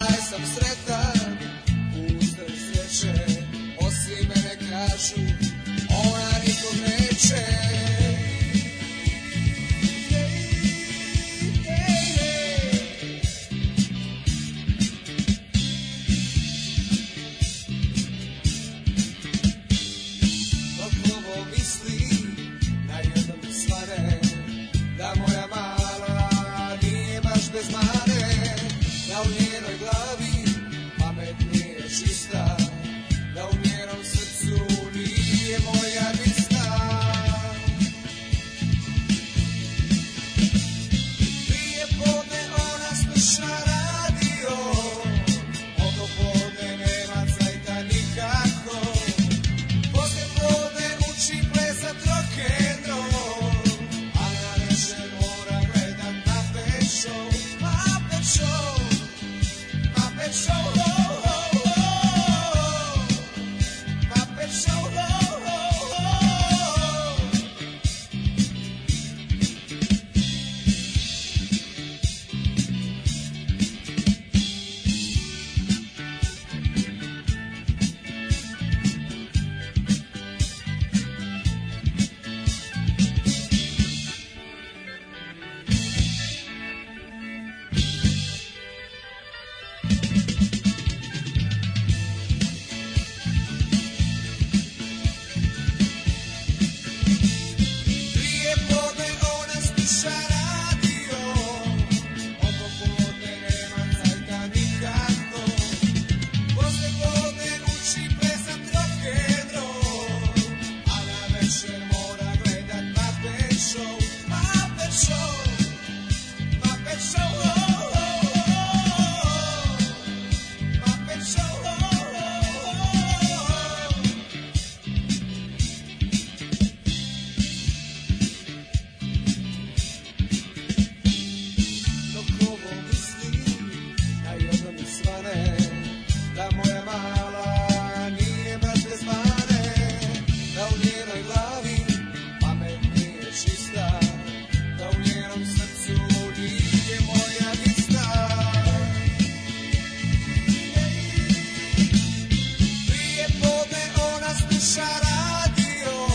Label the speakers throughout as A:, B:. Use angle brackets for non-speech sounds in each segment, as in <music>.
A: sam sretan, puste sreće, osim mene kažu, ona nikom neće. Ej, ej, ej. Dok ovo misli, na jednom svare, da moja mala nije baš bez mare, da u njenoj glavi pamet nije čista, da u njenom srcu nije moja lista. Prije podne ona sluša radio, oko podne nema cajta nikako. Posle podne uči plesat rock'n'roll, a na večer mora gledat Muppet Show, Muppet Show, Muppet Show, ho, ho, ho. Muppet Show, ho, ho, ho. Prije podne ona sluša radio, oko podne nema cajta nikako. Posle podne uči plesat rock'n'roll, a na večer mora gledat Muppet Show, Muppet Show, Muppet Show, ho, ho, ho, Muppet Show, ho, ho, ho. dok ovo mislim, a jedno mi svane, da moja mala nije baš bez mane, da u njenoj glavi pamet nije čista, da u njenom srcu nije moja lista. Prije podne ona sluša radio,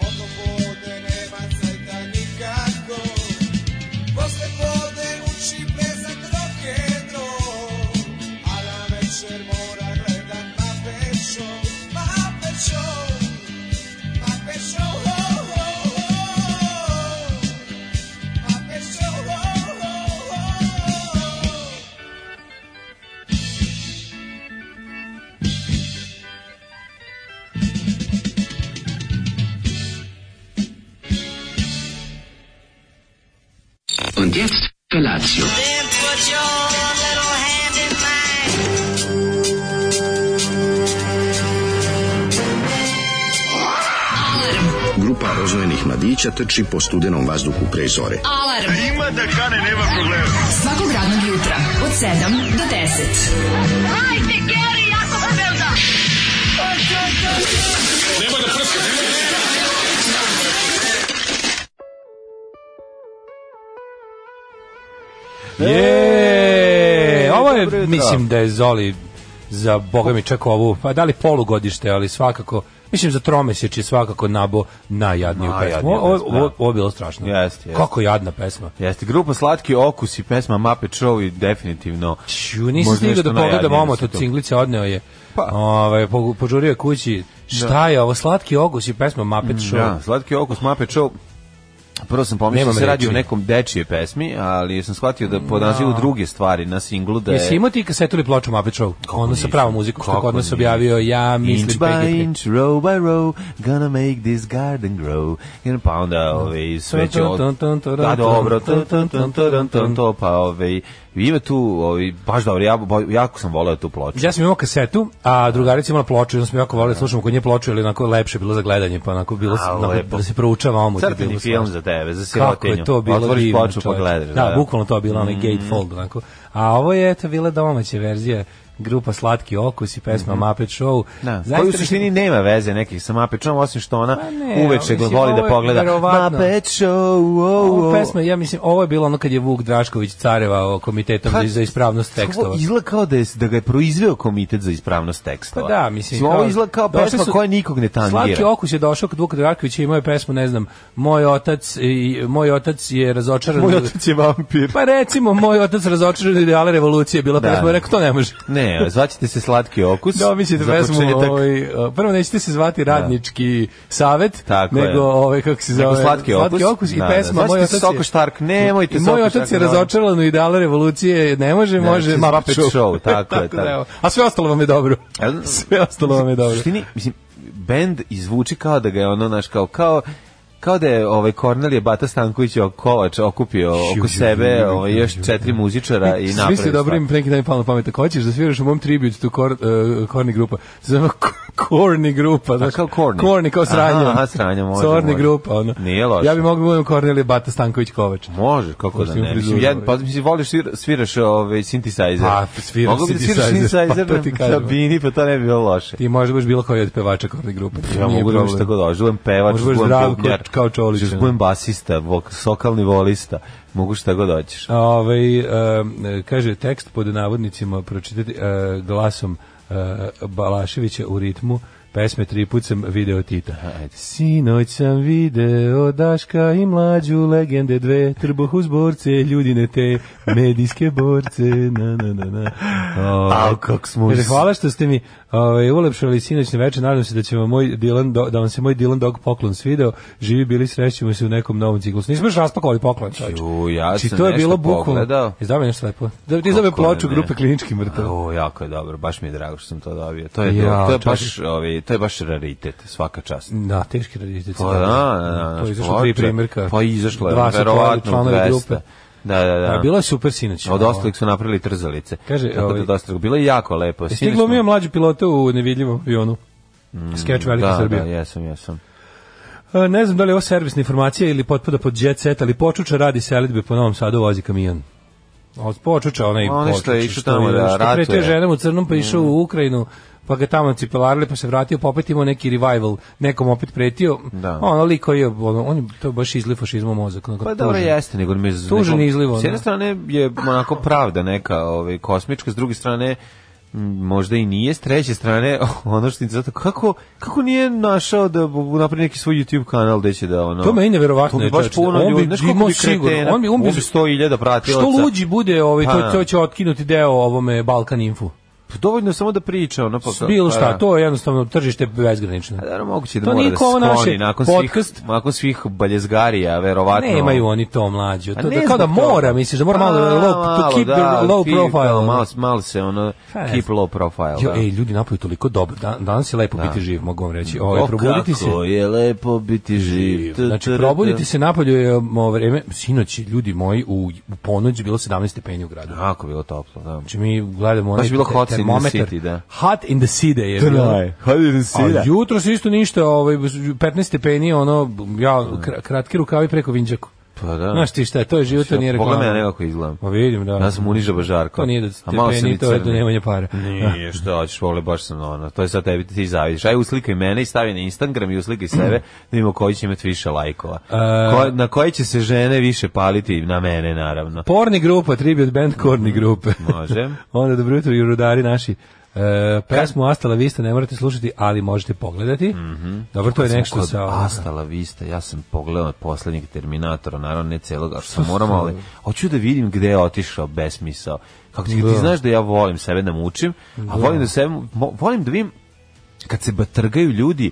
A: oko podne nema cajta nikako, Posle podne uči plesat rock'n'roll, a na večer mora gledat Muppet Show, Muppet Show, Muppet Show, ho, ho, ho, Muppet Show, ho, ho, ho.
B: Und jetzt Felatio.
C: Then put your little hand in mine.
D: Grupa rozvojenih mladića trči po studenom vazduhu pre zore.
E: Alarm. Ima da kane, nema problema. Svakog radnog jutra, od 7 do 10.
F: Hajde, Geri, jako belda!
G: Je, ovo je,
H: dobro jutro.
G: mislim da je Zoli za boga mi čak ovu, pa da li polugodište, ali svakako, mislim za tromesječ je svakako nabo najjadniju
H: Ma,
G: pesmu.
H: jadnija
G: Ovo,
H: pesma,
G: ovo,
H: da.
G: ovo je bilo strašno.
H: Jeste, jeste.
G: Kako jadna pesma.
H: Jeste, grupa Slatki okus i pesma Muppet Show i definitivno...
G: Ču, nisam
H: Možda
G: stigao
H: nešto
G: da pogledam
H: najjadnije
G: omot
H: su
G: od
H: tu.
G: cinglice, odneo je.
H: Pa.
G: Ovaj, po- požurio je kući. Šta je ovo? Slatki ogus i pesma Muppet Show.
H: Mm, Da, Slatki okus Muppet Show Prvo sam pomislio da
G: Nemam
H: se radi
G: reči.
H: o nekom dečije pesmi, ali sam shvatio da po nazivu druge stvari na singlu da je...
G: Jesi imao ti kasetu ili ploču Muppet Show? Ono sa
H: nisam?
G: pravom muzikom, što
H: Kako
G: kod nas
H: nisam?
G: objavio, ja mislim...
H: inch by
G: PGP.
H: inch, row by row, gonna make this garden grow. I pa onda ove, sve će
G: Tun,
H: od...
G: tun, tun, tun,
H: Da, dobro,
G: tun,
H: tun, tun, tun, tun, tun, to, pa ove, ima tu, ove, baš dobro, ja, bo- jako sam voleo tu ploču.
G: Ja sam imao kasetu, a drugarica imala ploču, i onda smo jako voleli, da slušamo kod nje ploču, ali onako lepše bilo za gledanje, pa onako bilo
H: A,
G: onako
H: lepo.
G: da se proučava omot.
H: Crteni film za tebe, za sirotinju.
G: Kako je to bilo
H: Otvoriš
G: divno,
H: ploču pa
G: čoveče.
H: gledaš. Mm.
G: Da, bukvalno to je bila onaj gatefold, onako. A ovo je, eto, bila domaća verzija grupa Slatki okus i pesma mm -hmm. Muppet Show.
H: Mhm. Da.
G: Zaista
H: Koji u
G: mislim-
H: suštini nema veze nekih sa Muppet Showom, osim što ona
G: Pa ne,
H: ne, uveče
G: ali mislim,
H: voli
G: ovo
H: da
G: je
H: pogleda
G: verovatno.
H: Muppet Show, oh,
G: Ovo
H: oh.
G: pesma, ja mislim, ovo je bilo ono kad je Vuk Drašković carevao komitetom
H: Pa,
G: za ispravnost tekstova.
H: Ovo izgleda kao da, je, da ga je proizveo komitet za ispravnost tekstova.
G: Pa da, mislim.
H: Ovo izgleda kao
G: došli
H: pesma
G: su-
H: koja nikog ne tangira.
G: Slatki okus je došao kod Vuka Drakovića i moje pesmu, ne znam, moj otac, i, moj otac je razočaran.
H: Moj otac je vampir.
G: Pa recimo, moj otac razočaran u ideale revolucije, je bila
H: Da.
G: pesma, ja rekao, to ne može.
H: Ne, zvaćete se slatki okus.
G: Da, mislite
H: za
G: pesmu,
H: početak.
G: ovaj, a, prvo nećete se zvati radnički savet,
H: Tako je.
G: nego ovaj, kako se
H: Nego
G: zove,
H: Slatki okus.
G: okus i
H: Da, da.
G: pesma,
H: Zvaćete
G: moj
H: se
G: otac je...
H: Soko Štark, nemojte
G: I
H: Soko
G: moj otac je
H: Štark, nemojte.
G: razočaran u ideale revolucije, ne može,
H: Ne,
G: može,
H: to je
G: Muppet
H: Muppet Show,
G: <laughs>
H: tako
G: da,
H: je, tako.
G: evo. A sve ostalo vam je dobro.
H: Jel-
G: <laughs> Sve ostalo vam je
H: U
G: dobro.
H: suštini, mislim, bend izvuči kao da ga je ono, naš, kao, kao, kao da je ovaj Kornelije Bata Stanković i Kovač okupio oko sebe ovaj, još četiri muzičara i
G: Svi su
H: napravio
G: dobrim neki dan mi palo na pamet. Ako hoćeš da sviraš u mom tribute to kor, uh, Korni grupa, se zove Korni grupa. Znaš,
H: kao Korni?
G: Korni, kao sranje.
H: Aha, aha, sranje, može,
G: Korni
H: može.
G: grupa, ono.
H: Nije loše.
G: Ja bi mogu da budem Korni ili Bata Stanković Kovač.
H: Može, kako da
G: Koštim
H: ne.
G: frizuru,
H: Mislim, ja,
G: ovaj.
H: pa mislim, voliš, svira, sviraš ovaj, synthesizer.
G: Pa, sviram
H: Mogao bi da sviraš
G: synthesizer,
H: synthesizer
G: pa to ti
H: na
G: kažem.
H: bini, pa to ne bi bilo loše.
G: Ti možeš da budeš bilo koji od pevača Korni grupa.
H: Ja mogu da budem šta god, žujem pevač,
G: Možeš budeš
H: žujem
G: Zdravko,
H: bubnjar,
G: kao Čolić,
H: žujem
G: ono.
H: budem basista, vok, sokalni volista, mogu šta god hoćeš.
G: Ove, ovaj, kaže, tekst pod navodnicima pročitati e, glasom e, Balaševića u ritmu pesme tri put sam video Tita. Sinoć sam video Daška i mlađu legende dve, trbohuzborce, ljudine te, medijske borce, na na na na. Ove,
H: Au, kak smo
G: Kaže,
H: s-
G: hvala što ste mi ovaj, ulepšali sinoć na večer, nadam se da, će vam moj Dylan, Do- da vam se moj Dylan Dog poklon svideo, živi bili srećemo se u nekom novom ciklusu. Nismo još raspakovali poklon, čovječe.
H: Ju, ja
G: Znači,
H: sam
G: to je
H: nešto
G: bilo bukvalno.
H: pogledao.
G: Izdao mi nešto lepo. Da ti zove
H: Kako
G: ploču
H: ne?
G: grupe klinički mrtav.
H: O, jako je dobro, baš mi je drago što sam to dobio. To je,
G: Ja,
H: dobro, to je,
G: čak-
H: baš, ovaj, to je baš raritet, svaka čast.
G: Da, teški radite.
H: Pa da, da, da.
G: To je izašlo
H: ploča.
G: tri primjerka.
H: Pa izašlo je,
G: Dva su
H: verovatno,
G: članovi
H: 200.
G: grupe.
H: Da, da, da.
G: Da, bilo je super sinoć.
H: Od ostalih su napravili trzalice.
G: Kaže,
H: Tako
G: ovaj-
H: da dosta, bilo je jako lepo.
G: Jesi ti
H: Sinoć
G: glumio
H: smo- Mm,
G: mlađu pilota u nevidljivom avionu? Skeč Velika
H: da,
G: Srbija.
H: Da, jesam, jesam.
G: E, Ne znam da li je ovo servisna informacija ili potpada pod jet set, ali počuča radi selitbe po Novom Sadu vozi kamion. Od počuča onaj
H: Onaj što je
G: počuča,
H: išao tamo da
G: što pretio
H: ratuje. Mm.
G: ženom u crnom pa išao u Ukrajinu pa ga tamo cipelarili pa se vratio pa opet imao neki revival nekom opet pretio
H: Da.
G: ono lik koji je ono, on je to je baš izliv fašizma u mozak ono, onako
H: Pa dobro
G: tužan.
H: jeste, nego mi je
G: Tužan izliv, ono.
H: S jedne strane je onako pravda neka, ovaj kosmička, s druge strane m, možda i nije, s treće strane <laughs> ono što zato kako kako nije našao da bu- napravi neki svoj YouTube kanal gde će da ono
G: To meni neverovatno
H: To
G: je,
H: bi baš
G: čoveče. On
H: puno
G: bi
H: ljudi, znaš koliko
G: imao
H: bi
G: sigurno,
H: kretena,
G: on bi- on bi-
H: 100.000 pratilaca.
G: što luđi bude ovaj
H: Pa
G: to
H: da.
G: to će otkinuti deo ovome Balkan Info
H: Pa Dovoljno je samo da priča, ono pa
G: bilo
H: pa
G: šta
H: da.
G: to je jednostavno tržište bezgranično
H: A Da, moguće da
G: To
H: mora
G: nije
H: da se
G: kao ovo naše
H: skloni nakon
G: podcast.
H: svih, nakon svih baljezgarija, verovatno.
G: Nemaju oni to mlađe.
H: A
G: To,
H: Pa ne
G: da, kao da
H: zbog toga.
G: mora, misliš, da mora malo
H: Pa,
G: low, to
H: malo,
G: keep the low
H: keep,
G: profile.
H: Malo, malo se ono,
G: Pa, ne
H: keep
G: znam.
H: low profile.
G: Jo,
H: da.
G: ej, ljudi napaju toliko dobro. Dan, danas je lepo biti živ, mogu vam reći. Ovaj, probuditi se.
H: kako je lepo biti živ.
G: Znači, probuditi se napolju je um, ovo vreme, sinoć, ljudi moji, u, u ponoć bilo 17 stepeni u gradu.
H: Jako bilo toplo, da.
G: Znači, mi gledamo onaj
H: Baš je bilo hot in the
G: termometar.
H: city, da.
G: Hot in the city je bilo.
H: Hajde da
G: A jutro se isto ništa, ovaj, 15 stepeni, ono, ja, kra- kratki rukavi preko vinđaku.
H: Pa da.
G: Znaš ti šta, je, to je život, to nije reklama.
H: Pogledaj me nekako izgledam.
G: Pa vidim, da.
H: Ja sam uniža bažarka.
G: To nije da
H: A malo sam
G: stepeni,
H: i
G: to je do
H: crni.
G: nemanja para.
H: Nije, što hoćeš, vole, baš sam ono. To je sad tebi, ti zavidiš. Aj, uslikaj mene i stavi na Instagram i uslikaj sebe, da vidimo koji će imati više lajkova. Ko, na koji će se žene više paliti na mene, naravno.
G: Porni grupa, tribute band, korni grupe.
H: Mm, Može.
G: <laughs> Onda dobro jutro i rudari naši. E, pesmu Astala Vista ne morate slušati, ali možete pogledati. Dobro, to je nešto
H: Mhm. Kod
G: sa...
H: Asta la Vista, ja sam pogledao poslednjeg Terminatora, naravno ne celog, ali što moram, ali hoću da vidim gde je otišao besmisao. Kako ti,
G: Da.
H: ti znaš da ja volim sebe da mučim, a volim da, sebe, mo- volim da vidim kad se batrgaju ljudi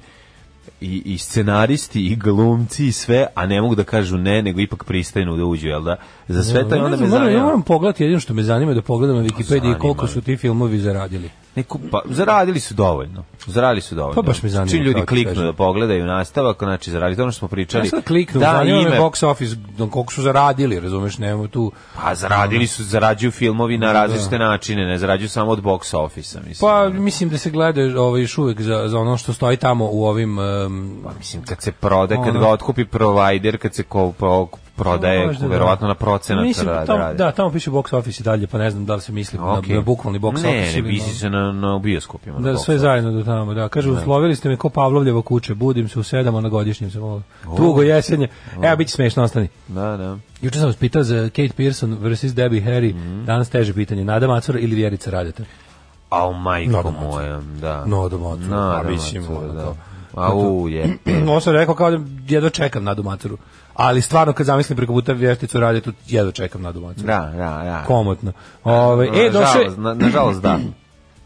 H: i, i scenaristi i glumci i sve, a ne mogu da kažu ne, nego ipak pristanu da uđu, jel da? Za sve to i
G: Ne
H: onda
G: znam,
H: me
G: moram, ja
H: zanima.
G: moram pogledati, jedino što me zanima je da pogledam na Wikipediji
H: Zanima
G: koliko
H: me.
G: su ti filmovi zaradili.
H: Neku, pa, zaradili su dovoljno. Zaradili su dovoljno.
G: Pa baš me zanima,
H: Čim ljudi
G: kako ti
H: kliknu
G: kažem.
H: da pogledaju nastavak, znači zaradili. To je ono što smo pričali.
G: Ja sad kliknu, da, zanima me box office, no, koliko su zaradili, razumeš, nemamo tu...
H: Pa zaradili su, zarađuju filmovi na različite načine, ne zarađuju samo od box office-a, mislim.
G: Pa mislim da se gleda ovaj, još uvek za, za ono što stoji tamo u ovim e, um,
H: Pa mislim, kad se prodaje, kad
G: Ono.
H: ga otkupi provider, kad se ko, pro- prodaje,
G: Možda da.
H: verovatno na procenat
G: Mislim,
H: rad-
G: tamo,
H: radi.
G: da, tamo piše box office i dalje, pa ne znam da li se misli
H: Okej.
G: na, na bukvalni box office.
H: ne, Ne,
G: ili
H: ne, misli se na, na bioskopima. na
G: Da,
H: box
G: sve
H: office.
G: zajedno do tamo, da. Kaže, uslovili ste me ko Pavlovljeva kuće, budim se u sedam, a na godišnjem sam ovo. Tugo jesenje. Evo, bit će smešno, ostani.
H: Da, da.
G: Juče sam vas pitao za Kate Pearson versus Debbie Harry. Danas teže pitanje. Nada Macura ili Vjerica Radeta?
H: A u majko
G: Nada Macura.
H: moja, da.
G: Nada Macura,
H: Nada
G: pa mislim,
H: Macura,
G: ono
H: da.
G: to.
H: A u je.
G: <clears throat> Ovo sam rekao kao da jedva čekam Nadu Macuru. Ali stvarno, kad zamislim preko puta Vješticu Radetu, jedva čekam Nadu Macuru.
H: Da, da, da.
G: Komotno. Ove, e, došao je...
H: Nažalost, na- Nažalost,
G: <clears throat>
H: da.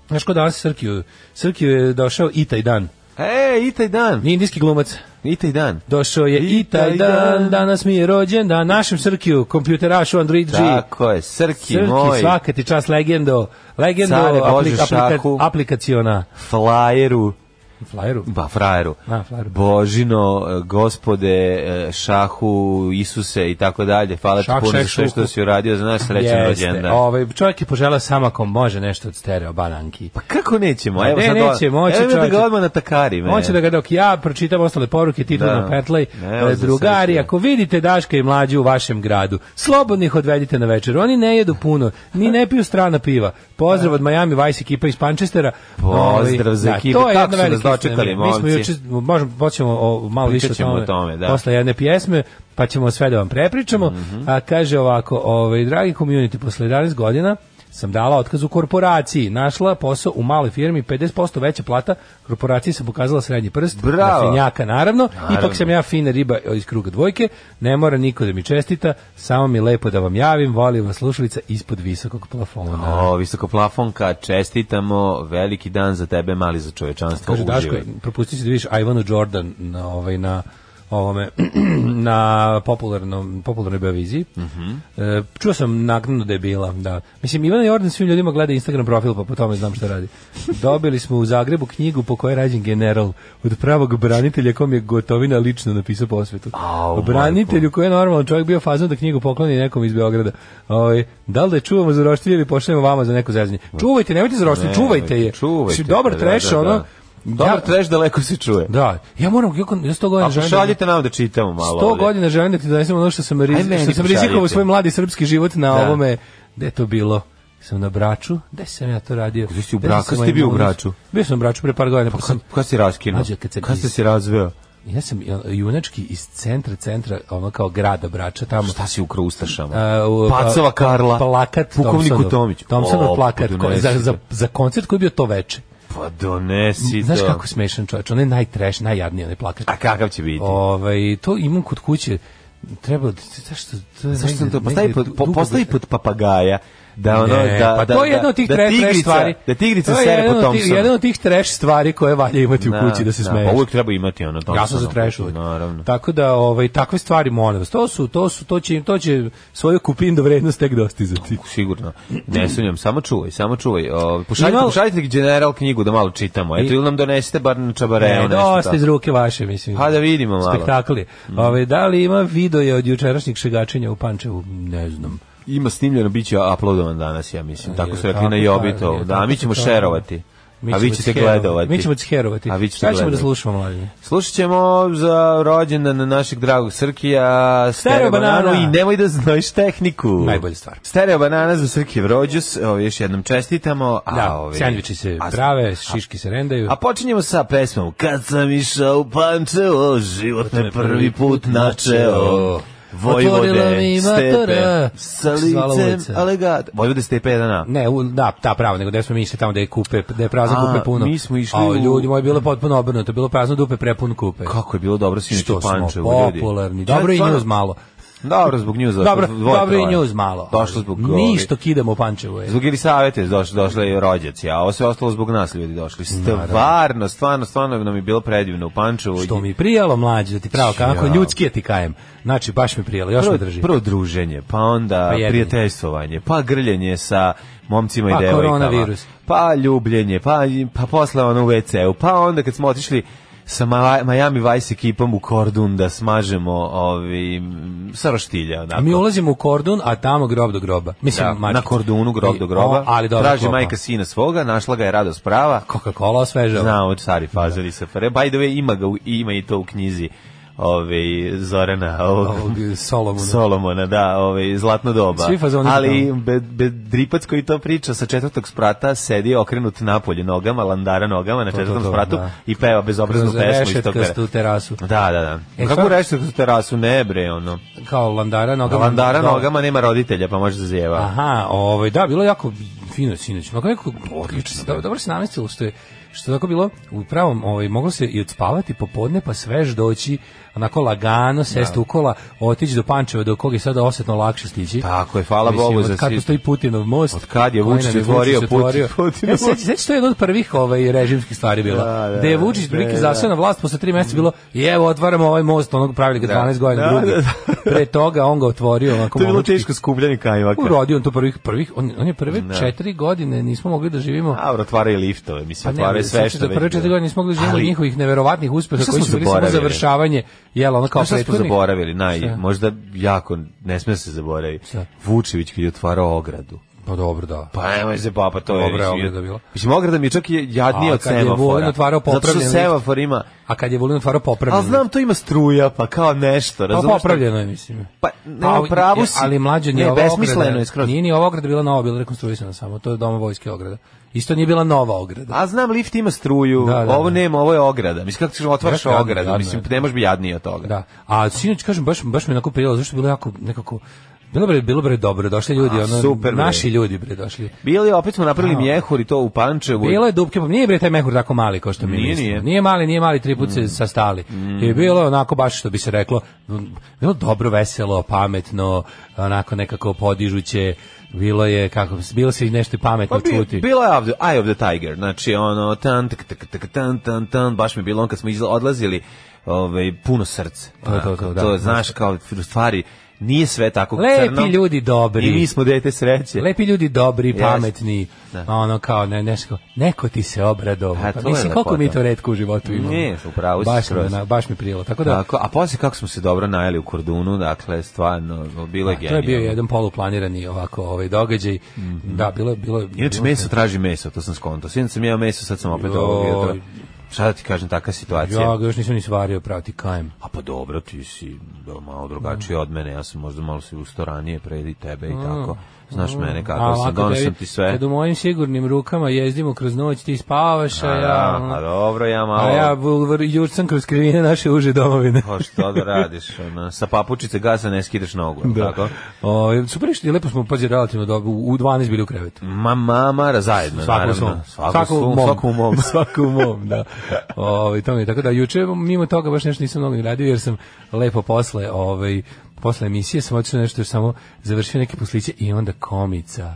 G: Znaš ko danas Srkiju? Srkiju je došao i taj dan.
H: E, i taj dan,
G: Nije indijski glumac.
H: i taj dan.
G: Došao je i taj dan, danas mi je rođen, da našem Srkiju, kompjuterašu Android G.
H: Tako je, Srki,
G: Srki,
H: moj,
G: svaka ti čast, legendo, legendo
H: Care Bože,
G: aplik, aplika-
H: šaku.
G: aplikaciona.
H: flyeru,
G: Flyeru.
H: ba, frajeru,
G: A, frajeru.
H: Božino, e, gospode, e, šahu, Isuse i tako dalje, hvala ti
G: Šah,
H: puno za
G: šeh,
H: sve što
G: šuhu.
H: si uradio za naš srećan
G: Jeste,
H: rođendan.
G: ovaj, čovjek je poželao samo ako može nešto od stereo bananki.
H: Pa kako nećemo?
G: A
H: Evo
G: ne,
H: sad ovo-
G: neće, moći,
H: Evo da
G: čovječe.
H: ga odmah natakari. me.
G: On će da ga dok ja pročitam ostale poruke Tito
H: Da.
G: na Petlej,
H: Evo
G: e,
H: za
G: drugari,
H: sreću.
G: ako vidite Daška i mlađu u vašem gradu, slobodno ih odvedite na večer. Oni ne jedu puno, ni ne piju strana piva. Pozdrav od Miami Vice ekipa iz Panchestera.
H: Pozdrav
G: Ovaj,
H: za ekipu.
G: to je jedna
H: Kako su nas
G: velika istina.
H: dočekali,
G: Mi smo
H: momci?
G: juče, možemo, počnemo o, malo više
H: Pričat ćemo o tome, da.
G: Posle jedne pjesme, pa ćemo sve da vam prepričamo.
H: Mhm.
G: A kaže ovako, ovaj, dragi community, posle 11 godina sam dala otkaz u korporaciji. Našla posao u maloj firmi, 50% veća plata, korporaciji sam pokazala srednji prst,
H: Bravo.
G: na finjaka naravno,
H: Naravno.
G: ipak sam ja fina riba iz kruga dvojke, ne mora niko da mi čestita, samo mi je lepo da vam javim, volim vas slušalica ispod visokog plafona.
H: O, visoko plafonka, čestitamo, veliki dan za tebe, mali za čovečanstvo.
G: Kaže Daško,
H: uživaj.
G: propustio si da vidiš Ivanu Jordan na ovaj na ovome <clears throat> na popularnom popularnoj Beoviziji. E, čuo sam naknadno da je bila, da. Mislim Ivana Jordan svim ljudima gleda Instagram profil pa po tome znam šta radi. Dobili smo u Zagrebu knjigu po kojoj je rađen general od pravog branitelja kom je Gotovina lično napisao posvetu.
H: Au,
G: Branitelju koji je normalan čovjek bio fazon da knjigu pokloni nekom iz Beograda. Ovaj da li da je čuvamo za roštilj ili pošaljemo vama za neko zezanje? Čuvajte, nemojte za roštilj, čuvajte je.
H: Čuvajte.
G: Mislim, Dobar
H: da,
G: trash,
H: da, da.
G: ono.
H: Dobar
G: ja,
H: trash daleko se čuje.
G: Da, ja moram, ja, kon- ja sto godina
H: A
G: želim...
H: pošaljite nam da čitamo malo.
G: Sto
H: ovdje.
G: godina želim da ti donesem ono što sam,
H: Aj,
G: riz,
H: meni
G: što sam
H: pošaljite.
G: rizikovao svoj mladi srpski život na
H: Da.
G: ovome... Gde je to bilo? sam na Braču. Gde sam ja to radio?
H: Gde si u
G: Gde
H: Braču?
G: sam
H: Kad
G: ovaj
H: ste bio u
G: moment-
H: Braču?
G: Bio sam u Braču pre par godina. Pa
H: Kad,
G: sam,
H: kad si raskinuo?
G: Mlađe, kad sam
H: ste
G: iz-
H: se razveo?
G: ja sam ja, junački iz centra, centra, ono kao grada Brača, tamo.
H: Šta si ukrao ustašama?
G: A, u-
H: Pacova
G: a,
H: Karla.
G: plakat
H: Pukovniku
G: Thompsonov.
H: Tomiću.
G: Thompsonov
H: O,
G: plakat
H: pa
G: ko-
H: donesi
G: za, za,
H: to.
G: za koncert koji je bio to veče.
H: Pa donesi
G: Znaš
H: to.
G: kako smešan čovječ, on je najtrash, najjadniji onaj plakat.
H: A kakav će biti?
G: Ovaj to imam kod kuće. Treba zašto to je
H: Zašto sam
G: negde-
H: to postavi
G: negde
H: pod, po,
G: dugo-
H: postavi pod papagaja? Da ono,
G: Ne,
H: da,
G: pa
H: da,
G: to je
H: da-
G: jedna od tih
H: da
G: trash, trash
H: tigrica-
G: stvari.
H: Da tigrica
G: To je
H: sere
G: jedan
H: po
G: od tih-
H: Thompsonu.
G: Jedan od tih trash stvari koje valja imati u kući da se smeješ.
H: Pa uvijek treba imati ono Thompsona.
G: Ja sam za trash uvek.
H: Naravno.
G: Tako da ovaj takve stvari molim vas. To su to su to će to će svoju kupinu vrednost tek dostizati.
H: sigurno. Ne sumnjam, samo čuvaj, samo čuvaj. O, pošaljite,
G: Imao-
H: pošaljite general knjigu da malo čitamo. Eto,
G: I-
H: ili nam donesite bar na
G: Ne,
H: čabareo.
G: E, dosta iz ruke vaše, mislim.
H: Pa da vidimo malo. Mm.
G: Spektakli. Ove, da li ima video od jučerašnjeg šegačenja u Pančevu? Ne znam.
H: Ima snimljeno, bit će uploadovan danas, ja mislim. Tako su
G: Je,
H: rekli na
G: tako
H: Jobitovu.
G: kažu,
H: Da,
G: tako
H: a mi
G: su
H: ćemo
G: kažu.
H: šerovati.
G: Mi
H: A vi
G: ćemo
H: ćete
G: cherovati.
H: gledovati.
G: Mi ćemo cherovati.
H: A vi ćete
G: Šta ćemo da
H: gledati.
G: slušamo, mlađe?
H: Slušat ćemo za rođendan na našeg dragog Srkija Stereo
G: Stereo banana.
H: bananu i nemoj da znaš tehniku.
G: Najbolja stvar.
H: Stereo banana za Srkijev rođus. Evo, još jednom čestitamo. A,
G: Da,
H: ovi-
G: sendviči se
H: a-
G: prave, šiški se rendaju.
H: A počinjemo sa pesmom Kad sam išao u Pančevo, život me prvi put načeo.
G: Otvorila
H: Vojvode,
G: mi
H: stepe,
G: matora,
H: sa
G: zvala
H: licem,
G: ulica.
H: alegat. Vojvode, stepe, 1a.
G: Ne, u, da, ta prava, nego da smo mi išli tamo da je kupe, da je prazno
H: A,
G: kupe puno.
H: mi smo išli
G: A,
H: u-
G: ljudi moji, bilo je potpuno obrnuto, bilo je prazno dupe prepun kupe.
H: Kako je bilo dobro sinoć u
G: Što smo
H: Pančevu, ljudi.
G: popularni. Dobro i
H: Stvarno-
G: news malo.
H: Dobro, zbog njuza.
G: Dobro,
H: dvoje
G: dobro i
H: troje.
G: news malo.
H: Došlo zbog
G: Ništa kidamo u Pančevu. je.
H: Zbog Elisavete došli, došla je rođac, a ovo sve ostalo zbog nas ljudi došli. Stvarno, stvarno, stvarno nam je bilo predivno u Pančevu.
G: Što mi prijalo mlađe, da ti pravo kako
H: Ja.
G: ljudski je ti kajem. Znači baš mi prijalo, još
H: prvo,
G: me drži.
H: prvo druženje, pa onda
G: Pa jedni.
H: prijateljstvovanje, pa grljenje sa momcima i
G: Pa
H: devojkama.
G: koronavirus.
H: Pa ljubljenje, pa, pa posle ono u WC-u, pa onda kad smo otišli sa Mala- Miami Vice ekipom u Kordun da smažemo ovi, sa roštilja.
G: A
H: onako.
G: mi ulazimo u kordun, a tamo grob do groba. Mislim,
H: Da,
G: mačka.
H: na Kordunu, grob do groba.
G: O, ali dobro,
H: Traži
G: klopa.
H: majka sina svoga, našla ga je radost prava.
G: Coca-Cola osvežava.
H: Znao od stari fazeri se pre. By the way, ima, ga, u- ima i to u knjizi ove, Zorana ovog,
G: Ovog Solomona.
H: <laughs> Solomona, da, ove, zlatno doba.
G: Svi fazoni
H: Ali
G: znam.
H: be, be, dripac koji to priča sa četvrtog sprata sedi okrenut napolje nogama, landara nogama na
G: to,
H: četvrtom
G: to,
H: spratu
G: da.
H: i peva bezobraznu
G: Kroz
H: pesmu iz tog
G: rešetkastu terasu.
H: Da, da, da.
G: E,
H: Kako
G: šta-
H: reći tu terasu? Ne bre, ono.
G: Kao landara nogama.
H: Landara
G: Do-
H: nogama nema roditelja, pa može da zjeva.
G: Aha, ovaj, da, bilo je jako fino sinoć. Mako neko, odlično, dobro, dobro se namestilo što je što je tako bilo u pravom, ovaj, moglo se i odspavati popodne, pa svež doći, onako lagano, sest u kola, otići do Pančeva, do kog je sada osetno lakše stići.
H: Tako je, hvala
G: Mislim,
H: Bogu za
G: Od kad
H: svi-
G: postoji Putinov most.
H: Od kad je
G: koji
H: Vučić
G: nam
H: otvorio Putin- Putinov
G: Ja, E, se sećam se, to je jedna od prvih ovaj, režimskih stvari bila.
H: Da, da,
G: Da, je Vučić
H: da,
G: prilike
H: da. Mhm.
G: zaseo na vlast, posle tri meseca bilo, i evo, otvaramo ovaj most, onog pravili ga
H: Da.
G: 12 godina
H: Da,
G: drugi.
H: da,
G: Pre toga on ga otvorio, onako
H: To je bilo
G: momački.
H: teško skupljanje kajmaka.
G: Urodio on to prvih, prvih on, on je prve
H: Da.
G: četiri godine, nismo mogli da živimo. Pa
H: A, otvaraju liftove, mislim,
G: ne,
H: otvaraju sve
G: sećaš
H: što
G: da
H: već
G: prve četiri
H: bilo.
G: godine nismo mogli da živimo
H: Ali,
G: od njihovih neverovatnih uspeha
H: Šta
G: koji
H: smo
G: su bili samo
H: zaboravili?
G: završavanje, jel, ono kao
H: Znaš šta smo
G: prethodnih.
H: zaboravili, naj,
G: Šta?
H: možda jako, ne sme se zaboravi.
G: Šta?
H: Vučević kad je otvarao ogradu.
G: Pa dobro, da.
H: Pa nemoj se papa, to je...
G: Dobra je
H: mislim,
G: ograda bila.
H: Mislim, ograda mi je čak i jadnija
G: A,
H: od
G: kad je
H: semafora.
G: Vulin otvarao
H: Zato
G: popravljen
H: što
G: lift.
H: semafor ima...
G: A kad je Vulin otvarao popravljeno.
H: Ali znam, to ima struja, pa kao nešto.
G: Pa
H: razumeš šta-
G: popravljeno je, mislim.
H: Pa, nema, pravu si.
G: Ali mlađe nije
H: Ne,
G: ova ograda-
H: besmisleno je skroz.
G: Nije ni ova ograda bila nova, bila rekonstruisana samo. To je doma vojske ograda. Isto nije bila nova ograda.
H: A znam, lift ima struju,
G: Da, da,
H: ovo
G: da.
H: nema, ovo je ograda. Mislim, kako ćeš otvaraš
G: Jadno,
H: ogradu,
G: jadno
H: mislim,
G: je.
H: ne možeš biti jadniji od toga.
G: Da. A sinoć kažem baš baš mi je onako prijelo zašto je bilo jako nekako bilo bre bilo bre dobro došli ljudi
H: A,
G: ono
H: super, bre.
G: naši ljudi bre došli.
H: Bili, opet smo napravili mjehur i to u Pančevu.
G: Bilo je dupke, pa nije bre taj mehur tako mali kao što mi
H: Nije,
G: mislimo.
H: nije. Mm.
G: Nije mali, nije mali, tri put se sastali. I bilo je onako baš što bi se reklo, m, bilo dobro, veselo, pametno, onako nekako podižuće, bilo je, kako, bilo se i nešto i pametno
H: Pa bi-
G: čuti.
H: Bilo je ovde, Eye of the Tiger, znači ono, tan, tak, tak, tak, tan, tan, tan, baš mi je bilo on kad smo izla- odlazili, ovaj, puno srce.
G: To je to, to, da.
H: znaš, kao, u stvari, nije sve tako
G: Lepi
H: crno.
G: ljudi dobri.
H: I mi smo dete sreće.
G: Lepi ljudi, dobri,
H: Jeste.
G: pametni,
H: Da.
G: ono kao ne, nešto, neko ti se obradovao.
H: A,
G: Pa,
H: to je
G: mislim, koliko
H: lepota.
G: mi to redko u životu imamo.
H: Ne, upravo si
G: baš, mi,
H: skroz.
G: na- baš mi prijelo. Tako da,
H: Tako, a poslije kako smo se dobro najeli u Kordunu, dakle, stvarno, bilo je
G: to je
H: genijalno. Mhm.
G: bio jedan poluplanirani ovako ovaj događaj. Da, bilo je... Bilo, je-
H: Inače,
G: bilo je-
H: meso traži meso, to sam skonto. Sinoć sam jeo meso, sad sam opet
G: Joj.
H: ovog jutra. Šta da ti kažem, taka situacija.
G: Ja ga još nisam ni svario, pravo ti kajem.
H: A pa dobro, ti si do- malo drugačiji
G: Mm.
H: od mene, ja sam možda malo se ustao ranije predi tebe i tako. Znaš mene kako sam,
G: ovako
H: donošam
G: Mm. tebi-
H: ti sve.
G: Kad u mojim sigurnim rukama jezdimo kroz noć, ti spavaš, a,
H: A,
G: ja... ono,
H: da, a dobro, ja malo...
G: a ja bulvar, jučcam kroz krivine naše uže
H: <laughs>
G: domovine.
H: Pa šta da radiš, ono, sa papučice gasa ne skidaš nogu, da. tako?
G: O, Ovaj, super je što je lepo smo pazi relativno dobro, u 12 bili u krevetu.
H: Ma, mama, zajedno,
G: Svako u
H: naravno.
G: svom.
H: Svako, u svom, svako u
G: <laughs>
H: mom.
G: Svako u mom, da. Ovaj to mi je tako da juče mimo toga baš nešto nisam mnogo ni radio jer sam lepo posle ovaj posle emisije sam otišao nešto još samo završio neke posliće i onda komica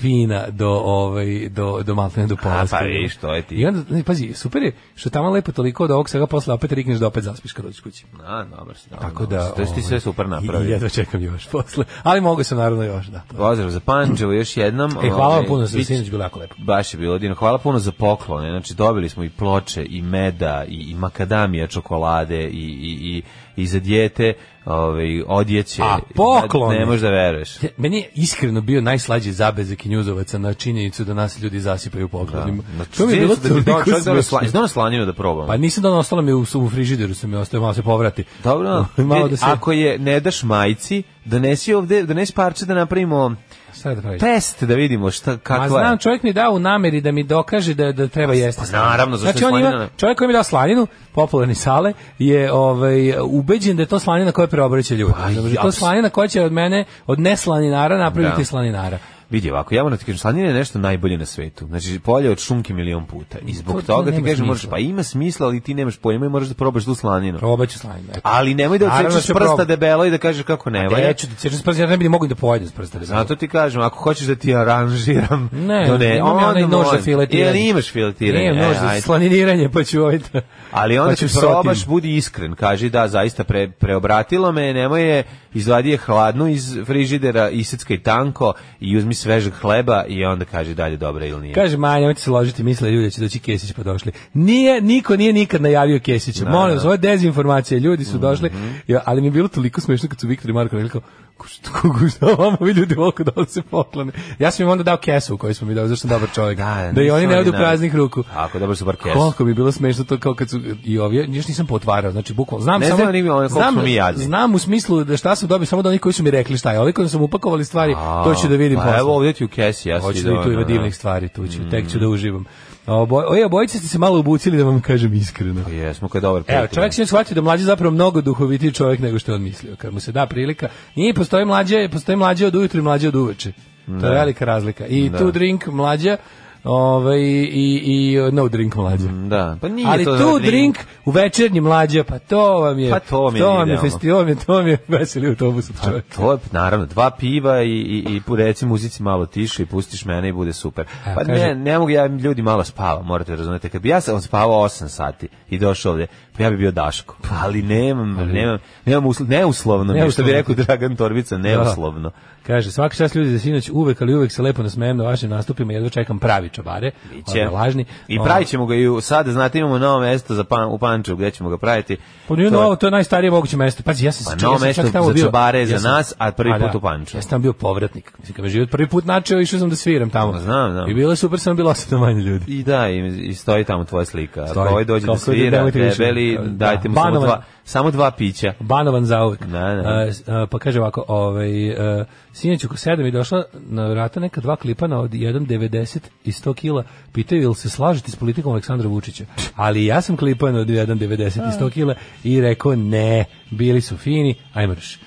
G: fina do ovaj do do maltene do pola.
H: Mhm. A, pa
G: spremljena.
H: vidiš, to je ti.
G: I onda ne, pazi, super je što tamo lepo toliko da ovog svega posle opet rikneš da opet zaspiš kad dođeš kući.
H: A, dobro si, dobro,
G: Tako
H: dobro
G: da
H: si. To si ti
G: ovaj,
H: sve super
G: i
H: napravio.
G: Jedva čekam još posle. Ali mogu sam naravno još, da.
H: Pozdrav za Pančevo još jednom.
G: E, hvala vam
H: ovaj,
G: puno, sve
H: bit-
G: sinoć bilo jako lepo.
H: Baš je bilo divno. Hvala puno za poklone. Znači, dobili smo i ploče, i meda, i, i makadamija čokolade, i, i, i, i za dijete ovaj, odjeće.
G: A, poklone?
H: Ne, ne možeš da veruješ.
G: Ja- Meni je iskreno bio najslađi zabezak i njuzovaca na činjenicu da nas ljudi zasipaju poklonima.
H: Znači,
G: to mi je
H: vidiš
G: bilo
H: da ti
G: toliko
H: dođe čovjek da ono
G: smešno.
H: sla- Znaš slaninu da probam.
G: Pa nisam da ostalo mi je u, u frižideru, sam je ostao malo se povrati.
H: Dobro,
G: <laughs> malo
H: vidi,
G: da se...
H: ako je ne daš majici, donesi ovde, donesi parče da napravimo
G: Šta da praviš?
H: test da vidimo šta, kakva
G: Ma
H: je.
G: znam, čovjek mi je dao u nameri da mi dokaže da, da treba jesti
H: pa
G: slaninu.
H: naravno, zašto
G: znači,
H: je
G: on
H: slanina?
G: ima, čovjek koji mi je dao slaninu, popularni sale, je ovaj, ubeđen da je to slanina koja preobreće ljudi.
H: Pa,
G: Znači, to
H: ja-
G: je slanina koja će od mene, od neslaninara, napraviti
H: Da.
G: slaninara.
H: Vidi ovako, ja moram ti kažem, slanina je nešto najbolje na svetu. Znači, polje od šunke milion puta. I zbog
G: To- to
H: toga ti
G: nema
H: kažem, moraš,
G: smisla.
H: pa ima smisla, ali ti nemaš pojma i moraš da probaš tu slaninu.
G: Probaću slaninu. eto.
H: Ali nemoj da
G: Naravno
H: odsečeš
G: ću
H: prsta
G: probati.
H: debelo i da kažeš kako ne valja.
G: Neću da sečem s prsta, ja ne bi ni mogu da pojedem s prsta. debelo.
H: Zato ti kažem, ako hoćeš da ti aranžiram,
G: Ne,
H: to ne,
G: imam ja
H: onda
G: onaj nož za
H: molim.
G: filetiranje.
H: Ili imaš filetiranje.
G: Nije
H: e,
G: nož za
H: ajde.
G: slaniniranje, pa ću ovaj da...
H: Ali onda
G: pa ću
H: ćeš
G: sa
H: probaš,
G: tim.
H: budi iskren, kaži da, zaista pre, preobratilo me, nemoj je, izvadi je hladnu iz frižidera, iseckaj tanko i uzmi svežeg hleba i onda kaže dalje dobra ili nije.
G: Kaže, ma, nemojte se ložiti, misle ljudi da će doći Kesić, pa došli. Nije, niko nije nikad najavio Kesića. Molim vas, ovo je dezinformacija, ljudi su došli, ja, ali mi je bilo toliko smešno kad su Viktor i Marko rekli kao, "Ko što- ko- ko- šta vama vi ljudi volko da se poklone. Ja sam im onda dao kesu koju smo mi dao, zašto sam dobar čovjek. Da, i
H: nisu
G: oni ne odu
H: na-
G: praznih ruku.
H: Tako, dobro su bar kes.
G: Koliko bi bilo smešno to kao kad su i ovi, još nisam potvarao, znači bukvalno znam
H: Ne
G: samo
H: znam ni mi ono koliko
G: znam,
H: smo mi jadni.
G: znam u smislu da šta sam dobio samo da oni koji su mi rekli šta je, ovi koji su mi upakovali stvari, to ću da vidim
H: pa,
G: posle.
H: Evo ovdje ti u kesi, ja
G: Hoću
H: si
G: da i tu
H: doneo,
G: ima
H: da. Mm.
G: divnih stvari, tu ću, tek ću da uživam. A Oboj, oje, obojice ste se malo ubucili da vam kažem iskreno.
H: Pa Jesmo, kad je dobar
G: Evo,
H: prijatelj.
G: čovjek se shvatio da mlađi zapravo mnogo duhovitiji čovjek nego što je on mislio. Kad mu se da prilika, nije postoji mlađe, postoji mlađe od ujutru i mlađe od uveče. To je velika razlika. I tu drink mlađa, ovaj, i, i no drink mlađa.
H: Da, pa nije
G: Ali
H: to
G: tu
H: za
G: drink u večernji mlađa, pa to vam je,
H: Pa to vam je
G: vam je
H: idealno. Pa.
G: festival, to vam je, to vam je <laughs> veseli autobus od čovjeka.
H: To je, naravno, dva piva i, i, i pu- reci muzici malo tiše i pustiš mene i bude super.
G: Evo,
H: Pa
G: kaže-
H: ne, ne mogu, ja ljudi malo spava, morate razumjeti. Kad bi ja sam spavao 8 sati i došao ovdje, pa ja bi bio Daško. Ali nemam, nemam, nemam uslo, neuslovno, mi je, što bi
G: Neuslovno.
H: rekao Dragan Torbica, neuslovno.
G: Kaže, svaka čast ljudi za sinoć uvek, ali uvek se lepo nasmejem na vašim nastupima, jedva čekam pravi čobare,
H: Će.
G: onda lažni. Ono-
H: I pravit ćemo ga i u- sad, znate, imamo novo mesto za pan, u Pančevu gdje ćemo ga praviti.
G: Pa nije
H: To je-
G: novo, to je najstarije moguće mesto. Pazi, ja sam
H: Pa
G: se
H: novo
G: ja sam čak
H: mesto
G: tamo
H: za
G: bio-
H: čobare za
G: ja sam-
H: nas, a prvi
G: Pa
H: put
G: da,
H: u Pančevu.
G: Ja sam tamo bio povratnik. Mislim, kad me život prvi put načeo, išao sam da sviram tamo.
H: Znam, znam.
G: I bilo je super, sam bilo osam manje ljudi.
H: I da, i, i stoji tamo tvoja slika. Stoji.
G: Stoji.
H: Ako ovaj dođe da
G: Kako da
H: svira,
G: nemojte više.
H: debeli,
G: Da.
H: dajte mu samo
G: Banovan.
H: dva, samo dva pića.
G: Banovan zauvek.
H: Da, da.
G: E, s- e, pa kaže ovako, ovaj, e, sinoć oko sedam je došla na vrata neka dva klipana od 1,90 i 100 kila. Pitaju ili se slažete s politikom Aleksandra Vučića. Ali ja sam klipan od 1,90 i 100 kila i rekao ne, bili su fini, ajmo reš.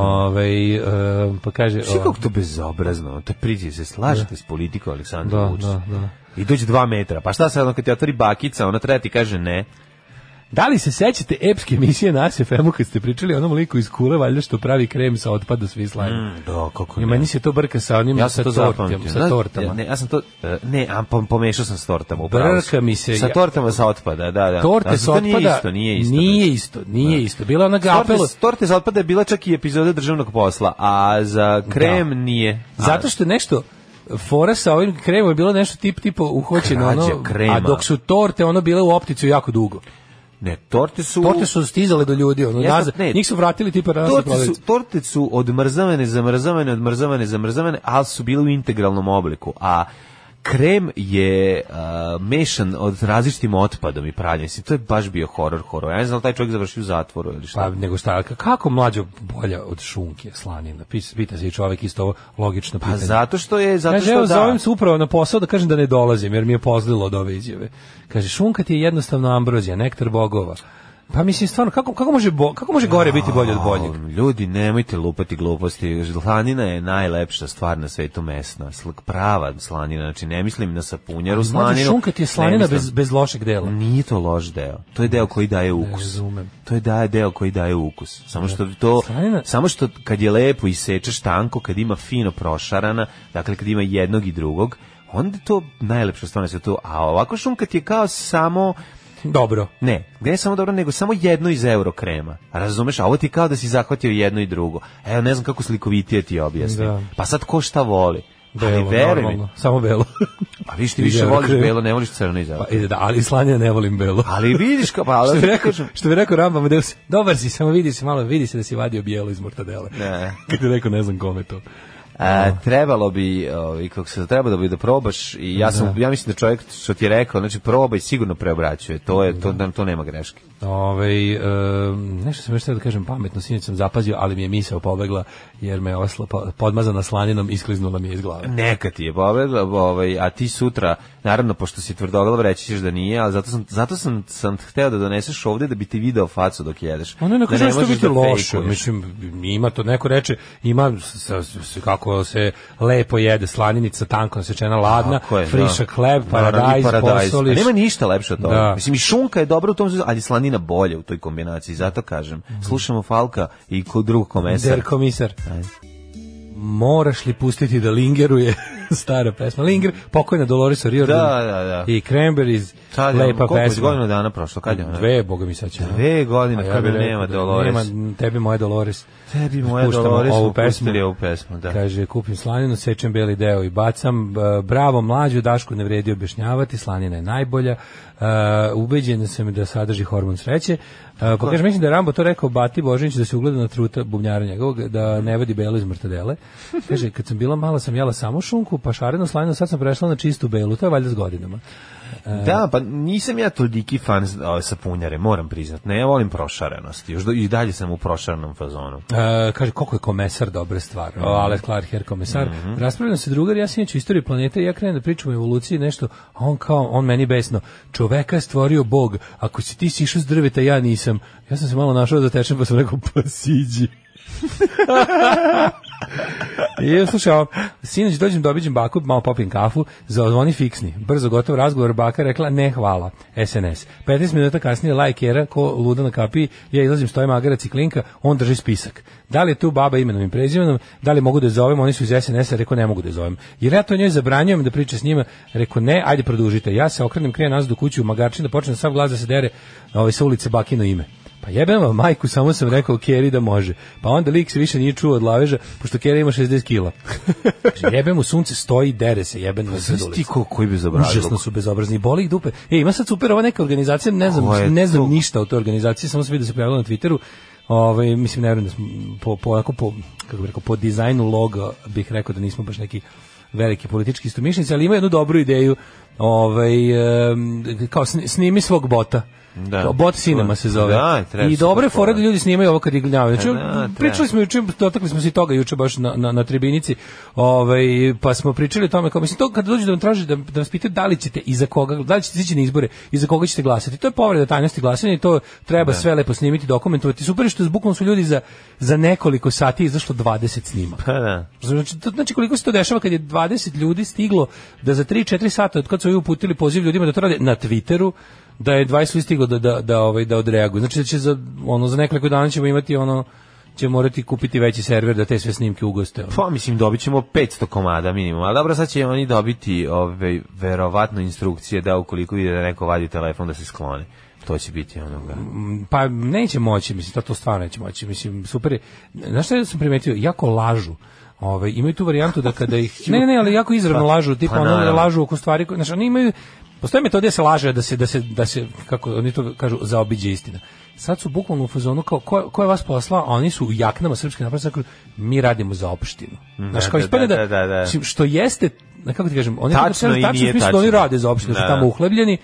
G: Ovaj, e, pa kaže...
H: Svi
G: o-
H: kako to bezobrazno, to priđe se, slažete s politikom Aleksandra
G: Da,
H: Vučića.
G: da, da.
H: I dođe dva metra. Pa šta sad, ono kad ti otvori bakica, ona treba ti kaže ne.
G: Da li se sećate epske emisije na SFM-u kad ste pričali o onom liku iz kule, valjda što pravi krem sa otpada svi slajmi? Mm,
H: Da, kako
G: I meni se to brka sa onim
H: Ja
G: Mm, sa,
H: sam to
G: tortom,
H: zapamtio.
G: sa
H: Da,
G: tortama.
H: Ne, ja sam to, e, ne, a pom- pomešao sam s tortama. upravo
G: Brka
H: si.
G: mi se,
H: Sa
G: ja-
H: tortama sa otpada, da, da.
G: Torte
H: A
G: sa
H: to nije
G: otpada
H: isto, nije isto.
G: Nije isto, nije isto. Bila ona
H: Torte,
G: gapelo.
H: torte za otpada je bila čak i epizoda državnog posla, a za krem nije. A,
G: Zato što je nešto fora sa ovim kremom je bilo nešto tip tipo uhoćeno
H: Krađa
G: ono,
H: krema.
G: a dok su torte ono bile u opticu jako dugo.
H: Ne, torte su...
G: Torte su stizale do ljudi, ono,
H: Jeste,
G: nazad.
H: ne.
G: njih su vratili tipa na
H: Torte su, torte su odmrzavane, zamrzavane, odmrzavane, zamrzavane, ali su bile u integralnom obliku, a krem je a, mešan od različitim otpadom i pranjem. Mislim, to je baš bio horor, horor. Ja ne znam da li taj čovjek završio u zatvoru ili
G: Pa
H: šta.
G: nego šta, ka- kako mlađo bolja od šunke slanina? Pis- Pita se i čovjek isto ovo logično
H: Pa
G: pitanje.
H: zato što je, zato
G: Kaže,
H: što
G: evo,
H: da.
G: zovem se upravo na posao da kažem da ne dolazim, jer mi je pozlilo od ove izjave. Kaže, šunka ti je jednostavno ambrozija, nektar bogova. Pa mislim, stvarno, kako, kako, može, bo- kako može gore biti bolje od boljeg?
H: A, Ljudi, nemojte lupati gluposti. Slanina je najlepša stvar na svetu mesna. Sl- Prava slanina. Znači, ne mislim na sapunjaru
G: Mlađe,
H: slaninu.
G: šunka ti je
H: ne
G: slanina
H: mislim-
G: bez, bez lošeg dela.
H: Nije to loš deo. To je deo koji daje ukus.
G: razumem.
H: To je daje deo koji daje ukus. Samo što to
G: Slanina-
H: samo što kad je lepo i sečeš tanko, kad ima fino prošarana, dakle kad ima jednog i drugog, onda je to najlepša stvar na svetu. A ovako šunka ti je kao samo Mhm.
G: Dobro.
H: ne, ne samo dobro, nego samo jedno iz euro krema. Razumeš, a ovo ti je kao da si zahvatio jedno i drugo. Evo, ne znam kako slikovitije ti objasnim.
G: Da.
H: Pa sad ko šta voli? Ali
G: Belo,
H: veruj mi,
G: normalno, samo belo. <laughs>
H: pa viš ti
G: Iz
H: više
G: euro
H: voliš
G: krema.
H: belo, ne voliš crno iz euro
G: Pa, ide da, ali slanina ne volim belo.
H: Ali vidiš
G: <laughs>
H: kao, pa, ali,
G: što bi
H: ti
G: rekao,
H: kažem-
G: što bi rekao Ramba Amadeus, dobar si, samo vidi se malo, vidi se da si vadio bijelo iz mortadele.
H: Ne.
G: <laughs> Kad je rekao, ne znam kome to.
H: A, trebalo bi, ovaj kako se trebalo bi da probaš i ja sam ja mislim da čovjek što ti je rekao, znači probaj sigurno preobraćuje. To je to to nema greške.
G: Ove, Ovaj, e, nešto sam još sad da kažem pametno, sinoć sam zapazio, ali mi je misao pobegla, jer me je osla, po- podmazana slaninom iskliznula mi je iz glave.
H: Neka ti je pobegla, ovaj, a ti sutra, naravno, pošto si tvrdoglav, reći ćeš da nije, ali zato sam, zato sam, sam hteo da doneseš ovde da bi ti video facu dok jedeš.
G: Ono je na
H: Da
G: kažem što
H: možeš
G: biti
H: da
G: loše,
H: fejkuješ.
G: mislim, ima to, neko reče, ima s- s- s- kako se lepo jede slaninica, tanko nasečena, ladna,
H: Tako je, da.
G: frišak hleb,
H: Naravno, i
G: paradajz,
H: paradajz.
G: posoliš.
H: A Nema ništa lepše od toga.
G: Da.
H: Mislim, i šunka je dobra u tom smislu, ali je slanina bolje u toj kombinaciji, zato kažem.
G: Mhm.
H: Slušamo Falka i kod drugog komesara.
G: Der komisar. Moraš li pustiti da lingeruje <laughs> stara pesma. Linger, pokojna Dolores O'Riordan.
H: Da, da, da.
G: I Cranberries,
H: Tad je, ono,
G: lepa
H: koliko je
G: pesma.
H: godina dana prošlo? Kad je ona?
G: Dve, boga mi sad će.
H: Dve godine,
G: A ja
H: kad
G: bih
H: me
G: rekao
H: nema
G: da
H: Dolores.
G: Nema tebi moja Dolores.
H: Tebi moja
G: Puštamo
H: Dolores smo pustili ovu pesmu, da.
G: Kaže, kupim slaninu, sečem beli deo i bacam. B- Bravo, mlađu, Dašku ne vredi objašnjavati, slanina je najbolja. Uh, ubeđen sam da sadrži hormon sreće. Uh, pa kaže, mislim da je Rambo to rekao Bati Božinić da se ugleda na truta bubnjara njegovog, da ne vadi belo iz
H: <laughs>
G: mrtadele. Kaže, kad sam bila mala sam jela samo šunku, pa šarenu slaninu, sad sam prešla na čistu belu, to je valjda s godinama.
H: Da, pa nisam ja toliki fan s- a, sapunjare, moram priznat. Ne, ja volim prošarenost. Još do, i dalje sam u prošarenom fazonu.
G: E, kaže koliko je komesar dobra stvar. O, Alex Clark Her komesar. Raspravljam se drugar, ja sam inače istoriju planete i ja krenem da pričam o evoluciji nešto, a on kao on meni besno. Čoveka je stvorio Bog. Ako si ti sišao s drveta, ja nisam. Ja sam se malo našao da tečem, pa sam rekao pa siđi. <laughs> I slušaj, ovo, sinoć dođem da obiđem baku, malo popim kafu, zaozvoni fiksni. Brzo gotov razgovor, baka rekla ne hvala, SNS. 15 minuta kasnije lajk era, ko luda na kapiji, ja izlazim stoje magarac i klinka, on drži spisak. Da li je tu baba imenom i prezimenom, da li mogu da je zovem, oni su iz SNS-a, rekao ne mogu da je zovem. Jer ja to njoj zabranjujem da priča s njima, rekao ne, ajde produžite. Ja se okrenem, krenem nazad u kuću u magarčin da počne sav glas da se dere ovaj, sa ulice bakino ime. Pa jebem vam majku, samo sam rekao Keri da može. Pa onda lik se više nije čuo od laveža, pošto Keri ima 60 kila. Kaže, jebem mu sunce stoji i dere se, jebem
H: Pa
G: mu se
H: Znaš ti ko, koji bi zabravio?
G: Užasno su bezobrazni, boli ih dupe. E, ima sad super ova neka organizacija, ne
H: Ko je
G: znam, ne znam
H: to?
G: ništa o toj organizaciji, samo sam vidio da se pojavila na Twitteru. Ovaj mislim ne vjerujem da smo po po onako po kako bih rekao po dizajnu loga bih rekao da nismo baš neki veliki politički istomišljenici, ali ima jednu dobru ideju. Ovaj em, kao sni- snimi svog bota.
H: Da.
G: Kao Bot Cinema se zove.
H: Da, treba
G: I
H: se
G: dobre
H: tako
G: fore da
H: fora.
G: ljudi snimaju ovo kad ignjavaju. Znači,
H: Da, treba.
G: pričali smo juče, dotakli smo se i toga juče baš na, na, na tribinici, ovaj, pa smo pričali o tome, kao, mislim, to kada dođu da vam traže, da, da vas pitaju da li ćete i za koga, da li ćete ići na izbore i za koga ćete glasati. To je povreda tajnosti glasanja i to treba sve lepo snimiti, dokumentovati. Super je što s bukvalno su ljudi za, za nekoliko sati izašlo 20 snima.
H: Pa da.
G: Znači, to, znači koliko se to dešava kad je 20 ljudi stiglo da za 3-4 sata od kad su ovi uputili poziv ljudima da to rade na Twitteru, da je 20 ljudi stiglo da, da, da, ovaj, da odreaguju. Znači da će za, ono, za nekoliko dana ćemo imati ono, će morati kupiti veći server da te sve snimke ugoste. Ono.
H: Pa mislim dobit ćemo 500 komada minimum, ali dobro sad će oni dobiti ove, verovatno instrukcije da ukoliko vide da neko vadi telefon da se skloni. To će biti onoga.
G: Pa neće moći, mislim, to, to stvarno neće moći. Mislim, super je. Znaš šta ja sam primetio? Jako lažu. Ove, imaju tu varijantu da kada
H: <laughs>
G: ih... Ne, ne, ne, ali jako izravno lažu, tipa
H: pa
G: ono da
H: naravno.
G: lažu oko stvari koje... Znači, oni imaju... Postoje metode da se laže, da se, da se, da se kako oni to kažu, zaobiđe istina. Sad su bukvalno u fazonu kao, ko, ko je vas poslao, a oni su u jaknama srpske napravljene, sad kažu, mi radimo za opštinu. Znaš, kao
H: Mhm, da,
G: ispadne da,
H: da, da, da.
G: mislim, što jeste, na kako ti kažem, oni
H: Tačno
G: to kažu,
H: i
G: tačno, u
H: nije
G: smislu da oni
H: tačno.
G: rade za opštinu, da su
H: Da,
G: tamo
H: da.
G: uhlebljeni,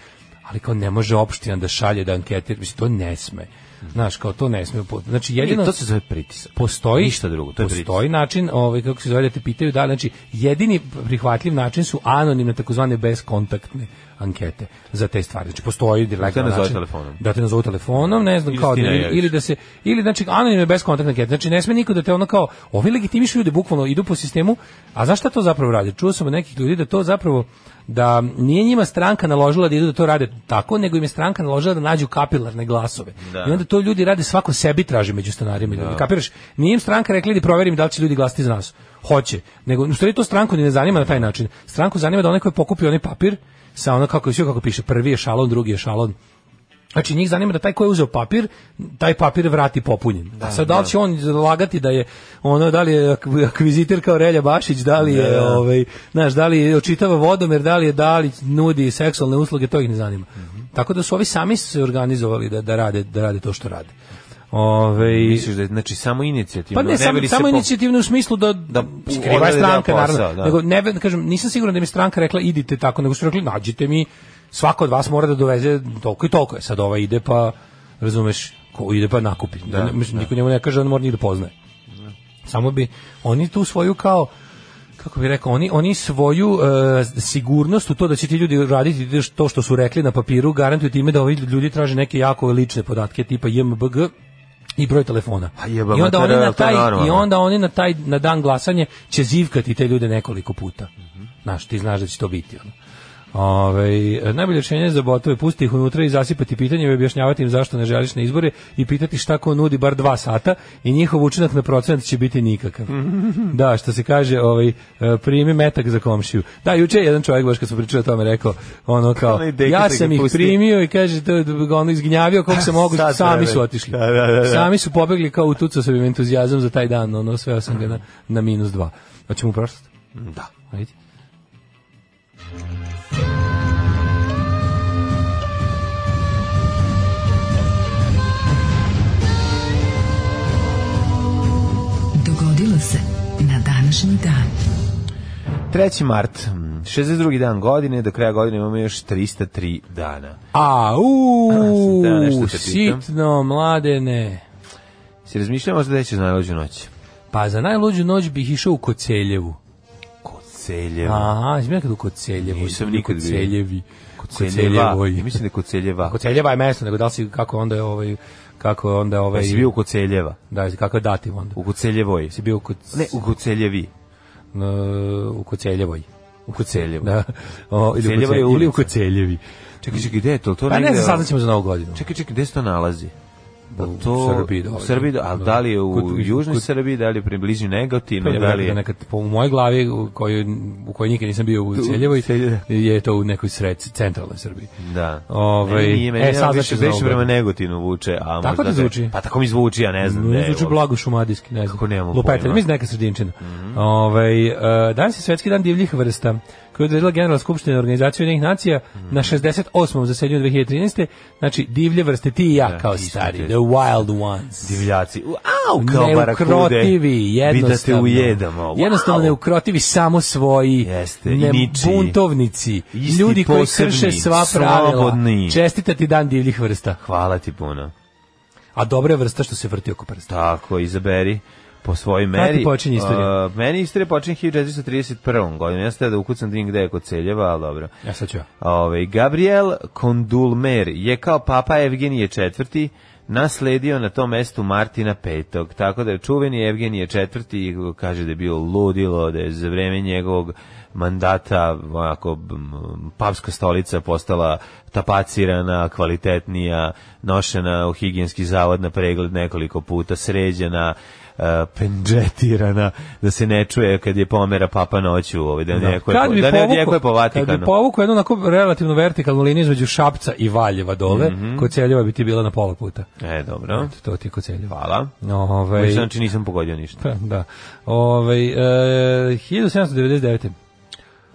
G: ali kao ne može opština da šalje da anketir, mislim, to ne sme. Znaš, kao to ne sme. Po- Znači, jedino...
H: I to se zove pritisak.
G: Postoji,
H: Ništa drugo, to je
G: postoji
H: pritisak.
G: način, ovaj, kako se zove, da te pitaju da, znači, jedini prihvatljiv način su anonimne, takozvane beskontaktne ankete za te stvari. Znači, postoji direktan
H: nazove
G: način.
H: telefonom.
G: Da te nazove telefonom, ne znam,
H: Ili
G: kao
H: ti
G: da,
H: ne
G: ili,
H: javiš.
G: ili da se, ili znači, anonimne beskontaktne ankete. Znači, ne sme niko da te ono kao, ovi legitimišu ljude, bukvalno idu po sistemu, a znaš šta to zapravo radi? Čuo sam od nekih ljudi da to zapravo, da nije njima stranka naložila da idu da to rade tako, nego im je stranka naložila da nađu kapilarne glasove.
H: Da.
G: I onda to ljudi rade svako sebi traži među stanarima. Da. Kapiraš? Nije im stranka rekla idi proverim da li će ljudi glasati za nas. Hoće. Nego, u stvari to stranku ni ne zanima na taj način. Stranku zanima da onaj ko je pokupio onaj papir, sa ono kako, sve kako piše, prvi je šalon, drugi je šalon, Znači njih zanima da taj ko je uzeo papir, taj papir vrati popunjen. A sad da li će on lagati da je ono da li je ak- akviziter kao Relja Bašić, da li je ovaj, znaš, da li je očitava vodomer, da li je Dalić nudi seksualne usluge, to ih ne zanima. Tako da su ovi sami se organizovali da da rade da rade to što rade. Ovaj
H: Misliš da je, znači, samo inicijativno.
G: pa ne,
H: bi
G: samo,
H: li se
G: samo
H: po-
G: inicijativno u smislu da,
H: Da
G: da
H: ona
G: skriva
H: ne
G: je stranka,
H: da posao,
G: naravno.
H: da.
G: Nego ne, ve- kažem, nisam siguran da mi je stranka rekla idite tako, nego su rekli nađite mi, svako od vas mora da doveze toliko i toliko. E Sad ova ide pa, razumeš, ko ide pa nakupi. Da, ne- mislim, Niko njemu ne kaže, on mora njih da poznaje. Samo bi, oni tu svoju kao, kako bi rekao, oni, oni svoju e, sigurnost u to da će ti ljudi raditi to što su rekli na papiru, garantuju time da ovi ljudi traže neke jako lične podatke tipa JMBG i broj telefona.
H: A jebem,
G: I onda oni
H: to je-
G: na
H: to je
G: taj i
H: normalno.
G: onda oni na taj na dan glasanje će zivkati te ljude nekoliko puta. Znaš, ti znaš da će to biti ono. Ovaj, najbolje rješenje za botove pusti ih unutra i zasipati pitanje i objašnjavati im zašto ne želiš na izbore i pitati šta ko nudi bar dva sata i njihov učinak na procenat će biti nikakav. da, što se kaže, ovaj, eh, primi metak za komšiju. Da, juče je jedan čovjek, baš kad smo pričali o tome, rekao, ono kao,
H: Onaj deka
G: ja
H: te ga
G: sam ih
H: pusti."
G: primio i kaže, to, ono izgnjavio koliko se mogu,
H: Sad
G: sami
H: vreme.
G: su otišli.
H: Da, da, da, da.
G: Sami su pobegli kao utucao sam im entuzijazam za taj dan, ono, sve sam ga na, na minus dva. Hoćemo u prošlost? Da. Ajde.
E: Dogodilo se na današnji dan.
H: 3. mart, mm, 62. dan godine, do kraja godine imamo još 303 dana.
G: A,
H: sam teo nešto
G: u,
H: te pitam.
G: sitno, mladene.
H: Si razmišljao možda da ćeš najlođu noć?
G: Pa za najluđu noć bih išao u Koceljevu.
H: Koceljeva.
G: Aha, si mi nekad u Koceljevu.
H: Nisam
G: ili
H: nikad bio.
G: Koceljevi.
H: Koceljeva.
G: Koceljevoj.
H: Mislim da je Koceljeva.
G: Koceljeva je mesto, nego da li si, kako onda je ovaj, kako je onda ovaj,
H: Pa si bio u Koceljeva.
G: da, kako je dativ onda.
H: U Koceljevoj.
G: Si bio u, koc,
H: Ne, u Koceljevi.
G: na- u Koceljevoj.
H: U Koceljevoj.
G: Da. O, ili, u
H: Koceljeva je
G: Koceljevi, ili u
H: ulica.
G: Koceljevi.
H: Čekaj, čekaj, gde je to? to
G: Pa ne
H: negde-
G: znam, saznaćemo za novu godinu.
H: Čekaj, čekaj, gde se to nalazi? Pa
G: U
H: to,
G: Srbiji
H: u
G: dole.
H: Srbiji, do- ali da li je u
G: Kod-
H: južnoj
G: kod-
H: Srbiji, da li je pri bližnju Negotinu,
G: Koceljevo
H: da li
G: je
H: je...
G: nekad po u mojoj glavi u kojoj u kojoj nikad nisam bio u Celjevoj
H: Celjevoj.
G: je to u nekoj sred centralnoj Srbiji.
H: Da.
G: Ovaj,
H: Meni nije, meni
G: e,
H: e,
G: sad
H: sad više,
G: znači za
H: više
G: ovoga.
H: prema Negotinu vuče, a možda...
G: Tako ti
H: da-
G: zvuči?
H: Pa tako mi zvuči, ja ne znam.
G: Ne
H: gde je
G: Mm, zvuči
H: ovo.
G: blago šumadijski, ne znam.
H: Kako nemam
G: Lupetelj,
H: pojma.
G: mislim neka sredinčina. Ovaj, e, danas je svetski dan divljih vrsta, koji je odredila Generalna skupština organizacije Ujedinjenih nacija na 68. zasedanju 2013. Znači, divlje vrste, ti i ja kao
H: ti si
G: stari,
H: ti.
G: the wild ones.
H: divljaci. U, Au, kao barakude.
G: neukrotivi, jednostavno.
H: Vi da te ujedamo. Wow.
G: Jednostavno neukrotivi, samo svoji.
H: Jeste, i ničiji.
G: buntovnici.
H: Isti,
G: ljudi koji
H: posebni,
G: krše sva pravila.
H: slobodni.
G: Čestitati dan divljih vrsta.
H: Hvala ti puno.
G: A dobra je vrsta što se vrti oko prsta.
H: Tako, izaberi po svojoj
G: Kada ti
H: meri.
G: počinje istorija?
H: Uh, meni istorija počinje 1431. godine. Ja sam teo da ukucam da vidim gde je kod Celjeva, ali dobro.
G: Ja E, sad ću ja.
H: Ove, Ovaj, Gabriel Kondulmer je kao papa Evgenije IV nasledio na tom mestu Martina V. Tako da je čuveni Evgenije IV kaže da je bio ludilo, da je za vreme njegovog mandata ako papska stolica postala tapacirana, kvalitetnija, nošena u higijenski zavod na pregled nekoliko puta, sređena, e, pendžetirana, da se ne čuje kad je pomera papa noću, ovaj, da, ne odjekuje
G: Kad
H: po-
G: bi
H: da ne
G: povukao-
H: odjekuje po
G: Kad bi
H: Vatikanu.
G: povukao jednu onako relativno vertikalnu liniju između Šapca i Valjeva dole,
H: Mhm.
G: kod Celjeva bi ti bila na pola puta.
H: E, dobro.
G: Eto, to ti je kod Celjeva.
H: Hvala.
G: Ovaj,
H: Mislim, znači nisam pogodio ništa.
G: Pa, da. Ovaj e, 1799.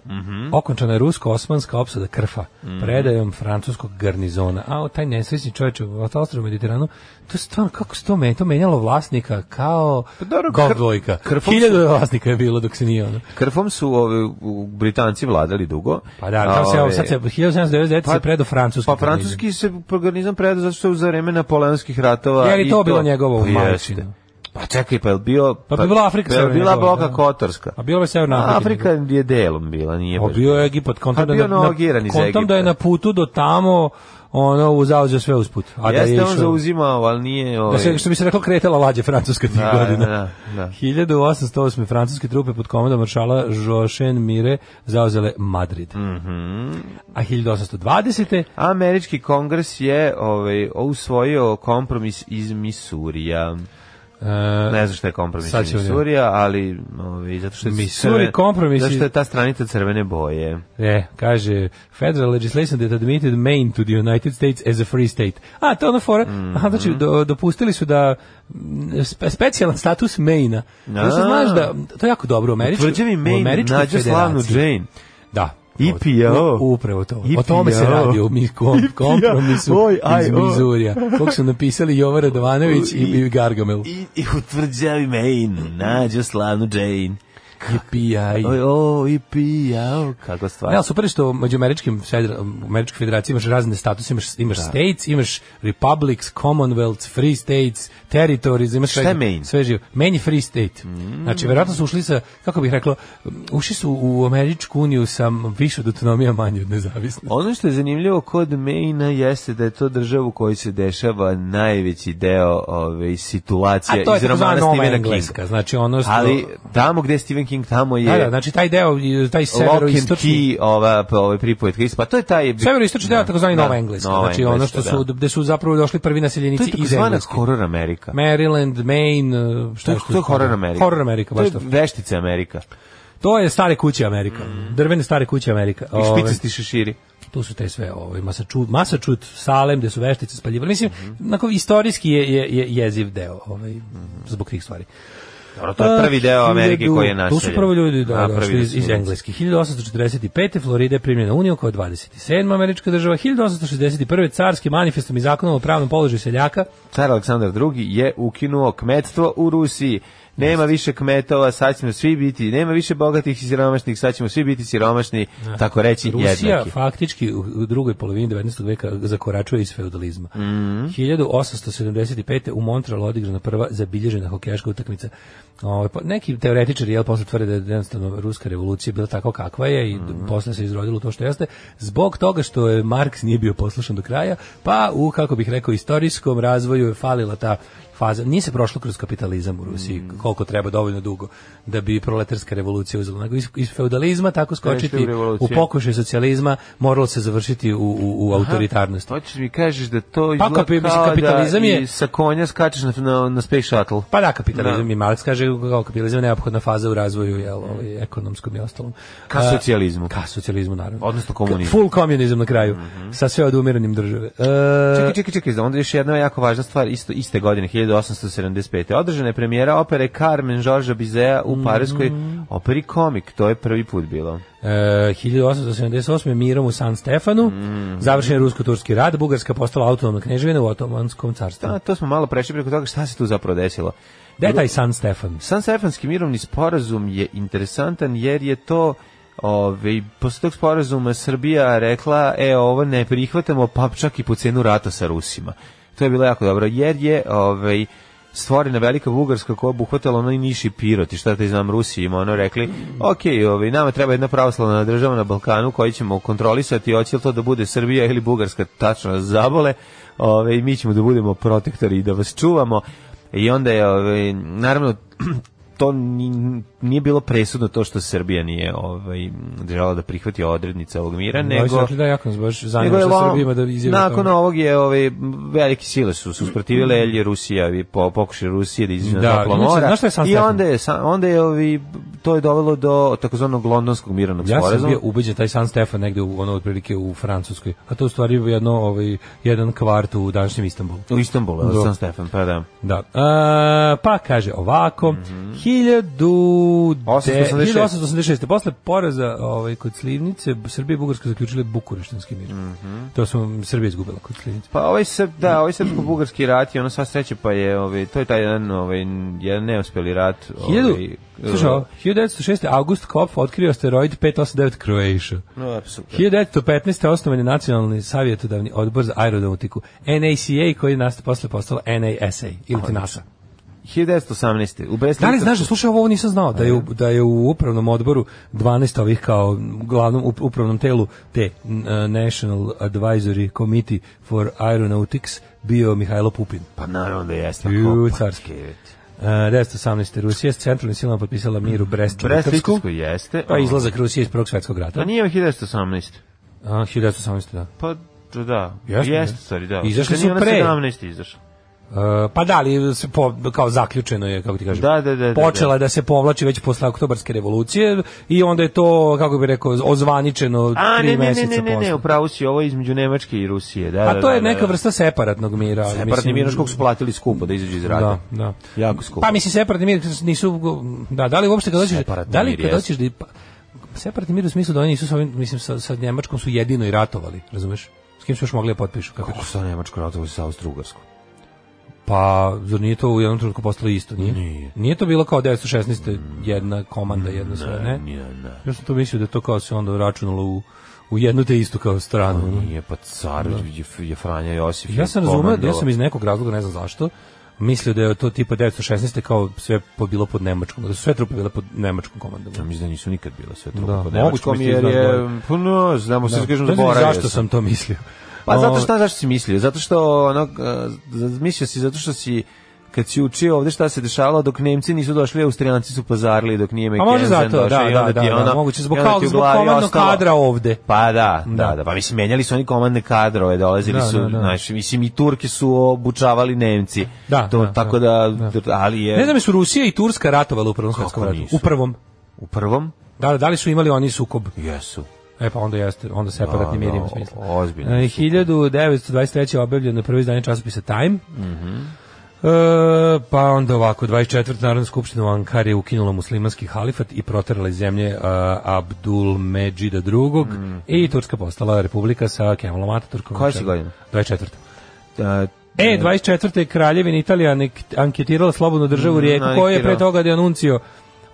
H: Mhm.
G: Okončana je rusko-osmanska opsada Krfa predajom francuskog garnizona. A o, taj nesrećni čovječ u Australskom Mediteranu, to je stvarno, kako se to, me, to menjalo vlasnika kao
H: Pa dobro,
G: golf
H: Kr-
G: dvojka.
H: Krfom
G: Hiljadu vlasnika je bilo dok se nije ono.
H: Krfom su ove, u Britanci vladali dugo.
G: Pa da,
H: A
G: tamo se, evo,
H: ove-
G: sad se, 1799 se predao francuski
H: Pa
G: garnizon.
H: francuski se organizam predao zato što je za vreme napoleonskih ratova...
G: Jer i
H: i
G: to bilo njegovo
H: Pa jeste.
G: majčino.
H: Pa čekaj, pa je li bio...
G: Pa bi bila Afrika
H: Pa je
G: severna
H: bila
G: njegova,
H: Boka
G: da.
H: Kotorska.
G: A bilo je Severna
H: A,
G: Afrika.
H: Afrika je delom bila, nije
G: Pa
H: baš.
G: bio je Egipat, kontam,
H: A
G: da,
H: bio
G: na, na-
H: nogiran iz
G: kontam da je
H: Egipta.
G: na putu do tamo ono uzauzeo sve usput. A da je
H: Jeste on
G: išao-
H: zauzimao, ali nije... Ove,
G: Da se, što bi se reklo, kretela lađe francuska tih
H: Ovaj. Da,
G: <laughs> godina.
H: da, da.
G: 1808. francuske trupe pod komandom maršala Joachim Mire zauzele Madrid.
H: Mm.
G: A 1820.
H: Mhm. Američki kongres je ovaj, usvojio kompromis iz Misurija.
G: Uh,
H: Ne znam šta je kompromis
G: Sad
H: iz
G: ćemo vidjeti.
H: Misurija, ali ovaj, zato što je
G: Missouri
H: crven-
G: kompromis
H: zato što je
G: iz-
H: ta stranica crvene boje.
G: e, kaže, federal legislation that admitted Maine to the United States as a free state. A, to je ono fora. Aha, znači,
H: Mhm.
G: do- dopustili su da mm, spe, specijalan status Maine-a. Zato što
H: A.
G: znaš da, to je jako dobro u Američkoj,
H: Tvrđavi
G: u
H: Maine
G: Američkoj
H: nađe slavnu
G: federaciji.
H: Jane.
G: Da.
H: IPO.
G: U- Upravo to. O
H: IPO.
G: tome se radi u mi kom, kompromisu
H: <laughs> Oj, aj,
G: iz
H: o.
G: Mizurija. Kog su napisali Jovan Radovanović i, i Gargamel.
H: I, i u tvrđavi Maine nađe slavnu Jane.
G: IPI.
H: Oj, o, i pijao. Kako stvar.
G: Ne, ali super je što među američkim, feder- američkoj federaciji imaš razne statuse, imaš, imaš states, imaš republics, commonwealths, free states, territories, imaš
H: Šta
G: sve-
H: je Maine? Mm.
G: sve živo. Maine je free state. Znači, verovatno su ušli sa, kako bih rekla, ušli su u Američku uniju sa više od autonomija manje od nezavisnosti.
H: Ono što je zanimljivo kod Maina jeste da je to država u kojoj se dešava najveći deo ove, situacija
G: A to je
H: iz romana
G: takozvana nova
H: Stephena Kinga.
G: engleska, znači ono što...
H: Ali tamo gde je Stephen King tamo je
G: Da, da, znači taj deo, i taj
H: Lock and
G: severoistočni
H: Key, ova, pa, ovaj pripojetka. Pa to je taj...
G: Severoistočni deo takozvani Nova Engleska, znači ono što su
H: da.
G: gde su zapravo došli prvi
H: To
G: naseljenici
H: je
G: iz
H: takozvana
G: Engleske.
H: horror Amerika.
G: Maryland, Maine, uh,
H: To
G: šta
H: je,
G: još tu
H: to je
G: spada?
H: horror Amerika.
G: Horror Amerika, baš to.
H: To je veštice Amerika.
G: To je stare kuće Amerika. Drvene stare kuće Amerika.
H: Mhm. I
G: Ove,
H: špicasti šeširi.
G: tu su te sve, ovaj Masaču, Masačut, Salem, gde su veštice spaljivali. Mislim,
H: Mhm.
G: onako istorijski je, je, je jeziv deo, ovaj, zbog tih stvari.
H: Dobro, to je prvi deo Amerike
G: Pa, Hiljadu-
H: koji je naseljen.
G: Tu su prvi ljudi da,
H: Napravili
G: došli iz,
H: su
G: iz
H: ulicu.
G: Engleske. 1845. Florida je primljena Unijom kao 27. američka država. 1861. carskim manifestom i zakonom o pravnom položaju seljaka
H: Car Aleksandar II je ukinuo kmetstvo u Rusiji. Nema više kmetova, sad ćemo svi biti, nema više bogatih i siromašnih, sad ćemo svi biti siromašni, tako reći
G: Rusija
H: jednaki.
G: faktički u- u drugoj polovini 19. veka zakoračuje iz feudalizma.
H: Mhm.
G: 1875. u Montrealu odigrana prva zabilježena hokejaška utakmica. Ovaj, pa neki teoretičari jel posle tvrde da je jednostavno ruska revolucija bila tako kakva je i
H: Mhm.
G: posle se izrodilo to što jeste zbog toga što je Marks nije bio poslušan do kraja, pa u kako bih rekao istorijskom razvoju je falila ta faza. Nije se prošlo kroz kapitalizam u Rusiji
H: Mhm.
G: koliko treba dovoljno dugo da bi proletarska revolucija uzela. Nego iz, iz feudalizma tako skočiti
H: u revoluciju.
G: u pokušaj socijalizma moralo se završiti u, u, u autoritarnosti.
H: Hoćeš mi kažeš da to
G: Pa,
H: izgleda
G: kapi- mislim,
H: kao
G: kapitalizam
H: da
G: je-
H: i sa konja skačeš na, na, na space shuttle.
G: Pa da, kapitalizam
H: Da. Mhm.
G: i Marks kaže kao kapitalizam je neophodna faza u razvoju jel, ovaj, ekonomskom i ostalom.
H: Ka
G: A,
H: socijalizmu.
G: Ka socijalizmu, naravno.
H: Odnosno komunizmu.
G: Ka- Full komunizam na kraju, sa sve odumiranjem države. E,
H: Mhm. Čekaj, čekaj, čekaj, onda još jedna jako važna stvar, isto, iste godine, 1875. Održana je premijera opere Carmen Georgesa Bizea
G: Mm.
H: u Parijskoj operi Komik, to je prvi put bilo.
G: E, 1878. mirom u San Stefanu,
H: Mhm.
G: završen je rusko-turski rad, Bugarska postala autonomna kneževina u Otomanskom carstvu.
H: Da, to smo malo prešli preko toga šta se tu zapravo desilo.
G: Gde je taj San Stefan?
H: San Stefanski mirovni sporazum je interesantan jer je to Ove, posle tog sporazuma Srbija rekla, e, ovo ne prihvatamo, pa čak i po cenu rata sa Rusima. To je bilo jako dobro, jer je ove, stvorena velika Bugarska koja obuhvatala ono i niši pirot i šta te znam Rusi im ono rekli, ok, ove, nama treba jedna pravoslavna država na Balkanu koju ćemo kontrolisati, hoće li to da bude Srbija ili Bugarska, tačno nas zabole, ove, i mi ćemo da budemo protektori i da vas čuvamo. I onda je, ovaj, naravno, <clears throat> to ni- nije bilo presudno to što Srbija nije ovaj, žela da prihvati odrednice ovog mira,
G: Ovi su
H: nego...
G: rekli da jako nas baš
H: nego
G: zanima
H: je
G: što
H: lom-
G: Srbima da izjave o
H: nakon
G: tome. Mm.
H: ovog je ovaj, velike sile su se usprotivile, jer je Rusija i po, pokušaj Rusije da izađe
G: Da,
H: na toplo
G: inače,
H: mora.
G: znaš šta je San
H: I
G: Stefan?
H: onda je, sa- onda je ovaj, to je dovelo do takozvanog londonskog miranog
G: Ja sam
H: sporazuma.
G: bio ubeđen taj San Stefan negde u ono otprilike u Francuskoj. A to u stvari je jedno ovaj jedan kvart u današnjem Istanbulu.
H: U Istanbulu,
G: Da.
H: San Stefan, pa da.
G: Da. E, pa kaže ovako, 1000
H: 886.
G: 1886. Posle poraza ovaj, kod Slivnice, Srbija i Bugarska zaključile Bukureštanski mir. To smo Srbija izgubila kod Slivnice.
H: Pa ovaj srp,
G: Mm.
H: da, ovaj srpsko-bugarski rat je ono sva sreće, pa je, ovaj, to je taj jedan, ovaj, jedan neuspjeli rat. ovaj,
G: Hiljadu, slušaj,
H: eh,
G: ovo, 1906. August Kopf otkrio asteroid 589 Croatia.
H: No, apsolutno.
G: 1915. osnovan je Nacionalni savjetodavni odbor za aeronautiku NACA koji je nasta posle postala NASA ili ti NASA.
H: 1918. U Breslitovcu.
G: Da li znaš da slušaj ovo, ovo nisam znao da je u, da je u upravnom odboru 12 ovih kao glavnom up- upravnom telu te n- e, National Advisory Committee for Aeronautics bio Mihajlo Pupin. E,
H: Pa naravno da jeste.
G: Ju,
H: Ko, pa,
G: carski.
H: kevet.
G: E, 1918. Rusija s centralnim silama potpisala mir u Brest-Litovsku,
H: Breslitovsko jeste.
G: pa izlazak Rusije iz Prvog svetskog rata.
H: A Pa nije 1918.
G: A, 1918. da.
H: Pa da, da.
G: Jeste,
H: Jeste,
G: da.
H: jeste sorry, da.
G: Izašli su
H: Što nije ono
G: pre.
H: Na 17. izašao.
G: E, pa da, ali se po, kao zaključeno je, kako ti kažem.
H: Da, da, da, da,
G: Počela je da se povlači već posle oktobarske revolucije i onda je to, kako bih rekao, ozvaničeno
H: A,
G: tri
H: ne, ne, ne,
G: meseca
H: ne, ne,
G: posle.
H: ne, upravo si ovo je između Nemačke i Rusije. Da, da,
G: A to
H: da,
G: je
H: da,
G: neka
H: da. E,
G: vrsta separatnog mira. ali
H: Separatni
G: mislim-
H: mir, znaš koliko su platili skupo da izađu iz rata.
G: Da, da.
H: Jako skupo.
G: Pa mislim separatni mir nisu da, da li uopšte kad hoćeš
H: Separatni
G: da li
H: mir,
G: kad
H: jest.
G: hoćeš da pa, separatni mir u smislu da oni nisu sa ovim mislim sa, sa Njemačkom su jedino i ratovali, razumeš? S kim su još mogli da potpišu kako?
H: Kako sa Nemačko ratovo sa Austro-Ugarskom?
G: Pa zar nije to u jednom trenutku postalo isto, nije?
H: Nije.
G: to bilo kao 916. jedna komanda, jedno sve, ne?
H: Mm, Nije, ne.
G: Ja sam to mislio da je to kao se onda računalo u, u jednu te istu kao stranu. ono.
H: Nije, pa car je, je Franja Josif.
G: Ja
H: je
G: sam razumeo, ja
H: komandovao.
G: sam iz nekog razloga, ne znam zašto, mislio da je to tipa 916. kao sve po- bilo pod Nemačkom, da su sve trupe bile pod Nemačkom komandom.
H: Ja mislim da nisu nikad bila sve
G: Da,
H: trupa. Da,
G: moguće
H: Nemačkom
G: mi je
H: jer
G: da
H: je...
G: znam
H: Pa no, znamo, sve
G: Ne
H: kažem,
G: znam
H: zaboravio
G: zašto sam to mislio.
H: Pa zato
G: O,
H: e, šta, zašto si mislio? Zato što, ono, eh, mislio si zato što si kad si učio ovde šta se dešavalo dok Nemci nisu došli, Austrijanci su pazarili dok nije
G: Pa
H: McKenzen
G: može zato,
H: došao
G: da,
H: i
G: da,
H: onda
G: da,
H: ti je
G: da,
H: ono,
G: moguće, zbog,
H: i onda
G: kao,
H: ti u
G: zbog
H: glavi
G: komandnog
H: ostalo-
G: kadra ovde.
H: Pa da, da,
G: Da.
H: da, pa mislim menjali su oni komandne kadrove, ovaj, dolazili
G: Da,
H: su,
G: da, da.
H: znaš, mislim i Turke su obučavali Nemci.
G: Da,
H: to,
G: da,
H: tako
G: da,
H: da, ali je
G: Ne znam, jesu Rusija i Turska ratovali u prvom svetskom ratu.
H: nisu?
G: U prvom.
H: u prvom
G: Da, da li su imali oni sukob?
H: jesu.
G: E pa onda jeste, onda separatni
H: Da,
G: mir
H: da,
G: ima smisla.
H: o- ozbiljno.
G: E, 1923. objavljen na prvi izdanje časopisa Time.
H: Mhm.
G: E, pa onda ovako, 24. Narodna skupština u Ankari je ukinula muslimanski halifat i proterala iz zemlje e, Abdul Medžida II. I Turska postala republika sa Kemalom Ataturkom.
H: Mhm. Koja si godina?
G: 24.
H: A,
G: E, 24. kraljevina Italija anek- anketirala slobodnu državu
H: Mm,
G: Rijeku, koju je pre
H: anektirala.
G: toga denuncio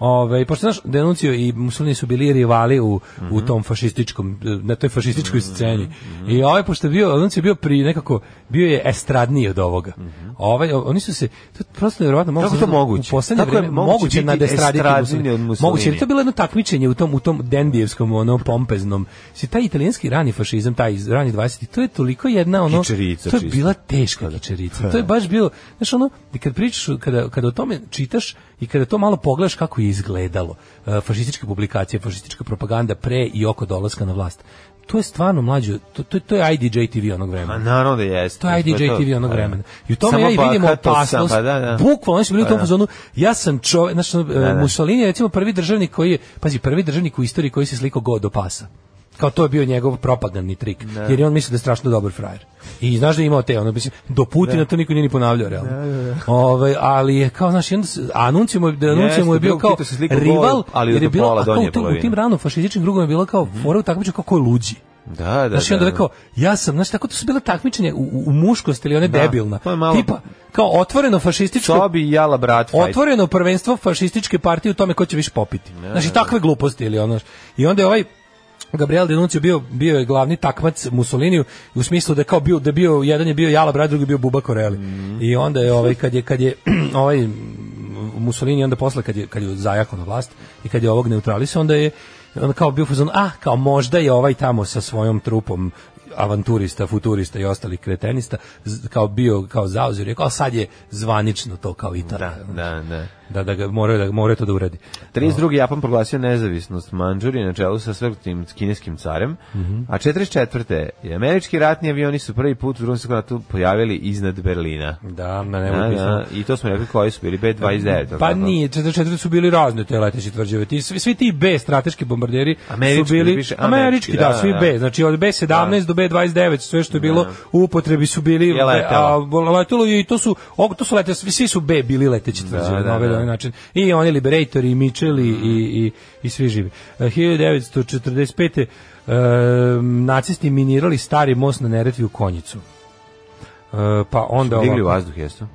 G: Ove, pošto znaš, denuncio i Mussolini su bili rivali u,
H: Mhm.
G: u tom fašističkom, e, na toj fašističkoj sceni. I ovaj, pošto je bio, denuncio je bio pri nekako, bio je estradniji od ovoga. Ovaj, o- oni su se, to je prosto nevjerovatno,
H: Mhm. Kako
G: se
H: to
G: znaš,
H: moguće?
G: U poslednje
H: Kako je
G: vreme,
H: moguće
G: moguće
H: biti
G: nadestraditi
H: estradniji
G: Mussolini.
H: od Mussolini?
G: Moguće, jer to je bilo jedno takmičenje u tom, u tom dendijevskom, ono, pompeznom. Si taj italijanski rani fašizam, taj iz rani 20, to je toliko jedna, ono,
H: Kičerica
G: to je
H: čista.
G: bila teška kičerica. To je baš bilo, znaš ono, i kad pričaš, kada, kada o tome čitaš i kada to malo pogledaš kako je izgledalo, e, fašističke publikacije, fašistička propaganda pre i oko dolaska na vlast. To je stvarno mlađe, to, to, to je IDJ TV onog
H: Pa
G: vremena.
H: naravno da jeste.
G: To je IDJ TV onog vremena. I u tome
H: Samo
G: ja i vidim
H: bahato
G: opasnost.
H: sam, pa da, da.
G: Bukvalno, oni su bili u
H: Pa
G: tom
H: da.
G: fazonu, ja sam čovek, znaš, ono, e,
H: da.
G: Mussolini je recimo prvi državnik koji je, pazi, prvi državnik u istoriji koji se slikao god do pasa. Kao to je bio njegov propagandni trik, jer je on mislio da je strašno dobar frajer. I znaš da je imao te, ono, mislim, do Putina to niko nije ni ponavljao, realno. Ovaj, ali je kao, znaš, i onda se- a Anuncio mu je, da Anuncio
H: Jeste,
G: mu je bio
H: bio
G: kao
H: Tito se slikao
G: rival,
H: gol, ali
G: jer je
H: do
G: bilo,
H: pola
G: a kao
H: donje
G: u tom- u
H: polovine.
G: tim rano fašističkim drugovima je bilo kao fora u takmičenju kako je luđi.
H: Da, da,
G: Znaš, i
H: da,
G: onda
H: da.
G: rekao, ja sam, znaš, tako to su bila takmičenja u- u, u muškosti ili one debilna.
H: to je malo-
G: Tipa, kao otvoreno fašističko...
H: Sobi i jala brat fight.
G: Otvoreno prvenstvo fašističke partije u tome ko će više popiti. znači, takve gluposti ili ono. I onda je ovaj Gabriel Denuncio bio, bio je glavni takmac Mussoliniju u smislu da je kao bio da je bio jedan je bio Jala brat, drugi je bio Buba Koreli.
H: Mhm.
G: I onda je ovaj kad je kad je <clears throat> ovaj Mussolini onda posle kad je kad je zajako na vlast i kad je ovog neutralisao onda je on kao bio fazon ah kao možda je ovaj tamo sa svojom trupom avanturista, futurista i ostalih kretenista z- kao bio kao zauzir rekao a sad je zvanično to kao Italija.
H: Da, da, da.
G: da, da ga moraju da moraju to da uradi.
H: 32. Japan proglasio nezavisnost Manđurije na čelu sa svrtim kineskim carem,
G: Mhm.
H: a 44. je američki ratni avioni su prvi put u drugom svjetskom ratu pojavili iznad Berlina.
G: Da, na
H: Da,
G: nebu je pisano.
H: da, I to smo rekli koji su bili, B-29.
G: Pa
H: tako?
G: nije, 44 su bili razne te leteće tvrđave. Ti, svi, svi ti B strateški bombarderi
H: Američki,
G: su bili
H: piše,
G: američki,
H: američki,
G: da,
H: da,
G: svi
H: da.
G: B. Znači od B17 do B29 sve što je bilo u upotrebi su bili
H: Je letelo.
G: a, letelo je i to su og, to su lete, svi, svi su B bili leteće tvrđave
H: Da,
G: na ovaj
H: da, Mm. da.
G: ili onaj način. I oni Liberator i Mitchell i, i, i, i svi živi. E, 1945. E, nacisti minirali stari most na Neretvi u Konjicu. E, pa onda
H: Digli u
G: ovako-
H: vazduh, jesu?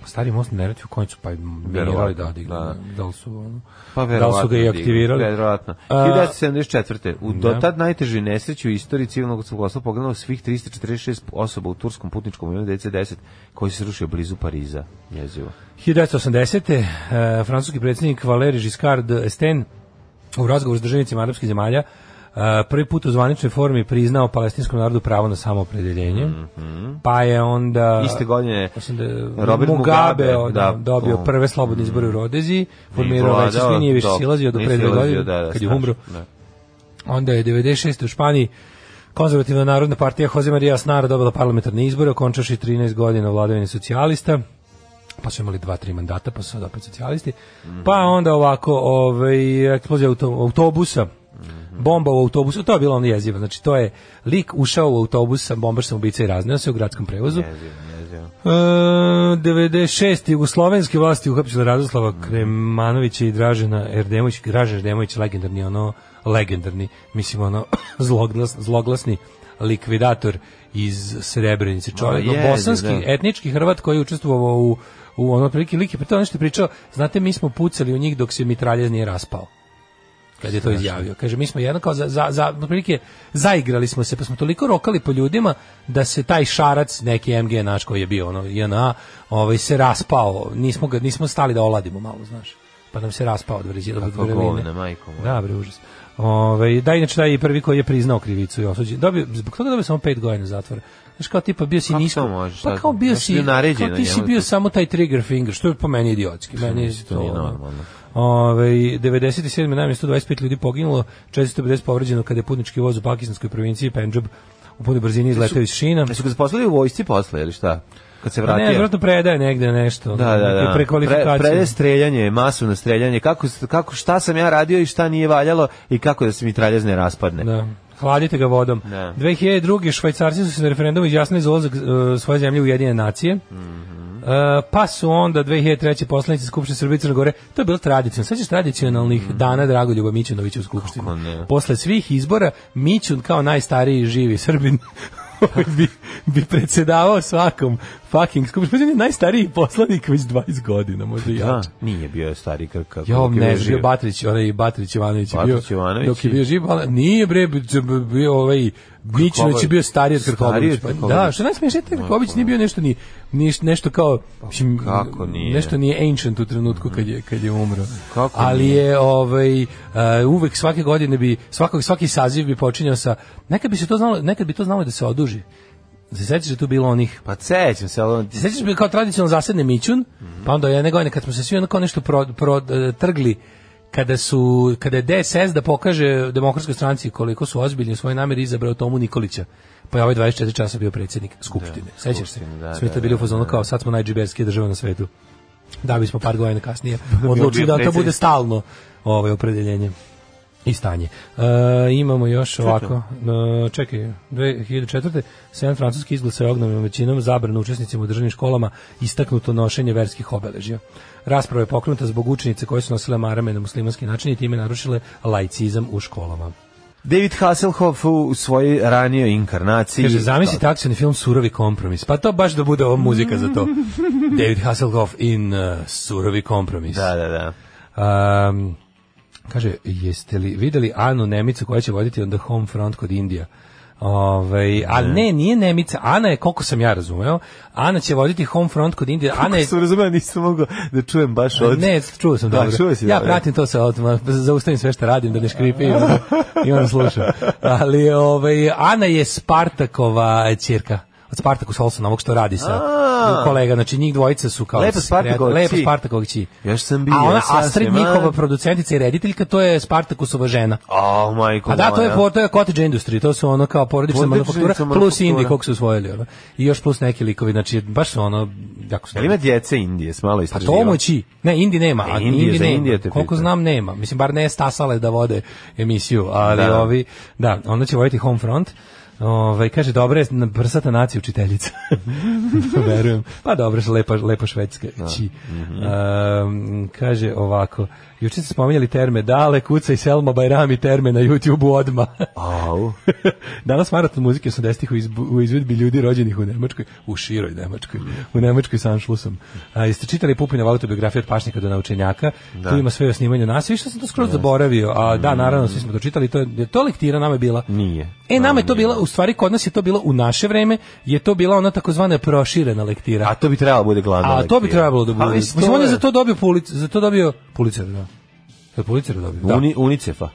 G: Pa Stari most na Neretvi u konjicu, pa minirali
H: Verovatno,
G: da, digli.
H: da.
G: Da li su, ono,
H: Pa
G: da li su ga i
H: verovatno,
G: aktivirali?
H: digli, Verovatno.
G: A,
H: 1974. U
G: da.
H: do tad najteži nesreći u istoriji civilnog civloglasstva poginulo svih 346 osoba u turskom putničkom avionu DC-10 koji se srušio blizu Pariza. Jezivo.
G: 1980. eh, francuski predsjednik Valéry Giscard d'Estaing u razgovoru s državnicima arapskih zemalja eh, prvi put u zvaničnoj formi priznao palestinskom narodu pravo na samoopredeljenje. Pa je onda...
H: Mhm. Iste godine
G: Mislim da je
H: Robert
G: Mugabe,
H: Mugabe,
G: o, da,
H: da,
G: dobio
H: on.
G: prve slobodne izbore u Rodeziji, formirao
H: vladao,
G: veće svi, nije više
H: dok-
G: silazio do
H: nije
G: pre dve
H: silazio,
G: godine,
H: da, da,
G: kad je
H: strašno,
G: umro.
H: da.
G: Onda je 96. u Španiji konzervativna narodna partija Jose Maria Snara dobila parlamentarne izbore, okončaši 13 godina vladavine socijalista, pa su imali dva, tri mandata, pa su sad opet socijalisti. Pa onda ovako, ovaj, eksplozija auto- autobusa, bomba u autobusu, to je bilo ono jezivo, znači to je lik ušao u autobus sa bombaš sam ubica i razneo se u gradskom prevozu.
H: Jezivo, jezivo.
G: E, 96. Jugoslovenske vlasti uhapsile
H: Mhm.
G: Radoslava Kremanovića i Dražena Erdemović. Dražen Erdemović legendarni, ono, legendarni, mislim, ono, <laughs> zloglas, zloglasni likvidator iz Srebrenice. Čovjek,
H: Ma, jeziv,
G: bosanski,
H: da.
G: etnički Hrvat koji je učestvovao u, u ono prilike like. Pa to je ono što je pričao, znate, mi smo pucali u njih dok se mitraljez nije raspao kad je to izjavio. Kaže, mi smo jedno kao za, za, za, otprilike zaigrali smo se, pa smo toliko rokali po ljudima da se taj šarac, neki MG naš koji je bio, ono, JNA, ovaj, se raspao. Nismo, ga, nismo stali da oladimo malo, znaš. Pa nam se raspao od vrzi- od
H: Kako
G: vrline.
H: govna, majko moja.
G: Da, bre, užas. Ovaj da inače taj je prvi koji je priznao krivicu i osuđen. Dobio zbog toga dobio samo 5 godina zatvora. Znaš kao tipa bio si
H: Kako
G: nisko.
H: to možeš,
G: pa
H: šta-
G: kao bio
H: znaš, bio
G: si
H: naređen
G: kao
H: na
G: ti si
H: njemu
G: bio
H: to.
G: samo taj trigger finger, što je po meni idiotski. Meni je ono.
H: Mislim, to nije normalno.
G: Ove, 97. najmanje 125 ljudi poginulo, 450 povređeno kada je putnički voz u pakistanskoj provinciji Pendžab u punoj brzini izletao iz šina.
H: Jesu ga zaposlili u vojsci posle, ili šta? Kad se
G: Pa ne,
H: vratio.
G: vjerojatno predaje negde nešto. ono,
H: da, da, da.
G: Prekvalifikacija.
H: Pre, prede streljanje, masovno streljanje. Kako, kako, šta sam ja radio i šta nije valjalo i kako da se mi traljez ne raspadne.
G: Da. Hladite ga vodom.
H: Da.
G: 2002. švajcarci su se na referendumu izjasnili za ulazak e, svoje zemlje u Jedine nacije.
H: Mhm.
G: E, pa su onda 2003. poslanici Skupštine Srbije i Crne Gore, to je bilo tradicionalno. Sećaš tradicionalnih dana Dragoljuba Mićunovića u Skupštini.
H: Mhm. Kako ne?
G: Posle svih izbora Mićun kao najstariji živi Srbin <laughs> ovaj bi, bi predsedavao svakom fucking skupštini. Pa on je najstariji poslanik već 20 godina, možda i ja.
H: Da, nije bio stari kako. kako
G: Ja,
H: je
G: ne,
H: živ.
G: bio Batrić, onaj Batrić Ivanović je bio.
H: Batrić Ivanović
G: Dok je
H: i-
G: bio živ, ali nije bre, b- c- b- bio ovaj Mićinović je bio stariji od
H: Stariji
G: Krkobabić.
H: od
G: Pa,
H: Krkobabić.
G: da, što najsmešnije, taj Krkobabić nije bio nešto ni, ni nešto kao mislim,
H: Pa kako nije?
G: Nešto nije ancient u trenutku kad je kad je umro.
H: Kako
G: ali je ovaj e, uvek svake godine bi svakog svaki saziv bi počinjao sa nekad bi se to znalo, nekad bi to znalo da se oduži. Se sećaš da je tu bilo onih
H: Pa sećam se, ali on...
G: se sećaš bi kao tradicionalno zasedne Mićun, pa onda jedne godine kad smo se svi onako nešto pro, pro, e, trgli, kada su kada je DSS da pokaže demokratskoj stranci koliko su ozbiljni u svojoj nameri izabrao Tomu Nikolića. Pa je ovaj 24 časa bio predsjednik Skupštine. Sećaš se?
H: Skupštine, da,
G: Svi
H: da,
G: to bili u fazonu kao sad smo najđiberskije država na svetu. Da bismo par godina kasnije odlučili
H: bio
G: da to
H: predsjednik.
G: bude stalno ovaj opredeljenje i stanje. E, imamo još ovako, e, čekaj, 2004. Sejan Francuski izglasa je ognomim većinom zabrano učesnicima u državnim školama istaknuto nošenje verskih obeležja. Rasprava je pokrenuta zbog učenice koje su nosile marame na muslimanski način i time narušile laicizam u školama.
H: David Hasselhoff u, u svojoj ranijoj inkarnaciji...
G: Kaže, zamislite akcijni film Surovi kompromis. Pa to baš da bude ova muzika za to. David Hasselhoff in uh, Surovi kompromis.
H: Da, da, da.
G: Um, kaže, jeste li videli Anu Nemicu koja će voditi onda home front kod Indija? Ove, a ne, nije Nemica. Ana je, koliko sam ja razumeo, Ana će voditi home front kod Indije. Ana je...
H: Sam razumeo, nisam mogao da čujem baš od...
G: Ne, čuo sam
H: Da,
G: dobro.
H: čuo si
G: ja
H: dobro.
G: pratim to sa autom, zaustavim sve što radim da ne škripi i onda, i onda slušam. Ali ovaj, Ana je Spartakova ćerka. Od Spartaku Solsona, ovog što radi sa
H: A.
G: kolega. Znači njih dvojica su kao...
H: Lepa
G: sekretari-
H: Spartakova
G: Lepa
H: kći.
G: Spartakova kći.
H: Još sam bio,
G: A ona
H: ja sam
G: Astrid,
H: se, ma.
G: njihova producentica i rediteljka, to je Spartakusova žena.
H: Oh,
G: A
H: majko,
G: Pa da, to je,
H: moja.
G: po- to je cottage industry, to su ono kao porodična
H: Porodična
G: manufaktura, plus
H: manufaktura.
G: Indi, kog su usvojili. ono. I još plus neki likovi, znači baš su ono, jako su
H: Jel ima djece Indije, s malo
G: pa
H: istraživa?
G: to moći. Ne, Indi nema.
H: E,
G: A
H: Indije,
G: Indi
H: za
G: nema.
H: Indije te
G: Koliko
H: pitam.
G: znam nema. Mislim, bar ne stasale da vode emisiju, ali
H: Da.
G: ovi, da, onda će voditi home front. Ovaj kaže dobra je na- prsata nacija učiteljica. <laughs> Verujem. Pa dobro, je lepa lepo švedska. Či.
H: Mhm.
G: Um, kaže ovako. Juče ste spominjali terme Dale, Kuca i Selma Bajrami terme na YouTubeu odma.
H: Au.
G: <laughs> Danas maraton muzike 80-ih u, izbu- u izvedbi ljudi rođenih u Nemačkoj, u široj Nemačkoj, u Nemačkoj sa Anšlusom. A, jeste čitali Pupinov autobiografiju od pašnika do naučenjaka, tu ima sve o snimanju nas, više sam to skroz zaboravio, a
H: Mm.
G: da, naravno, svi smo to čitali, to je, je to lektira nama je bila.
H: Nije.
G: E, nama je to bila, u stvari, kod nas je to bilo u naše vreme, je to bila ona takozvana proširena lektira.
H: A to bi trebalo bude glavna
G: A to bi
H: lektira.
G: trebalo da bude.
H: Ali
G: Mislim, on je
H: je-
G: za to dobio Pulitzer, za to dobio Pulitzer, da. Za Pulitzer dobio. Da.
H: Uni, Unicefa.
G: Ja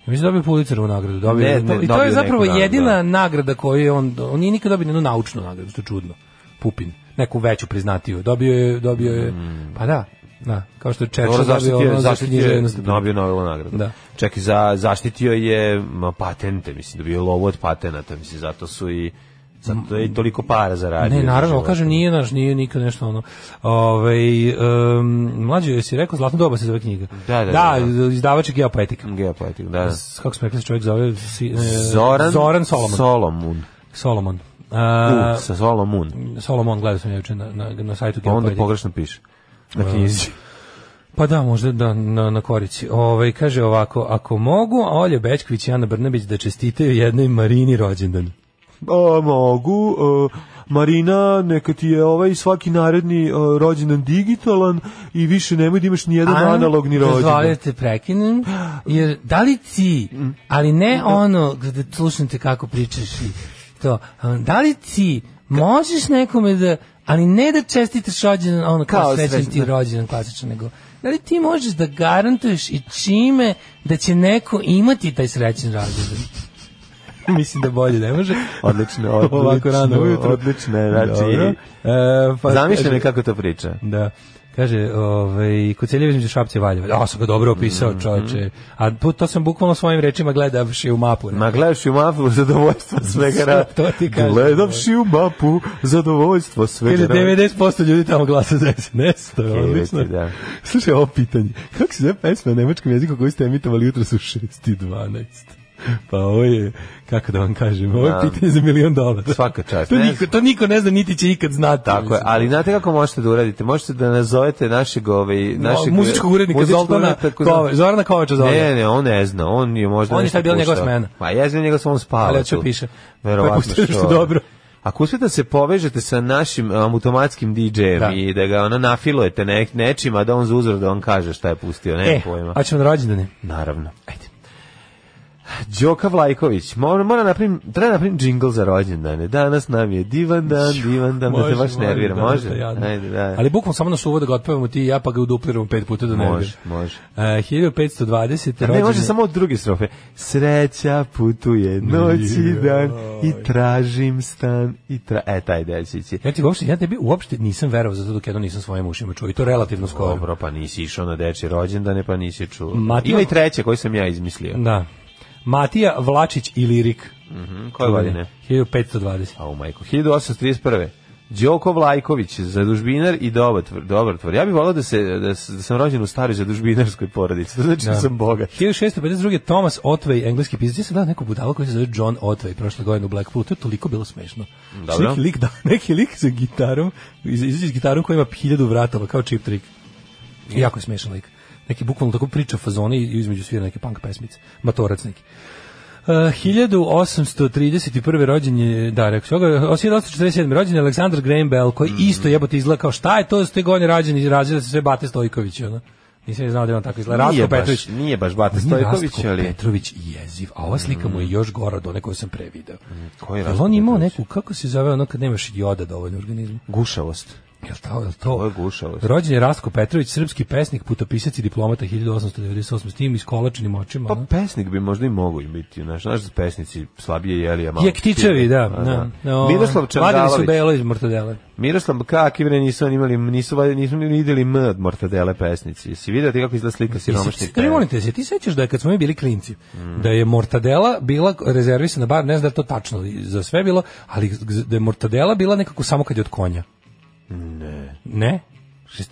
G: Mislim da je dobio Pulitzerovu nagradu. Dobio,
H: Ne,
G: je-
H: ne,
G: I to
H: dobio
G: je zapravo
H: neku nagradu,
G: jedina
H: da.
G: nagrada koju je on... On nije nikad dobio jednu naučnu nagradu, što je čudno. Pupin. Neku veću priznatiju. Dobio je... Dobio je Pa da, da. Kao što je
H: Mm.
G: Churchill
H: Dobro,
G: dobio
H: zaštitio,
G: ono za
H: zaštitio je,
G: književnost.
H: dobio Nobelovu nagradu.
G: Da.
H: Čak i za, zaštitio je m, patente, mislim, dobio je lovu od patenata, mislim, zato su i, zato je i toliko para zaradio.
G: Ne,
H: za
G: naravno,
H: život.
G: kažem, nije naš, nije nikad nešto ono. Ovaj um, mlađe jesi rekao Zlatno doba se zove knjiga.
H: Da, da,
G: da,
H: da,
G: izdavač je geopoetika.
H: Geopolitik, da. da.
G: Kako smo rekli, se čovjek zove Si- e,
H: Zoran,
G: Zoran Solomon.
H: Solomon.
G: Solomon.
H: U,
G: A,
H: sa Solomon.
G: Solomon, gledao sam ja juče na, na, na sajtu
H: Pa onda
G: Geopoetike.
H: pogrešno piše. Na knjizi.
G: Pa da, možda da, na, na korici. Ovaj, kaže ovako, ako mogu Olja Bečković i Ana Brnabić da čestitaju jednoj Marini rođendan.
H: A, mogu. e, Marina, neka ti je ovaj svaki naredni e, rođendan digitalan i više nemoj da imaš nijedan analogni rođendan.
G: Dozvolite prekinem, jer da li ti, ali ne ono, gde slušam te kako pričaš i to, a da li ti možeš nekome da, ali ne da čestitaš rođendan, ono kao,
H: Kao
G: srećan
H: srećan,
G: ti
H: da.
G: rođendan klasičan, nego
I: da li ti možeš da garantuješ i čime da će neko imati taj srećen razgovor? Mislim da bolje ne može.
H: Odlično, odlično.
I: Ovako rano ujutro.
H: Odlično, je, znači.
G: Dobro. E, pa
H: Zamišljam
G: kaže-
H: je kako to priča.
G: Da. Kaže, ovaj, Koceljev između Šapca i Valjeva. Ja sam ga dobro
H: Mhm.
G: opisao, čoveče. A pu- to sam bukvalno svojim rečima gledavši u mapu. ne?
H: Ma gledaš i u mapu
G: <laughs>
H: zadovoljstva svega rada.
G: To ti kažem.
H: Gledavši u mapu zadovoljstva svega
G: Kaže,
H: rada.
G: 90% ljudi tamo glasa za SNS, to je
H: Kevete,
G: odlično.
H: da.
G: Slušaj, ovo pitanje. Kako se zove pesma na nemačkom jeziku koju ste emitovali jutro su 6.12? Pa ovo je, kako da vam kažem, ovo je
H: Da.
G: pitanje za milion dolara.
H: Svaka čast,
G: To
H: ne
G: niko,
H: znam.
G: to niko ne zna, niti će ikad znati.
H: Tako je,
G: mislim.
H: ali znate kako možete da uradite? Možete da nazovete našeg, ovaj, našeg
G: muzičkog urednika
H: muzičkog
G: Zoltana
H: urednika ko-
G: Kova, Zorana Kovača Zoltana.
H: Ne, ne, on ne zna, on je možda
G: On je
H: nešto
G: sad bila njegova
H: puštao.
G: smena.
H: Pa ja znam njega sam on spava
G: Ali hoću
H: tu.
G: piše.
H: Verovatno
G: Pa pušta nešto
H: što-
G: dobro.
H: Ako uspete da se povežete sa našim um, automatskim DJ-em
G: Da.
H: i da ga ono nafilujete ne, nečim, a da on za uzor da on kaže šta je pustio, ne
G: E,
H: pojma.
G: a ćemo na rođendane.
H: Naravno. Ajde. Đoka Vlajković, mora, mora napravim, treba napravim džingl za rođendane. Danas nam je divan dan, divan dan, da te baš nervira, može?
G: da, jadno.
H: Ajde, da.
G: Ali bukvalno samo na suvo da ga otpevamo ti i ja, pa ga udupliramo pet puta da ne
H: Može, može.
G: Uh, 1520.
H: A Ne,
G: rođen
H: može
G: je-
H: samo od druge strofe. Sreća putuje noć i dan i tražim stan i tra... E, taj deo će ići.
G: Ja ti uopšte, ja tebi uopšte nisam verovao za to dok jedno nisam svojim ušima čuo i to relativno skoro.
H: Dobro, pa nisi išao na deči rođendane, pa nisi čuo.
G: Matija-
H: Ima i treće koju sam ja izmislio.
G: Da. Matija Vlačić i Lirik.
H: Mhm, Koje godine?
G: 1520.
H: A Pa, u majku, 1831. Đoko Vlajković, zadužbinar i dobar tvr, dobar tvor. Ja bih volao da, se, da, s- da sam rođen u staroj zadužbinarskoj porodici. To znači da, sam bogat.
G: 1652. Thomas Otvej, engleski pisac. Ja sam gledao neku budalu koji se zove John Otvej prošle godine u Blackpoolu. To je toliko bilo smešno.
H: Dobro.
G: Znači, Neki lik, da, <laughs> neki lik sa gitarom, iz- izađe s gitarom koja ima hiljadu vratova, kao chip trick. I Jako je smešan lik. Neki bukvalno tako priča fazoni i između svira neke punk pesmice. Matorac neki. Uh, 1831. rođen je, da, rekao se, 1847. rođen je Aleksandar Graham Bell, koji
H: Mhm.
G: isto jebote izgleda kao šta je to da ste godine rađeni i razgleda se sve Bate Stojković, ono. Nisam ni znao da je on tako izgleda.
H: Nije
G: Ratko
H: baš-
G: Petrović.
H: nije baš Bate
G: Nije
H: Stojković,
G: Ratko
H: ali-
G: Petrović jeziv, a ova slika mu je još gora od one koju sam pre video.
H: koji
G: Jel
H: Ratko
G: on imao
H: Mm. Petrović?
G: neku, kako se zove ono kad nemaš joda dovoljno u organizmu?
H: Gušavost.
G: Jel to, jel to?
H: To je gušavost.
G: Rođen je Rastko Petrović, srpski pesnik, putopisac i diplomata 1898. S tim iskolačenim očima.
H: Pa
G: ono.
H: pesnik bi možda i mogu i biti, znaš, znaš da su pesnici slabije jeli, a malo...
G: Jektičevi, da.
H: A,
G: da. ovaj, No,
H: Pa, Miroslav
G: Vadili su
H: Čangalović.
G: belo iz mortadele.
H: Miroslav kakvi bre nisu oni imali, nisu valjda- nisu ni videli M od mortadele pesnici. Jesi vidio ti e. kako izgleda slika siromašnih
G: Jesi- molim te, se ti sećaš da je kad smo mi bili klinci, da je mortadela bila rezervisana, bar ne znam da je to tačno za sve bilo, ali da je mortadela bila nekako samo kad je od konja. Ne. Ne?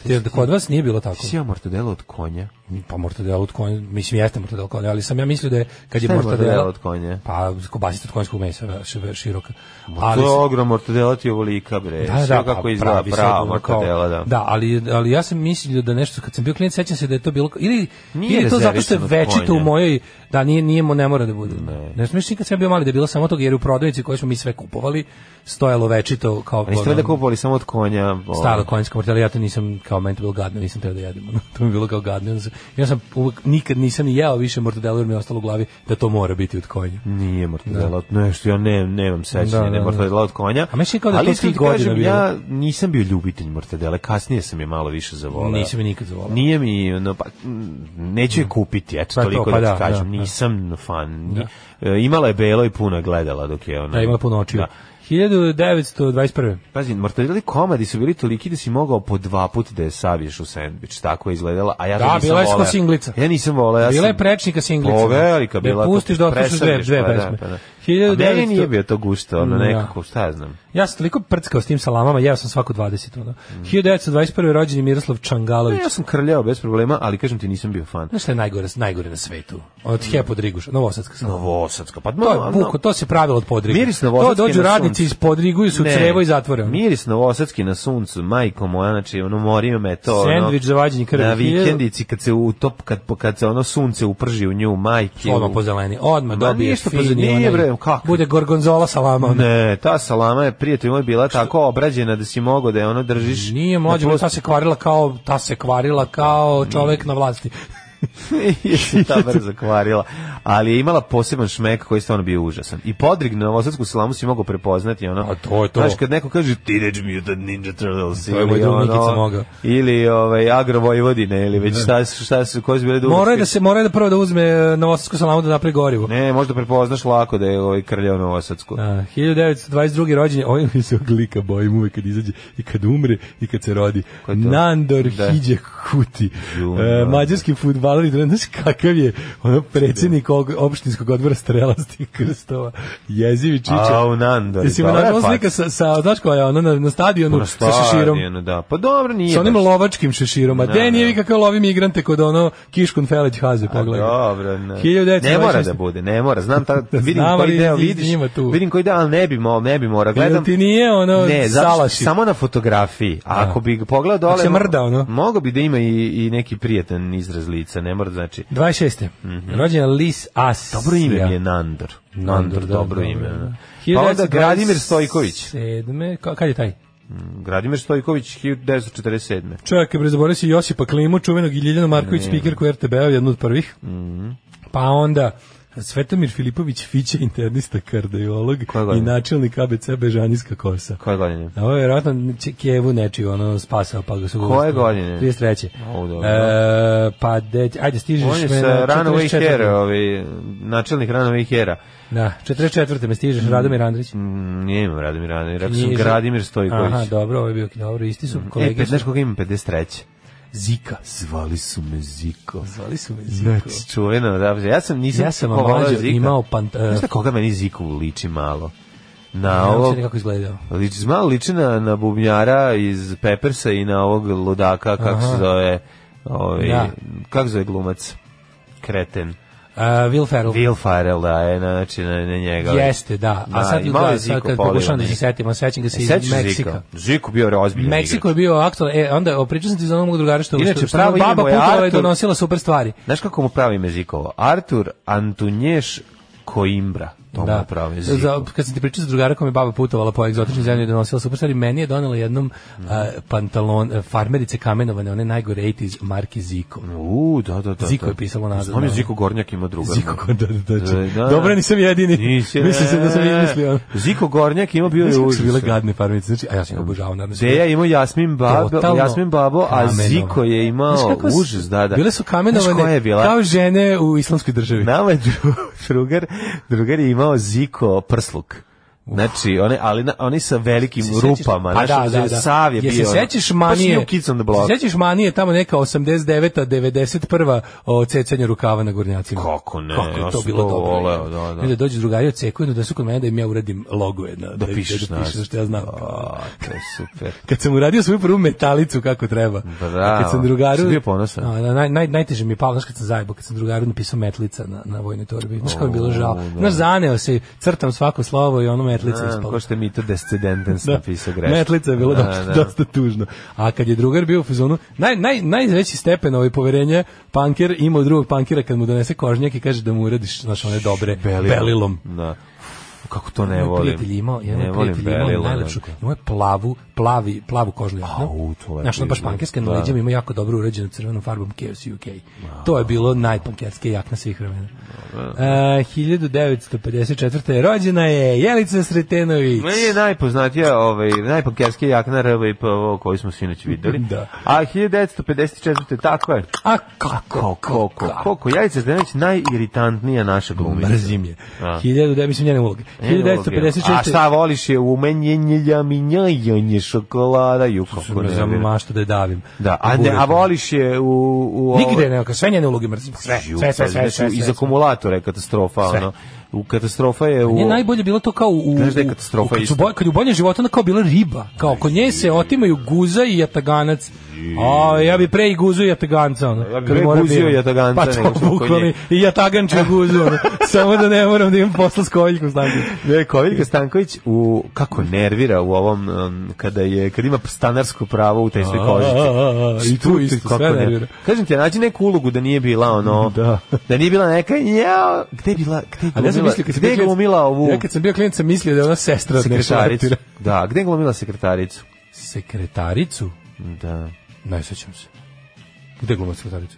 G: Jer da kod vas nije bilo tako.
H: Sija mortadela od konja.
G: Pa mortadela od konja, mislim jeste mortadela od konja, ali sam ja mislio da je kad je
H: Šta je
G: mortadela,
H: mortadela od konja?
G: Pa kobasica od konjskog mesa š- široka.
H: Ali to je
G: sam-
H: ogrom mortadela ti je ovolika bre. Da, E, kako
G: pa
H: izgleda
G: pravi sad,
H: prava
G: ono, kao-
H: mortadela, da.
G: Da, ali, ali ja sam mislio da nešto, kad sam bio klijent, sećam se da je to bilo, ili,
H: Nije
G: ili je to zato što je
H: rezervisano od
G: večito u
H: konja.
G: mojoj, da, nije, nije, mo- ne mora da bude. Ne, ne smiješ nikad sam ja bio mali da je bilo samo toga, jer u prodavnici koju smo mi sve kupovali, stojalo večito kao...
H: A niste
G: ono,
H: valjda kupovali samo od konja? ovaj,
G: Staro konjsko mortadela, ja to nisam, kao meni to bilo gadno, nisam teo da jedem, <laughs> ono, to mi je bilo kao gadno, onda sam- ja sam uvek, nikad nisam ni jeo više mortadela, jer mi je ostalo u glavi da to mora biti od konja.
H: Nije mortadela od nešto, ja ne, nemam sećanja,
G: Da,
H: da,
G: da,
H: ne
G: da.
H: mortadela od konja.
G: A meni je kao da je to
H: Ali iskreno
G: tih
H: ti kažem,
G: godina bilo.
H: Ja nisam bio ljubitelj mortadele, kasnije sam je malo više zavoleo.
G: Nisam je nikad zavolao.
H: Nije mi, no, pa, m, neću je kupiti, eto,
G: Pa to,
H: toliko
G: pa
H: da
G: da,
H: ti kažem,
G: da, da.
H: nisam fan. Ni- e, imala je belo i puno gledala dok je ona.
G: Da, imala puno očiju.
H: Da.
G: 1921.
H: Pazi, mortadeli komadi su bili toliki da si mogao po dva put da je saviš u sandvič, tako je izgledala, a ja to
G: Da,
H: nisam
G: bila je
H: voleo.
G: skoro singlica.
H: Ja nisam voleo, ja
G: Bila je
H: sam-
G: prečnika singlica. znači.
H: O, velika
G: Da je
H: bila.
G: pustiš da odslušaš dve-
H: presadiš,
G: dve
H: pa da,
G: pesme.
H: pa da. A
G: 1900
H: meni nije bio to gusto, ono
G: Da.
H: nekako, šta ja znam.
G: Ja sam toliko prckao s tim salamama, jeo sam svako 20. Ono. 1921. rođen je Miroslav Čangalović.
H: Ja sam krljao bez problema, ali kažem ti nisam bio fan.
G: Znaš šta je najgore, najgore na svetu? Od mm. Hepo Driguša, Novosadska salama.
H: Novosadska, pa
G: To je buko, to se pravilo od Podriga.
H: Miris
G: to
H: Novosadski
G: dođu
H: na
G: radnici
H: suncu.
G: iz Podrigu i su
H: Ne.
G: crevo i zatvore. ono.
H: Miris Novosadski na suncu, majko moja, znači ono morio me to.
G: Sendvič
H: ono,
G: za vađenje krvi.
H: Na vikendici kad se utop, kad, kad se ono sunce uprži u nju, majke.
G: Odmah
H: u-
G: pozeleni, odmah
H: Ma
G: dobije
H: nije što pozeleni,
G: onaj-
H: nije bre, kako?
G: Bude gorgonzola salama. ono.
H: Ne, ta salama je prijatelj moj bila tako obrađena da si mogao da je ono držiš.
G: Nije
H: na
G: mlađe,
H: plus- Mm.
G: ta se kvarila kao, ta se kvarila kao čovek na vlasti.
H: <laughs> je se ta brzo kvarila. Ali je imala poseban šmek koji je stvarno bio užasan. I podrig na novosadsku slamu si mogao prepoznati. Ono,
G: A to je to.
H: Znaš, kad neko kaže Teenage Mutant Ninja Turtles
G: To je moj
H: ili,
G: drug Nikica
H: ono,
G: mogao.
H: ili ovaj, Agro Vojvodine ili već šta, su- šta su, koji su bile duge
I: Mora je da se mora je da prvo da uzme e, novosadsku salamu da napravi gorivo.
H: Ne, možda prepoznaš lako da je ovaj krljao Novosadsku.
G: Da, 1922. rođen, je, ovaj mi se oglika bojim uvek kad izađe i kad umre i kad se rodi.
H: je to?
G: Nandor
H: Da.
G: da. Hidje Kuti.
H: Ju,
G: E,
H: da.
G: mađarski futbaler, i znaš kakav je ono, predsjednik og- opštinskog odbora strelasti krstova. Jezivi čiče.
H: Au, pa. Nandor,
G: Jesi mi
H: dobra
G: našao
H: faca.
G: slika sa, sa, znaš koja je ono, na, na stadionu
H: Ono,
G: sa šeširom.
H: stvarno, Da. Pa dobro, nije.
G: Sa onim
H: baš.
G: lovačkim šeširom. A
H: Da,
G: gde nije
H: da.
G: vi kako lovi migrante kod ono Kiškun Feleć Haze,
H: A,
G: pogledaj.
H: Pa Dobro, ne.
G: 1926.
H: ne mora da bude, ne mora.
G: <laughs>
H: Znam ta, vidim
G: Znam,
H: koji
G: ali
H: deo
G: iz- iz
H: vidiš.
G: njima tu.
H: Vidim koji deo, ali ne bi, mo, ne bi mora.
G: Jel
H: Gledam.
G: ti nije ono
H: ne, zato što-
G: salaši?
H: samo na fotografiji. A
G: Da.
H: ako bi ga pogledao dole,
G: Ako se mrda, ono.
H: Mogo bi da ima i, i neki prijatan izraz lica, ne mora da znači.
G: 26. Rođena Lis As.
H: Mhm. Dobro ime mi je Nandor. Nandor, dobro ime. da. Pa onda Gradimir Stojković.
G: 7. Kad je taj?
H: Gradimir Stojković 1947.
G: Čovjek je prezaboravio si Josipa Klimu, čuvenog i Ljiljana Marković, spikerku RTB-a, jednu od prvih.
H: Mhm.
G: Pa onda Svetomir Filipović Fiće, internista, kardiolog
H: Koja
G: i
H: godina?
G: načelnik ABC Bežanijska kosa.
H: Koje godine?
G: A Ovo je vjerojatno Č- Kijevu nečiju ono spasao pa ga su...
H: Koje godine?
G: 33.
H: O, dobro.
G: E, pa de, ajde stižeš
H: On je
G: me
H: sa
G: na
H: Runaway
G: 44..
H: Hair, ovaj, načelnik Runaway Hair-a.
G: Da, 44. me stižeš, Radomir Andrić.
H: Mm, Nije imam Radomir Radimir, rekao sam
G: Knjiža-
H: Gradimir Stojković.
G: Aha, dobro, ovo je bio dobro, isti su
H: E,
G: kolege.
H: pe-
G: su-
H: znaš koga imam 53?
G: Zika.
H: Zvali su me Ziko.
G: Zvali su me Ziko.
H: Čuveno, da, ja sam nisam
G: Ja sam
H: tako volao
G: mlađo
H: Zika.
G: imao pant- e,
H: Znaš na koga meni Ziko liči malo? Na
G: Ne
H: ovog...
G: znam kako izgledao.
H: Liči, malo liči na, na bubnjara iz Peppersa i na ovog ludaka, kako se
G: Aha.
H: zove... Ovaj,
G: Da.
H: Kako se zove glumac? Kreten.
G: Uh, Will Ferrell.
H: Will Ferrell, da, je, znači na, na njega.
G: Jeste, da.
H: Da,
G: A sad,
H: i malo je
G: da,
H: Ziko
G: sad kad
H: polio,
G: pokušam da
H: ne.
G: se setim, a sećam ga se
H: E,
G: iz
H: sećaš se
G: Meksika.
H: Zika? Ziko bio ozbiljno
G: Meksiko je bio aktualan. E, onda o, pričao sam ti za onog mog drugara što,
H: Inače,
G: što, što
H: pravo
G: mu baba
H: ime mu je
G: putovala i
H: Artur.
G: donosila super stvari.
H: Znaš kako mu pravi ime Zikovo? Artur Antunješ Koimbra. To mu je pravi ime
G: Za,
H: Zikovo.
G: kad sam ti pričao sa drugarakom je baba putovala po egzotičnim zemljama i donosila super stvari. Meni je donela jednom a, pantalon, a, farmerice kamenovane, one najgore 80s marke Ziko.
H: U, da, da, da.
G: Ziko je
H: da.
G: pisalo nazad,
H: Znam je
G: da.
H: Ziko Gornjak ima druga.
G: Ziko, da, da, da.
H: E, Da, da.
G: da. Dobro, nisam jedini. <laughs>
H: Nisi, e,
G: Mislim se da sam
H: ne.
G: izmislio.
H: Ziko Gornjak ima bio
G: Znaš
H: je
G: kako su bile
H: užas.
G: gadne farmice, znači, a ja sam ga obožavao, naravno.
H: Deja ima Jasmin Babo,
G: Totalno
H: Jasmin Babo, a
G: kamenova.
H: Ziko je imao
G: Znaš kako su-
H: užas, da, da.
G: Bile su
H: Znaš koja
G: kamenovane
H: je bila?
G: kao žene u islamskoj državi.
H: Nama je dru- <laughs> drugar, drugar je imao Ziko prsluk. Znači, one, ali na, oni sa velikim
G: Se sećaš-
H: rupama,
G: pa
H: znaš,
G: da, da, da.
H: sav je bio.
G: Jel se
H: ono,
G: sećaš
H: Baš
G: manije?
H: New Kids on the Block.
G: Se sećaš manije tamo neka 89-a, 91-a o cecanju rukava na gornjacima?
H: Kako ne,
G: Kako
H: ja
G: je to
H: sam
G: bilo
H: to
G: dobro.
H: voleo, da, da.
G: I onda dođu drugari od cekuju da su kod mene da im ja uradim logo jedna. Da,
H: pišeš
G: da, da
H: nas.
G: pišeš, što ja znam.
H: A, to je
G: <laughs>
H: super.
G: Kad sam uradio svoju prvu metalicu kako treba.
H: Bravo.
G: Kad sam drugaru...
H: Si bio ponosan?
G: A, da, naj, naj, najteže mi je palo, znaš kad sam zajebao, kad sam drugaru napisao metlica na, na vojnoj torbi. Znaš kako mi je bilo žao. Znaš, zaneo se, crtam svako slovo i ono metlica
H: A,
G: ispala.
H: Ko što je Mito Descendentens
G: Da.
H: napisao grešno.
G: Metlica je bilo dosta, dosta tužno. A kad je drugar bio u fazonu, naj, naj, najveći stepen ovaj poverenja, panker ima od drugog pankera kad mu donese kožnjak i kaže da mu uradiš, znaš, one dobre, belilom.
H: Da. Kako to ne
G: Moj
H: volim.
G: prijatelj je imao, jedan
H: ne
G: moj
H: volim
G: prijatelj je imao
H: Belilom,
G: najlepšu,
H: da.
G: imao je plavu, plavi, plavu kožnu jaknu.
H: Au, to lepo
G: Znaš, ono baš
H: izgleda.
G: pankerska, na
H: Da.
G: leđima ima jako dobro urađenu crvenom farbom Chaos UK. To je bilo najpankerske jakna svih vremena. E, 1954. rođena je Jelica Sretenović.
H: Meni je najpoznatija, ovaj, najpankerskija jakna RVPO koju smo sinoć videli.
G: <laughs> Da.
H: A 1954. tako je.
G: A kako,
H: Koko, koko, Jajica Zdenović najiritantnija naša glumica.
G: Mrzim je.
H: A.
G: 1000, da, mislim njene uloge.
H: Njene uloge. A
G: 1956.
H: šta voliš je umenjenje ljaminjajanje šokolada, ju kako ne
G: Mrzim
H: vjerujem.
G: maštu da je davim.
H: Da, a, ne, a voliš je u... u
G: Nigde ne, kao sve njene uloge mrzim. Sve,
H: Ju,
G: sve, sve,
H: pa,
G: sve,
H: znači,
G: sve.
H: Iz
G: sve.
H: akumulatora je katastrofa, ono. U katastrofa je u...
G: Nije najbolje bilo to kao u, u,
H: Znaš da je katastrofa
G: u- kad, su
H: isto?
G: boj- kad je u boljem životu ona kao bila riba. Kao kod nje se otimaju guza i jataganac. A ja bi pre i guzu i jataganca. Ono,
H: Ja bi
G: kad
H: pre
G: moram
H: guzio
G: da imam.
H: jataganca
G: Pa
H: nego
G: to
H: što kod
G: bukvalno
H: nje.
G: i jataganču
H: <laughs>
G: guzu. ono. Samo da ne moram da imam posla s koviljkom stanju.
H: Ne, Koviljka Stanković u kako nervira u ovom um, kada je kad ima stanarsko pravo u tesnoj
G: A,
H: kožici.
G: a, a, i tu
H: Kako
G: isto,
H: ne-
G: sve nervira.
H: Kažem ti, nađi neku ulogu da nije bila ono da,
G: Da.
H: nije bila neka ja, gde je bila, gde je
G: Ali ja sam
H: glumila,
G: mislio kad sam
H: gde
G: bio
H: je
G: klijent,
H: glumila ovu
G: Ja kad sam bio klijent sam mislio da je ona sestra od neke
H: sekretaricu?
G: šartira. <laughs>
H: Da, gde je glumila sekretaricu?
G: Sekretaricu?
H: Da.
G: Ne sećam se. Gde gluma sekretaricu?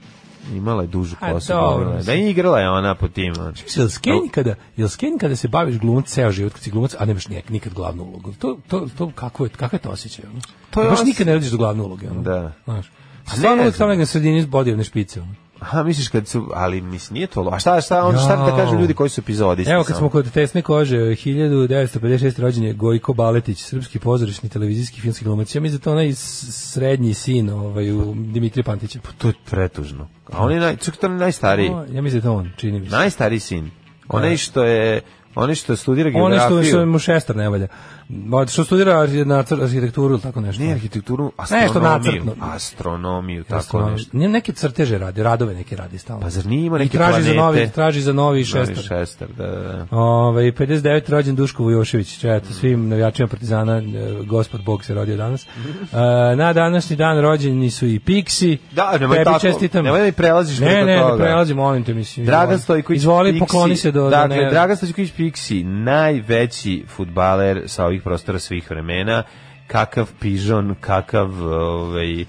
H: Imala je dužu
G: A,
H: kosu.
G: dobro,
H: dobro je. Da
G: mislim.
H: igrala je ona po tim. ono.
G: Jel skenj kada, jel skenj kada se baviš glumac ceo život, kad si glumac, a nemaš nek- nikad glavnu ulogu? To, to, to kako je, kakav je to osjećaj? Ono?
H: To je
G: Baš
H: os-
G: nikad ne radiš do glavne uloge. Ono?
H: Da.
G: Znaš.
H: Pa
G: A stvarno
H: ne
G: uvijek
H: znam.
G: tamo negdje na sredini bodijevne špice. Ono.
H: Aha, misliš kad su, ali mislim, nije to lo. A šta, šta, on, šta da
G: Jao.
H: kažu ljudi koji su epizodisti?
G: Evo kad
H: samo?
G: smo kod tesne kože, 1956. rođen je Gojko Baletić, srpski pozorišni televizijski filmski glumac. Ja mislim da to onaj s- srednji sin ovaj, u Dimitrija Pantića.
H: To je pretužno. A on je naj, čak to je najstariji.
G: O, Ja mislim da je to on, čini mi se.
H: Najstariji sin. Onaj što je, onaj što studira
G: Ono
H: geografiju.
G: što, što mu šestar ne valja. Ma, Što studira arhi- arhitekturu ili tako nešto.
H: Ne arhitekturu,
G: Nešto
H: astronomiju.
G: nacrtno.
H: astronomiju, tako
G: Jasno,
H: nešto.
G: ne- neke crteže radi, radove neke radi stalno.
H: Pa zar nije imao
G: I
H: neke
G: traži
H: planete?
G: Za novi, traži za novi šestar.
H: šestar, da, da, da.
G: Ove, 59. rođen Duško Vujošević,
H: Mm.
G: četo, svim navijačima Partizana, e, gospod Bog se rodio danas. E, na današnji dan rođeni su i Piksi.
H: Da, nemoj tako,
G: čestitam.
H: nemoj da mi prelaziš
G: Ne,
H: preko
G: ne,
H: toga.
G: ne prelazim, molim te, mislim.
H: Dragan
G: izvoli.
H: Stojković
G: Izvoli,
H: Piksi.
G: pokloni se do... do
H: dakle,
G: ne-
H: Dragan Stojković Piksi, najveći futbaler sa ovih prostora svih vremena, kakav pižon, kakav ovaj eh,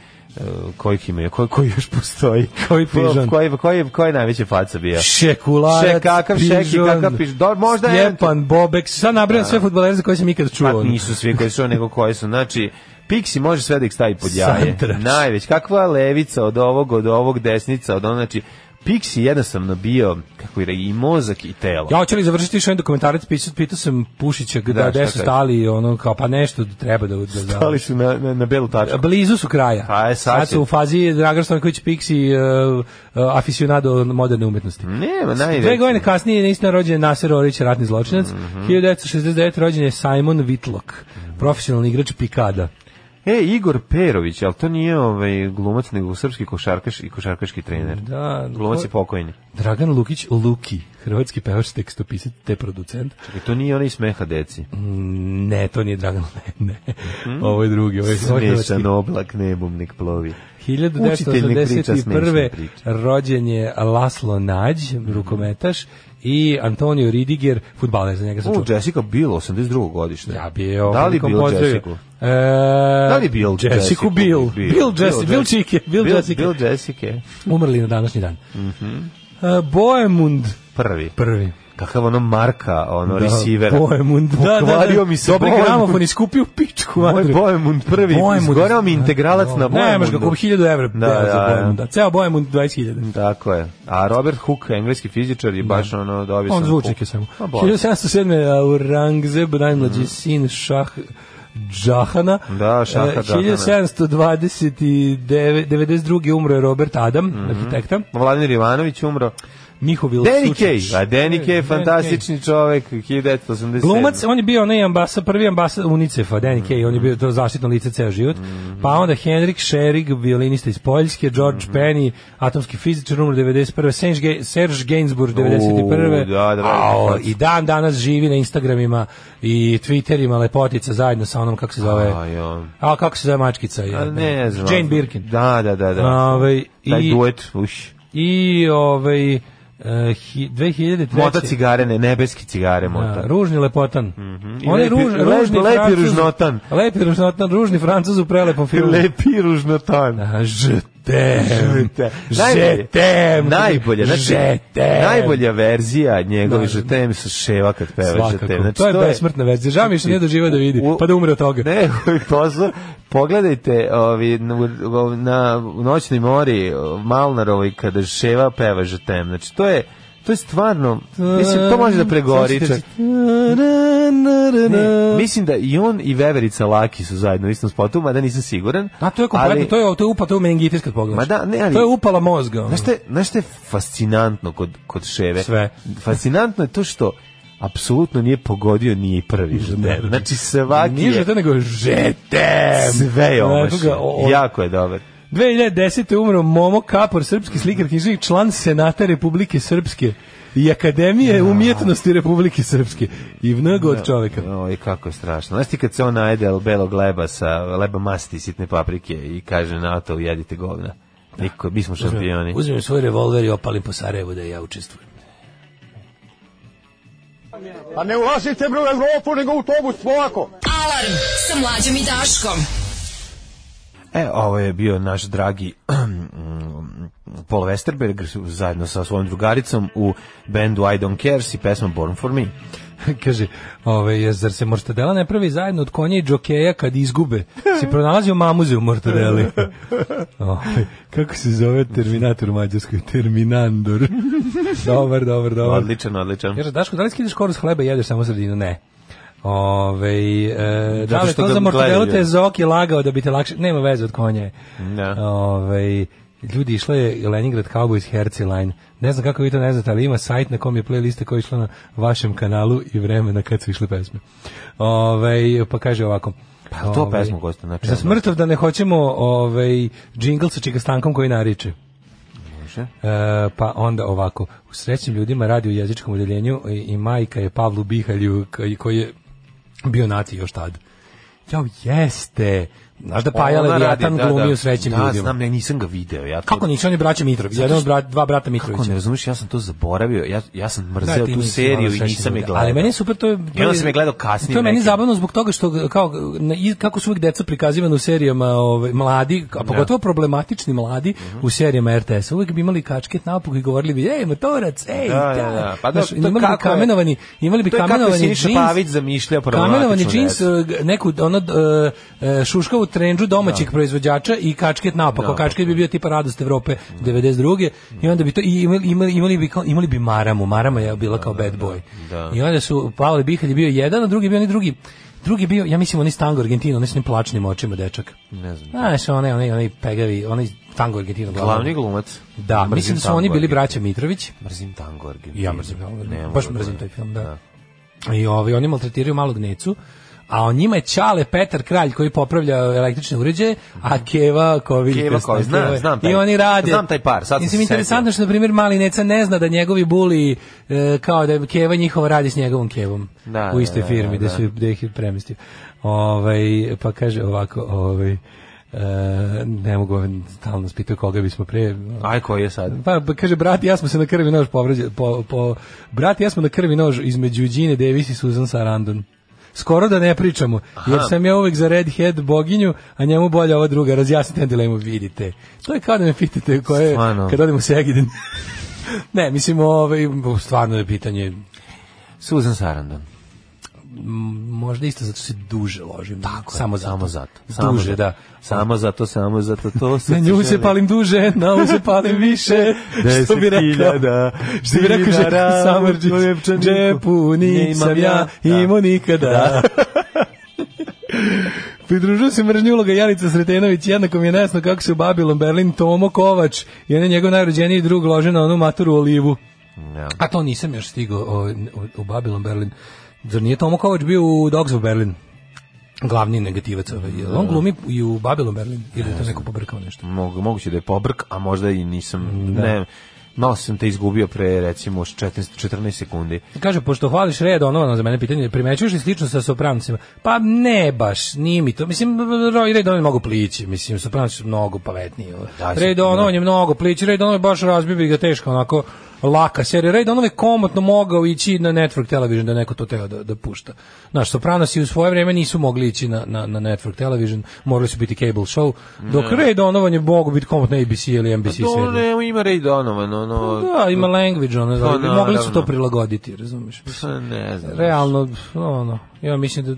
H: kojih ima, koji, koji još postoji?
G: <laughs> Koji pižon?
H: Koji, koji, koji je najveća faca bio?
G: Šekularac,
H: Še- kakav Šeki,
G: Pižon,
H: kakav Pižon. Dobro, možda je-
G: Stjepan, Bobek, sad nabrijam sve futbolere za koje sam ikad čuo.
H: Pa
G: ono.
H: nisu svi koji su, nego koji su. Znači, Pixi može sve da ih stavi pod jaje.
G: Santrač.
H: Najveć. Kakva levica od ovog, od ovog, desnica, od onog. Znači, Pixi jednostavno bio, kako je, i mozak i telo.
G: Ja hoće li završiti još jedan dokumentarac, pitao, pitao sam Pušića
H: Da,
G: da, gde
H: šta
G: su
H: kaže?
G: stali, ono, kao, pa nešto treba da... da, da
H: Ali su na, na, na belu tačku.
G: Blizu su kraja.
H: Pa je, sad
G: sad
H: će-
G: su u fazi Dragan Stanković Pixi uh, uh, aficionado moderne umetnosti.
H: Nema,
G: Dve
H: najveći.
G: godine kasnije je istina rođen je Nasser Orić, ratni zločinac.
H: Mhm.
G: 1969. rođen je Simon Whitlock, profesionalni igrač Pikada.
H: E, Igor Perović, ali to nije ovaj glumac, nego srpski košarkaš i košarkaški trener.
G: Da,
H: Glumac
G: ko-
H: je pokojni.
G: Dragan Lukić Luki, hrvatski pevač, tekstopisac te producent. Mm,
H: Čekaj, to nije onaj smeha deci.
G: Ne, to nije Dragan, <laughs> ne, ne.
H: Mhm.
G: Ovo je drugi, ovo je, ovo je hrvatski.
H: Smešan oblak nebom nek plovi. Učitelj mi priča smešne
G: 1981.
H: priče.
G: rođen je Laslo Nađ, rukometaš, i Antonio Ridiger, futbaler, za njega sam
H: U,
G: čuo.
H: Jessica Biel, 82. godište.
G: Ja bi je ovom
H: Da li
G: prilikom
H: Bill
G: pozdravio.
H: Jessica?
G: E,
H: Da li Bill Jessica?
G: Jessica? Bill. Bill, Jessica, Bill
H: Jessica.
G: Čike, Bill, Jessica.
H: Bill Mhm. Jessica.
G: Umrli na današnji dan. E, Boemund
H: Prvi.
G: prvi.
H: Kakav ono marka, ono
G: Da,
H: receivera.
G: Boemund, da, da, da.
H: Pokvario mi se
G: Dobri
H: Boemund.
G: gramofon iskupio pičku.
H: Moj
G: Andrew.
H: Boemund prvi.
G: Boemund.
H: Izgorao mi integralac na Boemundu.
G: Nemaš ga, kupi 1000 evra
H: Da,
G: da,
H: da,
G: za
H: da.
G: Boemunda. Ceo Boemund 20.000.
H: Tako je. A Robert Hooke, engleski fizičar, je baš ono dobio sam...
G: On zvučnik
H: Hooke.
G: je samo.
H: Pa, bolje. Mm.
G: 1707. Aurangzeb, najmlađi sin Šah Džahana.
H: Da, Šaha
G: E,
H: Džahana.
G: 1729. 92. umro je Robert Adam, arhitekta.
H: Vladimir Ivanović umro.
G: Miho
H: Mhm. Danny
G: Vilsučić.
H: Kay. A Danny Kay je
G: E, Danny
H: fantastični čovek, 1987.
G: Glumac, on je bio onaj ambasa, prvi ambasad UNICEF-a,
H: Mhm.
G: Danny Kaye, on je bio to zaštitno lice ceo život. Pa onda Henrik Schering, violinista iz Poljske,
H: Mhm.
G: George Penny, atomski fizičar, umro 91. Serge, Ge- Serge Gainsbourg, 91.
H: U, da, da, da.
G: Ao, I dan danas živi na Instagramima i Twitterima, lepotica zajedno sa onom, kako se zove,
H: A, jo.
G: a kako se zove mačkica?
H: A,
G: Je,
H: ne znam.
G: Jane Birkin.
H: Da, da, da. da.
G: Ovaj,
H: Taj
G: i-
H: duet, uš.
G: I ovaj, e, hi- 2003.
H: Mota cigare, ne, nebeske cigare mota.
G: Da, ružni lepotan.
H: Mhm. I
G: On je
H: lepi-
G: ruž,
H: lepi-
G: ružni
H: lepi
G: Francuz.
H: ružnotan.
G: Lepi ružnotan, ružni francuz u prelepom filmu.
H: Lepi ružnotan.
G: A, Žetem.
H: Najbolje.
G: Žetem.
H: Najbolje, znači,
G: Žetem.
H: najbolja verzija njegove žetem su ševa kad peva žetem.
G: Svakako.
H: Znači,
G: To je besmrtna verzija. Žao mi je što nije doživio da vidi,
H: U-
G: pa da umre od toga.
H: Ne, <laughs> pozor, pogledajte ovi, na, na noćnoj mori Malnarovoj kada ševa peva žetem. Znači, to je To je stvarno, mislim, to može da pregori. čak. Ne, mislim da i on i Veverica Laki su zajedno u istom spotu, mada nisam siguran.
G: A to je kompletno,
H: Ali-
G: to je to je upala, to je meningitis kad pogledaš.
H: Ma da, ne, ali-
G: To je upala mozga. ono.
H: Znaš šta, je- znaš šta je fascinantno kod, kod Ševe?
G: Sve.
H: Fascinantno je to što apsolutno nije pogodio nije prvi žeter. Znači svaki
G: Nije
H: je
G: žetem, nego žetem.
H: sve je
G: Onako
H: omašio.
G: ga o- o-
H: Jako je dobar.
G: 2010. umro Momo Kapor, srpski slikar, knjižnik, član Senata Republike Srpske i Akademije umjetnosti Republike Srpske. I mnogo od čoveka.
H: Oj, kako je strašno. Znaš ti kad se on najde od belog leba sa leba masti i sitne paprike i kaže na to jedite govna. Niko, mi smo šampioni.
G: Uzmem svoj revolver i opalim po Sarajevu da ja učestvujem.
J: A Pa ne ulazite bre u Evropu, nego u autobus, polako.
K: Alarm sa mlađom i Daškom.
H: E, ovo je bio naš dragi <clears throat> Paul Westerberg zajedno sa svojom drugaricom u bendu I Don't Cares i pesmom Born For Me.
G: <laughs> kaže, ovaj, zar se mortadela ne pravi zajedno od konja i džokeja kad izgube? Si pronalazio mamuze u <laughs> mortadeli. Ovaj, kako se zove Terminator u Mađarskoj? <laughs> Terminandor. dobar, dobar, dobar.
H: Odličan, odličan.
G: Kaže, Daško, da li skidaš koru s hleba i jedeš samo sredinu? Ne. Ove, e, da li
H: što
G: to
H: ga
G: za mortadelu
H: gledaju
G: te
H: ljudi.
G: Zoki lagao da bi te lakše... Nema veze od konja. je.
H: Da.
G: Ovaj, ljudi, išla je Leningrad Cowboys Herceline. Ne znam kako vi to ne znate, ali ima sajt na kom je playlista koja je išla na vašem kanalu i vremena kad su išle pesme. Ovaj, pa kaže ovako.
H: Pa to
G: ovaj,
H: pesmu, Gosta, znači,
G: Za
H: ono-
G: smrtov da ne hoćemo ovaj, džingl sa čikastankom koji nariče. E, pa onda ovako, u srećnim ljudima radi u jezičkom udeljenju i, i majka je Pavlu Bihalju koji, koji je bio naci još tad. Jao, jeste! Znaš da Paja
H: Ona
G: Leviatan
H: radi, da,
G: glumi
H: da.
G: u srećnim
H: da,
G: ljudima?
H: znam, ne, nisam ga video. Ja to-
G: Kako nisi, on je braća Mitrović, jedan od bra, dva brata
H: Kako ne
G: Mitrovića.
H: razumiješ, ja sam to zaboravio. Ja, ja sam
G: Da,
H: mrzeo
G: ti
H: tu
G: nisi
H: seriju
G: malo
H: i
G: srećni
H: nisam je
G: ljudi.
H: gledao.
G: Ali meni je super to je
H: I onda sam je gledao kasnije
G: To je meni
H: neki.
G: zabavno zbog toga što kao na, i kako su uvijek deca prikazivana u serijama ovaj mladi, a pogotovo problematični mladi u serijama RTS. Uvijek bi imali kačket naopako i govorili bi ej motorac, ej.
H: Da, da, da. Pa da,
G: Znaš,
H: to je
G: imali bi
H: kako je-
G: kamenovani, imali bi
H: to je kako je
G: kamenovani
H: Siniša
G: džins.
H: Pavić zamišljao
G: Kamenovani
H: problematičnu
G: džins,
H: decu.
G: e, g- neku ono e, e, šuškavu trendžu domaćih proizvođača i kačket naopako.
H: Naopako.
G: Kačket bi bio tipa Radost Evrope 92. I onda bi to i imali, imali, imali bi kao, imali bi Maramu. Marama je bila kao bad boy.
H: da.
G: I onda su Pavle Bihalj je bio jedan, a drugi je bio onaj drugi. Drugi je bio, ja mislim, onaj iz tango Argentino, onaj s onim plačnim očima dečak.
H: Ne znam.
G: Znaš, onaj, onaj, onaj pegavi, onaj iz tango Argentino.
H: Glavni glumac.
G: Da, mislim da su oni bili
H: tango
G: braća Mitrović.
H: Argentinu. Mrzim tango Argentinu.
G: Ja mrzim Tango Argentinu.
H: Ne mogu
G: Baš
H: da
G: mrzim taj
H: gledam.
G: film, da. I ovaj, oni maltretiraju malog necu, a o njima je Čale Petar Kralj koji popravlja električne uređaje, a Keva Kovilj.
H: Keva Kovilj, znam,
G: Keva-
H: znam taj-
G: I oni rade.
H: znam taj par, sad sam
G: Mislim,
H: se
G: interesantno što, na primjer, mali neca ne zna da njegovi buli, e, kao da je Keva njihova radi s njegovom Kevom
H: Da,
G: u istoj
H: da, da,
G: firmi, da,
H: da.
G: su da ih je premestio. Ovaj, pa kaže ovako, ovaj, e, ne mogu, ovaj, stalno spitao koga bismo pre...
H: Aj, koji je sad?
G: Pa, pa kaže, brat i ja smo se na krvi nož povrađali. Po, po, brat i ja smo na krvi nož između Đine Davis i Susan Sarandon. Skoro da ne pričamo, jer sam ja uvek za Redhead boginju, a njemu bolja ova druga. Razjasnite na dilemu, vidite. To je kao da me pitate koje,
H: Stvarno.
G: kad odemo u Segedin. <laughs> ne, mislim, ovaj, stvarno je pitanje,
H: Susan Sarandon.
G: možda isto zato što se duže ložim. Tako samo zato.
H: Samo zato. Samo
G: Duže,
H: zato.
G: da.
H: Samo zato, samo zato,
G: <laughs>
H: to se...
G: Na nju se palim duže, na ovu se palim više. što bi rekao,
H: hiljada
G: što bi rekao Željko
H: dinara u
G: Samardžić,
H: novčaniku.
G: džepu nisam
H: Nemam
G: ja
H: ja.
G: imao nikada. <laughs> Pridružuju se mržnju uloga Janica Sretenović, jednako mi je nejasno kako se u Babilon Berlin Tomo Kovač, i on je njegov najrođeniji drug ložen na onu maturu olivu.
H: Ja.
G: A to nisam još stigao o, o- u Babilon Berlin. Zar nije Tomo Kovač bio u Dogs of Berlin? Glavni negativac ovaj. Jel On glumi i u Babilon Berlin. Ili je to neko pobrkao nešto?
H: Mogu, moguće da je pobrk, a možda i nisam... Ne, malo sam te izgubio pre, recimo, 14, 14 sekundi.
G: Kaže, pošto hvališ red, ono, ono za mene pitanje, primećuješ li slično sa soprancima? Pa ne baš, nije mi to. Mislim, Roy red ono je mnogo plići, mislim, sopranci su mnogo pavetniji.
H: Da,
G: red ono on je mnogo plići, red ono je baš razbio bi ga teško, onako, laka serija. Red ono je komotno mogao ići na network television da je neko to teo da, da pušta. Znaš, Sopranosi u svoje vreme nisu mogli ići na, na, na network television, morali su biti cable show, dok Red Donovan je mogu biti komotno ABC ili NBC
H: Pa To
G: serija.
H: ne, ima Ray Donovan, ono...
G: Da, ima language, ono,
H: Pa,
G: ali mogli su to
H: naravno.
G: prilagoditi, razumiješ?
H: Pa ne znam.
G: realno ono ja mislim da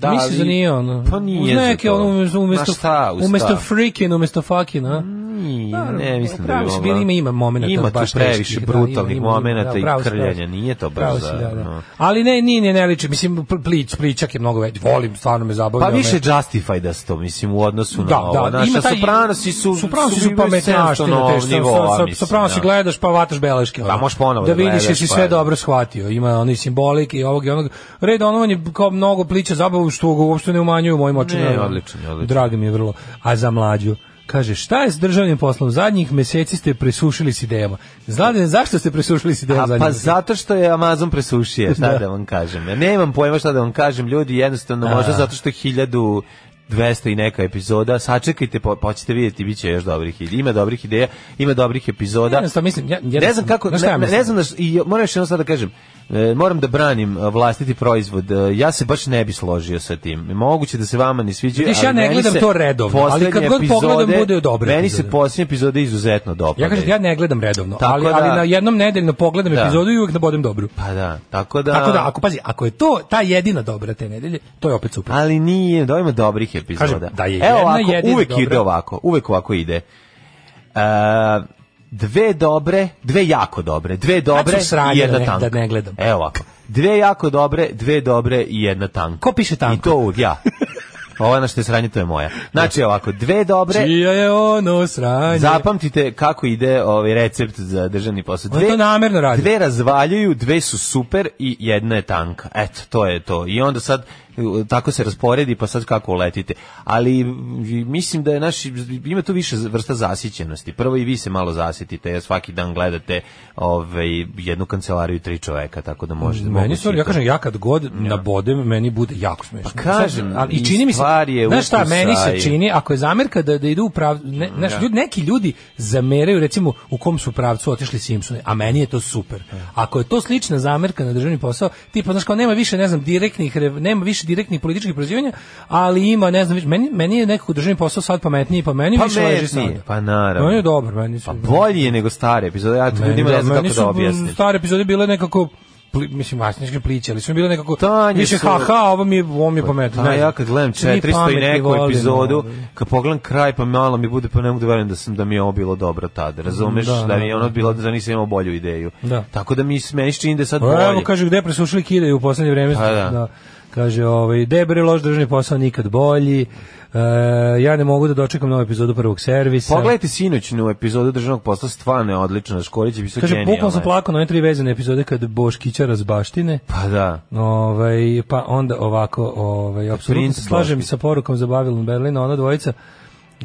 G: da, mislim
H: ali-
G: da nije ono.
H: Pa nije
G: Uz neke
H: za to.
G: ono umesto umesto
H: Ma šta, uz
G: umesto
H: šta?
G: freaking, umesto fucking, a?
H: Nije,
G: Da,
H: ne, mislim da bi
G: pravo si,
H: mogla.
G: bili, ima, ima momenata
H: Ima tu
G: baš
H: previše
G: teških, da,
H: brutalnih
G: ima, ima, ima,
H: momenata
G: da,
H: i
G: pravo si, pravo
H: krljanja,
G: si.
H: nije to baš
G: Pravo si,
H: za...
G: da, da.
H: no.
G: Ali ne, nije, ne, ne liči. Mislim, pl- plić, pličak je mnogo veći. Volim, stvarno me zabavlja.
H: Pa
G: me-
H: više justify da sto, mislim, u odnosu na
G: ovaj- Da, da,
H: ovo. Znaš,
G: ima
H: a
G: taj-
H: Sopranosi su,
G: Sopranosi su
H: bili 700
G: pametnjaština,
H: novog
G: te što
H: nivoa,
G: sa, sa,
H: mislim,
G: sopranosi
H: da.
G: gledaš pa vataš beleške. ono.
H: možeš ponovo
G: da
H: da
G: vidiš
H: gledaš,
G: jesi
H: pa
G: sve
H: da.
G: dobro shvatio. Ima oni simbolike i ovog i onog. Red ono on je kao mnogo plića zabavu što ga uopšte ne umanjuju u mojim očima.
H: Ne, odlično, odlično.
G: Drago mi je vrlo. A za mlađu Kaže, šta je s državnim poslom? Zadnjih meseci ste presušili s idejama. Znate, zašto ste presušili s idejama
H: A
G: zadnjih
H: pa
G: meseci?
H: zato što je Amazon presušio, šta da. vam kažem. Ja nemam pojma šta da vam kažem, ljudi, jednostavno, možda zato što je hiljadu 200 i neka epizoda, sačekajte, po, poćete vidjeti, bit će još dobrih ideja. Ima dobrih ideja, ima dobrih epizoda.
G: Jednostavno, mislim, ja-
H: ne znam
G: jednostavno-
H: kako,
G: znaš šta ja
H: ne, ne,
G: mislim?
H: znam da, š- i moram još jedno sad da kažem, e, moram da branim e, vlastiti proizvod, E, ja se baš ne bi složio sa tim. Moguće da se vama ne sviđa,
G: Vidiš, ja ne
H: meni
G: gledam
H: se
G: to redovno, ali
H: poslednje
G: kad god pogledam, bude dobre
H: Meni
G: epizode.
H: se posljednje epizode izuzetno dopadaju.
G: Ja kažem, ja ne gledam redovno,
H: Tako
G: ali,
H: da-
G: ali na jednom nedeljno pogledam
H: Da.
G: epizodu i uvek nabodem dobru.
H: Pa da, tako da...
G: Tako da, ako pazi, ako je to ta jedina dobra te nedelje, to je opet super.
H: Ali nije, da ima dobrih epizoda.
G: Kažem, da je
H: Evo
G: jedna
H: ovako,
G: jedina
H: uvek
G: dobra.
H: ide ovako, uvek ovako ide. E, dve dobre, dve jako dobre, dve dobre
G: u sranju
H: i jedna
G: da ne-
H: tanka.
G: da ne gledam.
H: Evo ovako. Dve jako dobre, dve dobre i jedna tanka.
G: Ko piše tanko?
H: I to uvek ja. Ovo je na što je sranje, to je moja. Znači ovako, dve dobre,
G: Čija je ono sranje?
H: Zapamtite kako ide ovaj recept za državni posao.
G: On to namerno radi.
H: Dve razvaljuju, dve su super i jedna je tanka. Eto, to je to. I onda sad uh, tako se rasporedi pa sad kako uletite. Ali m, mislim da je naš ima tu više vrsta zasićenosti. Prvo i vi se malo zasitite, jer svaki dan gledate ovaj jednu kancelariju tri čoveka, tako da možete
G: Meni
H: moguće
G: stvarno,
H: i
G: ja
H: to.
G: kažem, ja kad god nabodem, meni bude jako smiješno.
H: Pa kažem,
G: Sad, ali, i
H: i
G: čini mi se,
H: stvar je
G: znaš šta,
H: ukusa
G: meni
H: i-
G: se čini, ako je zamerka da, da idu u pravcu, ne,
H: Mm,
G: znaš, ljudi, neki ljudi zameraju, recimo, u kom su pravcu otišli Simpsoni, a meni je to super.
H: Mm.
G: Ako je to slična zamerka na državni posao, tipa, znaš, kao nema više, ne znam, direktnih, re- nema više direktnih političkih prozivanja, ali ima, ne znam, više- meni, meni je nekako državni posao sad pametniji, pa meni više leži sad.
H: Pametnije, pa naravno.
G: Meni je dobro, meni su...
H: Pa bolji je nego stare epizode. Ja to
G: Meni
H: ljudima
G: da,
H: ne znam
G: meni
H: kako da
G: su,
H: objasnim.
G: m, Stare epizode bile nekako pli, mislim masničke pliće, ali su mi bile nekako
H: Tanje
G: više
H: su-
G: haha, ovo mi je, ovo mi je pametno.
H: A
G: ne znam.
H: ja kad gledam
G: Svi
H: 400 i
G: pametni
H: neku
G: volimo,
H: epizodu,
G: ovaj.
H: kad pogledam kraj pa malo mi bude, pa ne mogu da verujem da sam da mi je ovo bilo dobro tad. Razumeš
G: Da,
H: da,
G: da,
H: mi je ono bilo da nisam imao bolju ideju.
G: Da.
H: Tako da mi se meni se čini da je sad
G: Pa, Evo
H: bolje.
G: kaže gde presušili kidaju u poslednje vreme.
H: Pa, da.
G: Kaže ovaj debre loš državni posao nikad bolji. E, ja ne mogu da dočekam novu epizodu prvog servisa.
H: Pogledajte sinoćnu epizodu državnog posla, stvarno je odlična, Škorić je bio
G: Kaže,
H: genijalan.
G: bukvalno sam plakao na one tri vezane epizode kad Boškića razbaštine.
H: Pa da.
G: Ovaj pa onda ovako, ovaj apsolutno
H: Princ
G: se slažem
H: Boškić.
G: sa porukom za Babylon Berlin, ona dvojica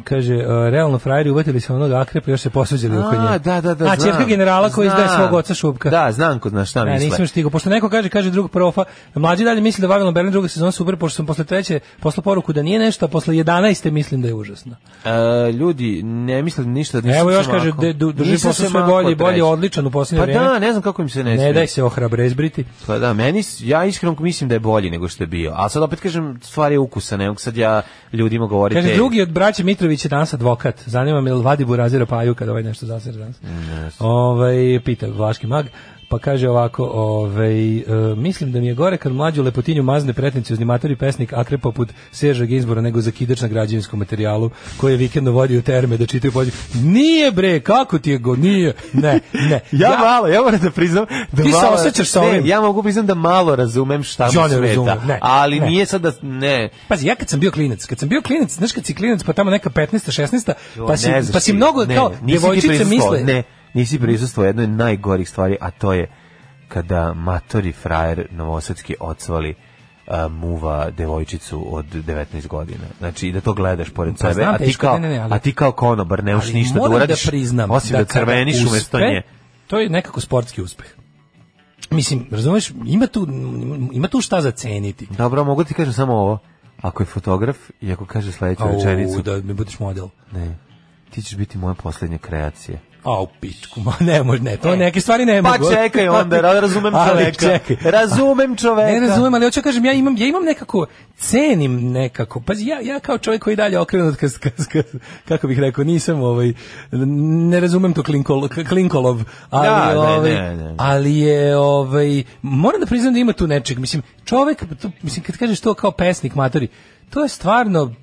G: kaže e, realno frajeri uvatili se onog akrepa još se posuđili oko nje.
H: A, da, da, da,
G: A ćerka
H: znam.
G: generala koji izdaje
H: Znam.
G: svog oca Šupka.
H: Da, znam ko zna šta
G: Ne,
H: misle.
G: nisam još stigao. Pošto neko kaže, kaže drug profa, mlađi dalje misli da Babylon Berlin druga sezona super, pošto sam posle treće posle poruku da nije nešto, a posle 11. mislim da je užasno.
H: E, ljudi, ne mislim ništa. Nisam
G: Evo još
H: se
G: kaže,
H: mako.
G: de- du- drži
H: Nisam
G: posao
H: se
G: sve
H: mako
G: bolje i bolje,
H: treći.
G: odličan u posljednje
H: Pa
G: vrijeme.
H: da, ne znam kako im se ne
G: Ne
H: sviđa.
G: daj se ohrabre izbriti.
H: Pa da, meni, s- ja iskreno mislim da je bolji nego što je bio. A sad opet kažem, stvar je ukusa, ne mogu sad ja ljudima govoriti.
G: Kaže,
H: "Ej,
G: drugi od braća Mitrović je danas advokat. Zanima me, je li vadi burazira paju kada ovaj nešto zasira danas? Ovaj, pita Vlaški mag. Pa kaže ovako, ovaj, e, mislim da mi je gore kad mlađu lepotinju mazne pretnici matori pesnik Akre poput Serža Ginzbora nego zakidač na građevinskom materijalu koji je vikendno vodio u terme da čitaju pođe. Nije bre, kako ti je go, nije, ne, ne.
H: <laughs> Ja, malo, ja moram da priznam da
G: Ti se
H: malo,
G: osjećaš sa
H: ne,
G: ovim?
H: ja mogu priznam da malo razumem šta mu
G: Ja ne
H: smeta,
G: razumem, ne,
H: ali
G: ne.
H: nije sad da, ne,
G: Pazi, ja kad sam bio klinac, kad sam bio klinac, znaš kad si klinac pa tamo neka 15. 16.
H: Jo,
G: pa si,
H: ne znaš
G: pa si
H: ti,
G: mnogo
H: ne,
G: kao
H: nisi ti
G: devojčice
H: prisustvovao,
G: misle.
H: Ne, nisi prisustvo jednoj od najgorih stvari, a to je kada matori frajer novosadski odsvali a, muva devojčicu od 19 godina. Znači, i da to gledaš pored
G: Pa
H: sebe,
G: znam,
H: a ti,
G: teško,
H: kao,
G: ne, ne, ne, ali-
H: a ti kao konobar ne možeš
G: Ali
H: Pa ništa da
G: moram
H: uradiš,
G: priznam
H: osim da,
G: kada
H: crveniš
G: uspe,
H: umesto nje.
G: To je nekako sportski uspeh. Mislim, razumeš, ima tu, ima tu šta zaceniti.
H: Dobro, mogu ti kažem samo ovo. Ako je fotograf i ako kaže sledeću rečenicu,
G: Au, da mi budeš model.
H: ne, ti ćeš biti moja poslednja kreacija.
G: Au, pičku, ma ne može, ne, to neke stvari ne
H: Pa
G: E, mogu. <laughs>
H: čekaj onda, ra- razumem
G: Ali
H: čoveka. E,
G: čekaj.
H: Razumem čoveka.
G: Ne razumem, ali hoću da kažem, ja imam, ja imam nekako, cenim nekako, pazi, ja, ja kao čovjek koji je dalje okrenut, kas, kas, kas, kako bih rekao, nisam, ovaj, ne razumem to klinkol, klinkolov, ali,
H: Da, ne,
G: ovaj,
H: ne, ne.
G: ali je, ovaj, moram da priznam da ima tu nečeg, mislim, čovjek, to, mislim, kad kažeš to kao pesnik, matori, to je stvarno,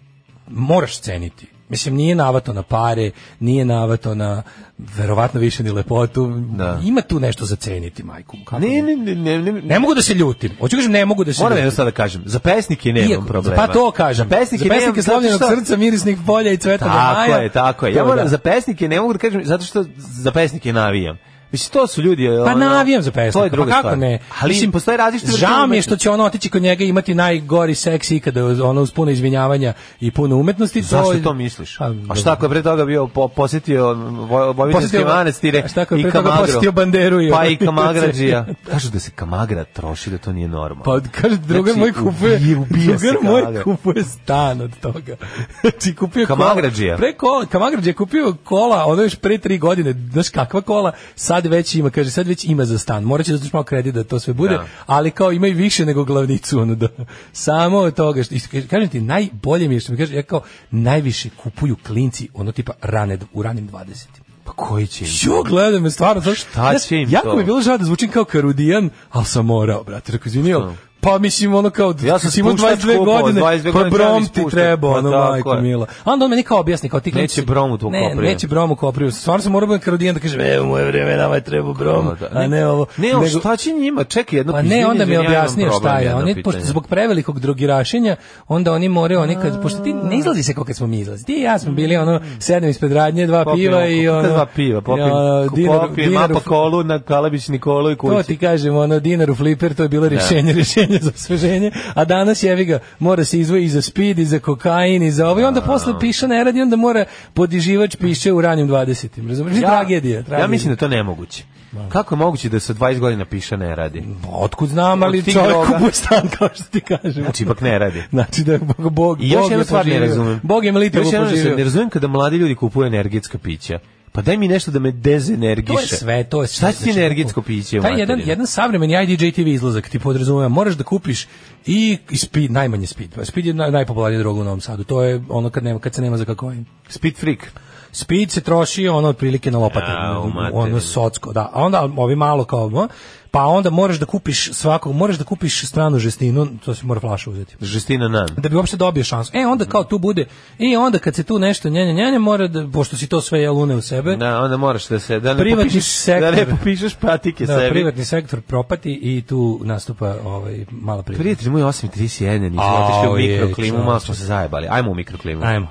G: moraš ceniti. Mislim, nije navato na pare, nije navato na, verovatno više ni lepotu,
H: Da.
G: ima tu nešto za ceniti, majku. Kako
H: Ne, ne, ne, ne, ne,
G: ne mogu da se ljutim. Hoću kažem ne mogu da se
H: Moram
G: ljutim.
H: jedno sad da kažem, za pesnike nemam
G: Iako-
H: problema.
G: Pa to kažem.
H: Za pesnike,
G: za pesnike
H: nemam,
G: slavljenog
H: zato što-
G: srca, mirisnih polja i cveta
H: Tako
G: maja.
H: je, tako je. Ja
G: To
H: moram
G: da.
H: za pesnike ne mogu da kažem zato što za pesnike navijam. Mislim, to su ljudi...
G: Pa
H: ono,
G: navijam za pesnika,
H: To je druga
G: pa kako
H: stvar.
G: ne?
H: Ali mislim, postoje različite... vrste
G: Žao mi je
H: umetnosti.
G: što će ono otići kod njega i imati najgori seks ikada, ono uz puno izvinjavanja i puno umetnosti. To,
H: Zašto to misliš?
G: Pa,
H: A šta ako je pre toga bio po, posjetio Voj- Vojvođanski
G: Posjetio-
H: manastire
G: a šta ako je
H: i
G: pre toga
H: Kamagru?
G: posjetio Banderu i
H: pa
G: ono-
H: i
G: <laughs>
H: Kamagrađija. Kažu da se Kamagra troši, da to nije normalno.
G: Pa kaže drugar moj
H: Znači,
G: kupuje,
H: ubija- ubija se
G: drugar moj
H: Kamagra.
G: kupuje stan od toga. <laughs> Znači kupio kola-
H: Kamagrađija.
G: Pre kola, Kamagrađija je kupio kola, ono još pre tri godine, znaš kakva kola, sad već ima, kaže sad već ima za stan. Moraće da uzmeš malo kredit da to sve bude,
H: Da.
G: ali kao ima i više nego glavnicu ono da. <laughs> Samo od toga što isto kaže- kažem ti najbolje mi je što mi kaže ja kao najviše kupuju klinci ono tipa rane u ranim 20.
H: Pa koji će im?
G: Jo, gledam me stvarno, znaš,
H: Šta
G: znaš,
H: će im
G: jako
H: to?
G: mi je bilo žao da zvučim kao Karudijan, ali sam morao, brate, rekao, izvini, ali, pa mislim, ono kao,
H: Ja sam
G: kad si imao
H: spuštač
G: 22
H: kupovao,
G: godine,
H: 22
G: pa
H: godine treba
G: brom
H: mi
G: ti
H: spuštač,
G: treba,
H: pa
G: ono,
H: tako
G: majko
H: je.
G: mila. A onda on meni kao objasni, kao ti
H: Neće
G: klinci-
H: brom u tvom
G: ne,
H: koprivu.
G: Neće brom u koprivu, stvarno sam morao da budem Karudijan da kažem, evo, u moje vreme, nama je trebao brom, a ne ovo.
H: Ne, ali
G: Nego-
H: šta će njima? Čekaj, jedno
G: pa
H: izvini,
G: ne, onda mi je
H: izvini, ja imam
G: objasnio
H: problem,
G: šta je.
H: jedno
G: Oni, pošto
H: pitanje.
G: zbog prevelikog drogirašenja, onda oni moraju, oni kad, pošto ti ne izlazi se kao kad smo mi izlazili. Ti i ja smo bili, ono,
H: Mm.
G: sedem ispred radnje, dva
H: Popim
G: piva
H: oko-
G: i
H: popim
G: ono...
H: dva piva, popim,
G: i ono, dinar-
H: popim
G: dinar u
H: mapa
G: fl-
H: kolu na Kalabić Nikolu i
G: To
H: kući.
G: ti kažem, ono, dinar u fliper, to je bilo rješenje, <laughs> rješenje za osveženje, a danas jevi ga, mora se izvoji i za speed, i za kokain, i za ovo, i onda posle piša ne radi, onda mora podiživač piše u ranijim 20. Razumiješ? tragedija, tragedija.
H: Ja mislim da to nemoguće. Kako je moguće da se od 20 godina piša ne radi?
G: Pa Otkud znam,
H: Od
G: ali
H: tih
G: čovjek
H: droga.
G: kupuje stan, kao što ti kažem.
H: Znači, ipak ne radi.
G: Znači da je Bog, Bog,
H: I još
G: Bog je
H: jednu stvar ne
G: poživio.
H: razumem.
G: Bog je
H: Još
G: Militovo
H: jednu stvar Ne
G: poživio.
H: razumem kada mladi ljudi kupuju energetska pića. Pa daj mi nešto da me
G: To je
H: dezenergiše.
G: sve, to je sve.
H: Šta će ti
G: Znači,
H: energetsko piće u
G: Taj jedan,
H: materinu?
G: jedan savremeni IDJ TV izlazak ti podrazumeva, moraš da kupiš i, i speed, najmanje speed. Speed je naj, najpopularnija droga u Novom Sadu. To je ono kad, nema, kad se nema za kakoin.
H: Speed freak.
G: Speed se troši ono otprilike na lopate,
H: Ja, u materinu.
G: ono socko, da. A onda ovi malo kao, no, pa onda moraš da kupiš svakog, moraš da kupiš stranu žestinu, to se mora flaša uzeti
H: Žestina nan.
G: da bi uopšte dobio šansu. E, onda kao tu bude, i onda kad se tu nešto njenje, njenje, mora da, pošto si to sve jelune u sebe,
H: Da, onda moraš da se da ne
G: Privatni
H: popišeš,
G: sektor.
H: da ne popišeš patike
G: da,
H: sebi.
G: privatni sektor propati i tu nastupa ovaj, mala privatna.
H: Prijatelji moji 8.31, nismo
G: Au,
H: otišli u
G: je,
H: mikroklimu,
G: čao.
H: malo smo se zajebali. Ajmo u mikroklimu.
G: Ajmo.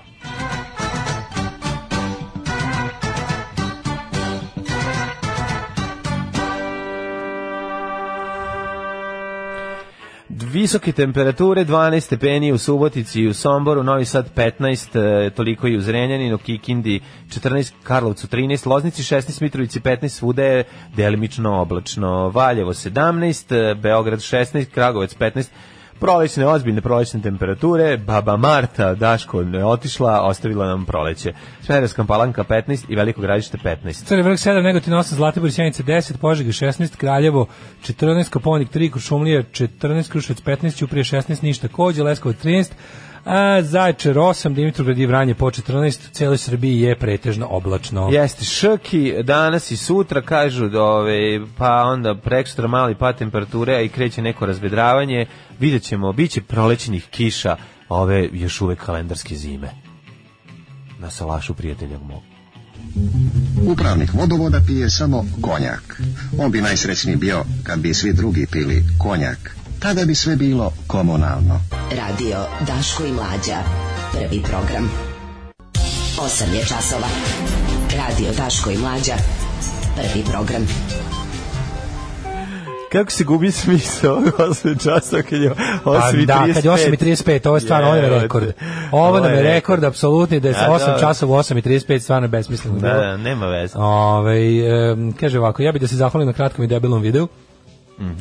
H: Visoke temperature, 12 stepeni u Subotici i u Somboru, Novi Sad 15, e, toliko i u Zrenjaninu, Kikindi 14, Karlovcu 13, Loznici 16, Mitrovici 15, svuda je delimično oblačno, Valjevo 17, e, Beograd 16, Kragovec 15, Prolećne, ozbiljne prolećne temperature, baba Marta, Daško, je otišla, ostavila nam proleće. Smederevska palanka 15 i Veliko gradište 15.
G: Crni vrh 7, Negotin 8, Zlatibor i Sjenica 10, Požega 16, Kraljevo 14, Koponik 3, Kuršumlija 14, Kruševac 15, Ćuprije 16, Ništa Kođe, Leskovac 13, a Zaječar 8, Dimitrovgrad i Vranje po 14, u cijeloj Srbiji je pretežno oblačno.
H: Jeste, šoki danas i sutra kažu da ove, pa onda prekstra mali pa temperature a i kreće neko razvedravanje, vidjet ćemo, bit će prolećenih kiša ove još uvek kalendarske zime. Na salašu prijatelja mog.
L: Upravnik vodovoda pije samo konjak. On bi najsrećniji bio kad bi svi drugi pili konjak. Tada bi sve bilo komunalno.
J: Radio Daško i Mlađa. Prvi program. 8 je časova. Radio Daško i Mlađa. Prvi program.
H: Kako se gubi smisao 8 časa kad je 8
G: Pa da, kad je 8.35, ovo je stvarno ovo je
H: Jebote.
G: rekord. Ovo nam je rekord, apsolutni, da je
H: A, dobro.
G: 8 časova u 8.35, stvarno je besmisleno.
H: Da,
G: bilo.
H: da, nema veze.
G: Ove, Ovaj, kaže ovako, ja bih da se zahvalim na kratkom i debelom videu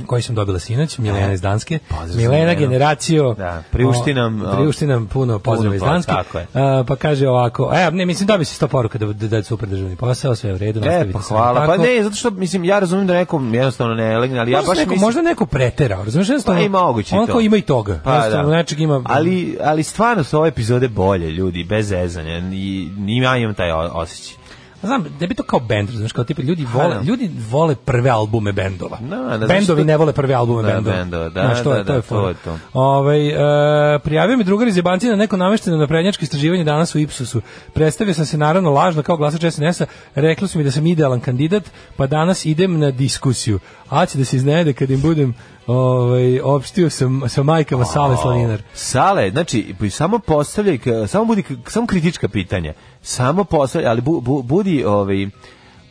G: koji sam dobila sinoć, Milena iz Danske.
H: Mhm. E, Pozdrav za
G: Milena
H: Milenu.
G: generacijo.
H: Da, priušti nam,
G: o, priušti nam puno pozdrava iz
H: pozdrava,
G: Danske.
H: tako je.
G: A, pa kaže ovako, e, ne, mislim da bi se 100 poruka da, da, da je super državni posao, sve je u redu.
H: E,
G: nastavite
H: pa
G: samo
H: hvala. Pa
G: tako.
H: ne, zato što, mislim, ja razumijem da nekom jednostavno ne legne, ali ja
G: možda,
H: baš
G: neko,
H: mislim...
G: možda neko preterao, razumiješ?
H: Pa ima moguće i
G: On
H: to.
G: kao ima i toga.
H: Pa da.
G: Nečeg ima...
H: Ali, ali stvarno su ove epizode bolje, ljudi, bez ezanja. I, i ja imam taj o- osjećaj.
G: Znam, da bi to kao bend, znaš, kao tipa ljudi
H: Pa,
G: vole,
H: da.
G: ljudi vole prve albume bendova.
H: Da, da, znaš
G: Bendovi
H: što-
G: ne vole prve albume
H: Da,
G: bendova.
H: bendova, da,
G: Znaš, to
H: da,
G: je, to
H: da,
G: je,
H: to
G: fora.
H: je to.
G: Ovaj, e, prijavio mi drugar iz Jebanci na neko namešteno naprednjačko istraživanje danas u Ipsusu. Predstavio sam se naravno lažno kao glasač SNS-a, rekli su mi da sam idealan kandidat, pa danas idem na diskusiju. A će da se iznede kad im budem ovaj, opštio sa, sa majkama Sale Slaninar.
H: Sale, znači, p- samo postavljaj, k- samo budi, k- samo kritička pitanja. Samo postavljaj, ali bu, bu- budi, ovaj,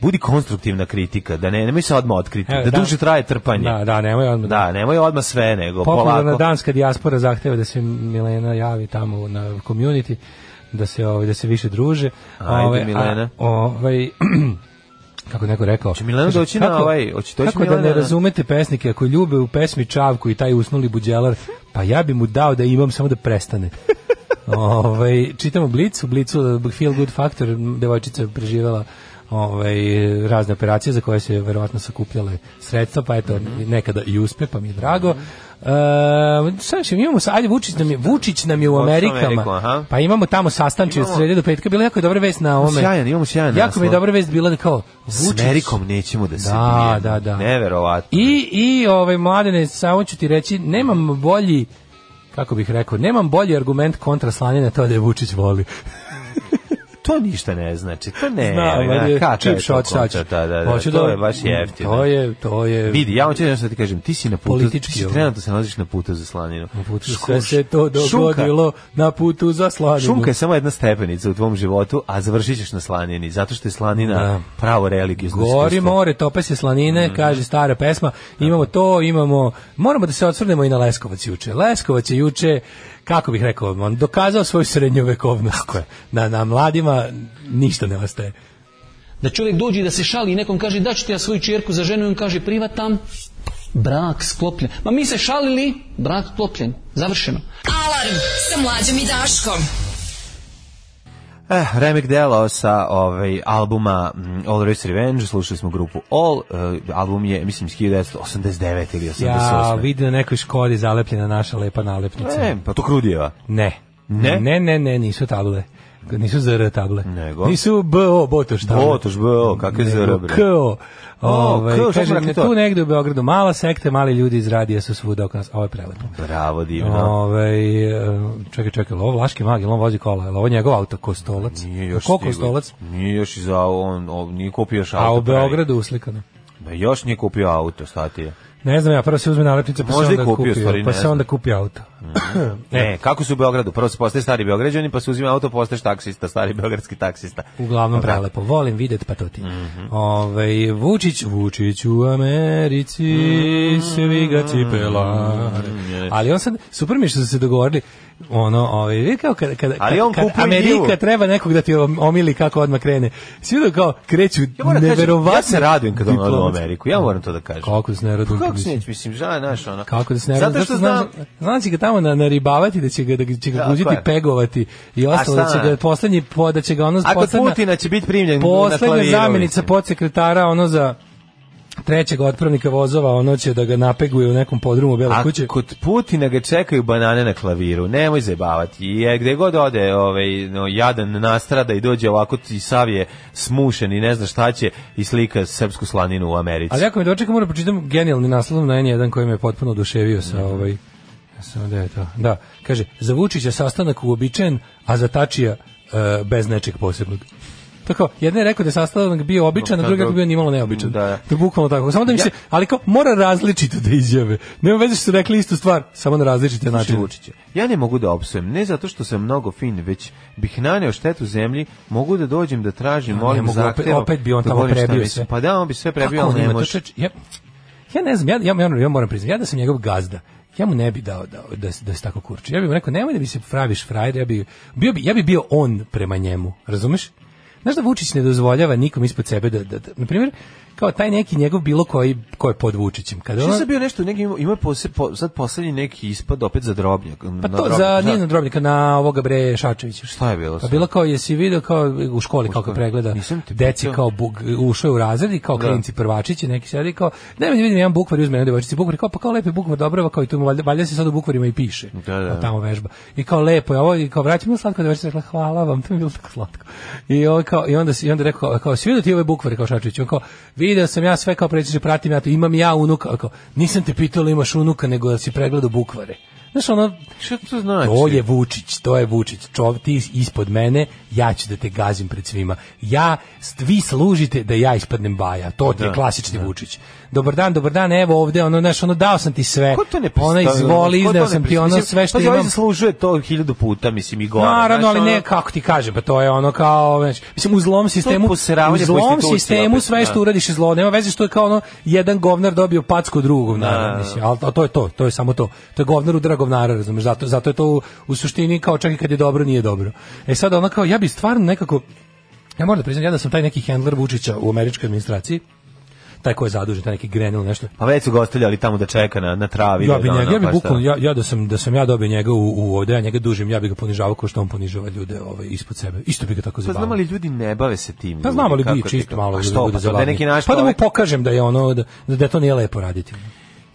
H: budi konstruktivna kritika, da ne, nemoj se odmah otkriti,
G: Evo,
H: da,
G: dan-
H: duže traje trpanje.
G: Da, da, nemoj odmah.
H: Da, nemoj odmah sve, nego
G: Popularna
H: polako.
G: danska dijaspora zahteva da se Milena javi tamo na community, da se ovaj da se više druže.
H: Ajde,
G: Ovaj, a,
H: Milena.
G: Ovaj <clears throat> kako je neko rekao.
H: Će Milena
G: kaže,
H: doći na
G: kako-
H: ovaj, hoće doći
G: Kako da
H: Milena
G: ne
H: na-
G: razumete pesnike ako ljube u pesmi Čavku i taj usnuli buđelar, pa ja bi mu dao da imam samo da
H: <laughs>
G: prestane. ovaj čitamo Blic, u Blicu Feel Good Factor, devojčica je preživela ovaj, razne operacije za koje se verovatno sakupljale sredstva, pa eto,
H: Mhm.
G: nekada i uspe, pa mi je drago. Uh, sad ćemo, imamo, sa- ajde, Vučić nam je, Vučić nam je u
H: Otišao u
G: Amerikama,
H: Ameriku, aha.
G: pa imamo tamo sastanči od
H: Imamo-
G: srede do petka, bila je jako dobra vest na ome.
H: Sjajan, imamo sjajan
G: Jako mi je
H: naslov.
G: dobra vest bila da kao,
H: S
G: Vučić,
H: Amerikom nećemo da se
G: Da,
H: bijemo.
G: da, da.
H: Neverovatno.
G: i, i ovaj, mladene, samo ću ti reći, nemam bolji, kako bih rekao, nemam bolji argument kontra slanjena to da je Vučić voli.
H: to ništa ne znači. To ne,
G: Znam,
H: da,
G: ali je
H: kaka je
G: cheap
H: to
G: shot, šta ću.
H: koncept, da, da, da,
G: Hoću
H: to
G: da-
H: je baš jeftino.
G: To je, to je...
H: Vidi, ja hoću nešto da ti kažem, ti si na putu,
G: Politički
H: ti si
G: ovo.
H: trenutno se nalaziš na putu za slaninu.
G: Na putu
H: Ško-
G: sve se to
H: šunka-
G: dogodilo na putu za slaninu.
H: Šunka je samo jedna stepenica u tvom životu, a završit ćeš na slanini, zato što je slanina
G: Da.
H: pravo religijozno
G: Gori
H: iskustvo. Mhm.
G: more, tope se slanine, kaže stara pesma. Imamo to, imamo... Moramo da se odsvrnemo i na Leskovac juče. Leskovac je juče, kako bih rekao, on dokazao svoju srednjovekovnost. Na, na mladima ništa ne ostaje.
M: Da čovjek dođe i da se šali i nekom kaže da ću ti ja svoju čerku za ženu i on kaže privatan, brak sklopljen. Ma mi se šalili, brak sklopljen, završeno.
J: Alarm sa mlađom i Daškom.
H: Eh, Remek Delo sa ovaj, albuma mm, All Race Revenge, slušali smo grupu All, eh, album je, mislim, iz 1989 ili 88.
G: Ja vidim na nekoj škodi zalepljena naša lepa nalepnica.
H: E, pa to Krudijeva.
G: Ne.
H: Ne?
G: Ne, ne, ne, nisu table. Nisu ZR table.
H: Nego?
G: Nisu BO, Botoš table.
H: Botoš, BO, kakve
G: Nego
H: ZR, bre?
G: KO. Ovaj,
H: KO, šta
G: kaže,
H: smo rekli
G: ne,
H: to?
G: tu negde u Beogradu mala sekte, mali ljudi iz radija su svuda oko nas. Ovo je prelepo.
H: Bravo, divno.
G: Ove, čekaj, čekaj, jel ovo Vlaški mag, jel on vozi kola, jel ovo njegov auto, Kostolac?
H: Nije još
G: Ko
H: stigao.
G: Kostolac?
H: Nije još iza, on, on nije kupio još auto.
G: A u
H: pravi.
G: Beogradu uslikano.
H: Da, još nije kupio auto, šta ti je?
G: Ne znam, ja prvo se uzme nalepnica, pa se
H: Možda i
G: onda
H: kupio, u stvari,
G: kupi,
H: ne Mhm.
G: pa se
H: znam.
G: onda kupi auto. E.
H: Ne, E, kako su u Beogradu? Prvo se postaje stari Beograđanin, pa se uzima auto, postaješ taksista, stari beogradski taksista.
G: Uglavnom
H: Tako.
G: prelepo. Volim videt pa to ti.
H: Mhm.
G: Ovaj, Vučić, Vučić u Americi,
H: Mhm.
G: svi ga cipela. Ali on sad, super mi je što su se dogovorili, ono, ovaj, vidi kao kada, kada,
H: Ali on
G: kad
H: kupuje
G: Amerika
H: njivu.
G: treba nekog da ti omili kako odmah krene. Svi da kao kreću
H: Ja moram da kažem,
G: neverovatno.
H: ja se radujem kad on ode u
G: diplomatski-
H: Ameriku, ja moram to da kažem.
G: Kako da se ne radujem?
H: Kako
G: kad
H: se
G: mislim?
H: neće, mislim, žao je naš, ono.
G: Kako da se ne radujem?
H: Zato što
G: znam,
H: znam,
G: znam da će ga tamo na, naribavati, da će ga, da će ga
H: Tako
G: guđiti,
H: je.
G: pegovati i ostalo, da će
H: šta?
G: ga poslednji, po- da će ga ono
H: a kod
G: poslednja-
H: Putina će biti primljen na
G: Poslednja
H: klaviru.
G: zamenica
H: mislim.
G: podsekretara, ono za trećeg otpravnika vozova, ono će da ga napeguje u nekom podrumu Bele
H: A
G: kuće.
H: kod Putina ga čekaju banane na klaviru, nemoj zajebavati. I e, gde god ode, ovaj, no, jadan nastrada i dođe ovako i sav je smušen i ne zna šta će i slika srpsku slaninu u Americi.
G: Ali ako mi dočekam, moram pročitam genijalni naslov na N1 koji me je potpuno oduševio sa ovaj... Samo da je to. Da, kaže, za Vučića sastanak uobičajen, a za Tačija e, bez nečeg posebnog. Tako, jedna je rekao da je sastanak bio običan, a
H: Dobro,
G: druga je
H: dobro.
G: bio nimalo neobičan.
H: Da, da.
G: To je bukvalno tako. Samo da mi se, ali kao, mora različito da izjave. Nema veze što su rekli istu stvar, samo na različite
H: Znači,
G: načine.
H: Vučića. Ja ne mogu da opsujem, ne zato što sam mnogo fin, već bih naneo štetu zemlji, mogu da dođem da tražim,
G: ne
H: molim
G: mogu, opet-
H: zahtevom.
G: opet bi on
H: da
G: tamo
H: govorim šta
G: prebio sve.
H: mislim. Pa da, on bi sve prebio,
G: Kako on
H: ali ne
G: ima to
H: može.
G: čoveč? ja, ja ne znam, ja, ja, ja, ja moram priznati, ja da sam njegov gazda, ja mu ne bi dao da, da, se- da se tako kurči. Ja bih mu rekao, nemoj da mi se praviš frajer, ja bi, bio bi, ja bi bio on prema njemu, razumeš? Znaš da Vučić ne dozvoljava nikom ispod sebe da, da, da na primjer, kao taj neki njegov bilo koji ko je pod Vučićem. Kada
H: Što
G: ono,
H: sam bio nešto, neki ima, ima pose, po, sad poslednji neki ispad opet za drobnjak.
G: pa to za nije na drobnika, na ovoga bre Šačevića.
H: Šta je bilo
G: Pa
H: sad?
G: bilo kao jesi video kao u školi kako
H: školi.
G: pregleda
H: Nisam ti
G: deci
H: pitao.
G: kao bug, ušao je u razred i kao
H: Da.
G: klinci prvačići neki sedi i kao daj mi da vidim jedan bukvar i uzme jedan devojčici bukvar i kao pa kao lepi bukvar dobrava kao i tu mu valjda, valjda se sad u bukvarima i piše
H: Da, da.
G: Pa tamo vežba i kao lepo je ovo i kao vraćam mu slatko devojčica je rekla hvala vam to mi je bilo tako slatko i ovo kao i onda se- i onda je rekao kao, kao si video ti ove bukvare kao Šačić on kao video sam ja sve kao predsjedniče pratim ja to imam ja unuka A kao nisam te pitao jel imaš unuka nego da si pregledao bukvare Znaš, ono,
H: Što to znači?
G: to je Vučić, to je Vučić. Čov, ti is- ispod mene, ja ću da te gazim pred svima. Ja, st- vi služite da ja ispadnem baja. To ti je klasični Vučić. dobar dan, dobar dan, evo ovde, ono, znaš, ono, dao sam ti sve.
H: Ko to ne
G: Ona
H: pristaje?
G: izvoli,
H: Ko to
G: izdao
H: ne
G: sam ti
H: pristaje?
G: ono
H: Mislim,
G: sve što
H: pazi, ovaj
G: imam.
H: zaslužuje to hiljadu puta, mislim, i gore.
G: Naravno,
H: znaš,
G: ali
H: ono-
G: ne kako ti kažem, pa to je ono kao, znači, mislim u zlom sistemu, u
H: posiravanje po
G: zlom
H: instituciji
G: sistemu
H: opet,
G: sve što
H: da.
G: uradiš je zlo, nema veze što je kao ono jedan govnar dobio packu od drugog govnara,
H: Da.
G: mislim, al a to je to, to je samo to. To je govnar udara govnara, razumeš, zato zato je to u, u suštini kao čak i kad je dobro nije dobro. E sad ono kao ja bi stvarno nekako ja moram da priznam ja da sam taj neki handler Vučića u američkoj administraciji taj ko je zadužen, taj neki Grenell nešto.
H: Pa već su ga ostavljali tamo da čeka na, na travi.
G: Ja bi
H: da, ono,
G: njega, ja bi
H: pa šta.
G: bukvalno, ja, ja da sam da sam ja dobio njega u, u ovde, ja njega dužim, ja bi ga ponižavao kao što on ponižava ljude ovaj ispod sebe. Isto bi ga tako
H: Pa
G: zabavio.
H: znamo li ljudi ne bave se tim.
G: Pa
H: ljudi,
G: znamo li
H: kako
G: bi
H: ti
G: čisto
H: ka-
G: malo
H: A
G: da
H: što,
G: bude
H: pa sad
G: zabavniji.
H: da neki naš
G: Pa da mu
H: čovjek-
G: pokažem da je ono da, da to nije lepo raditi.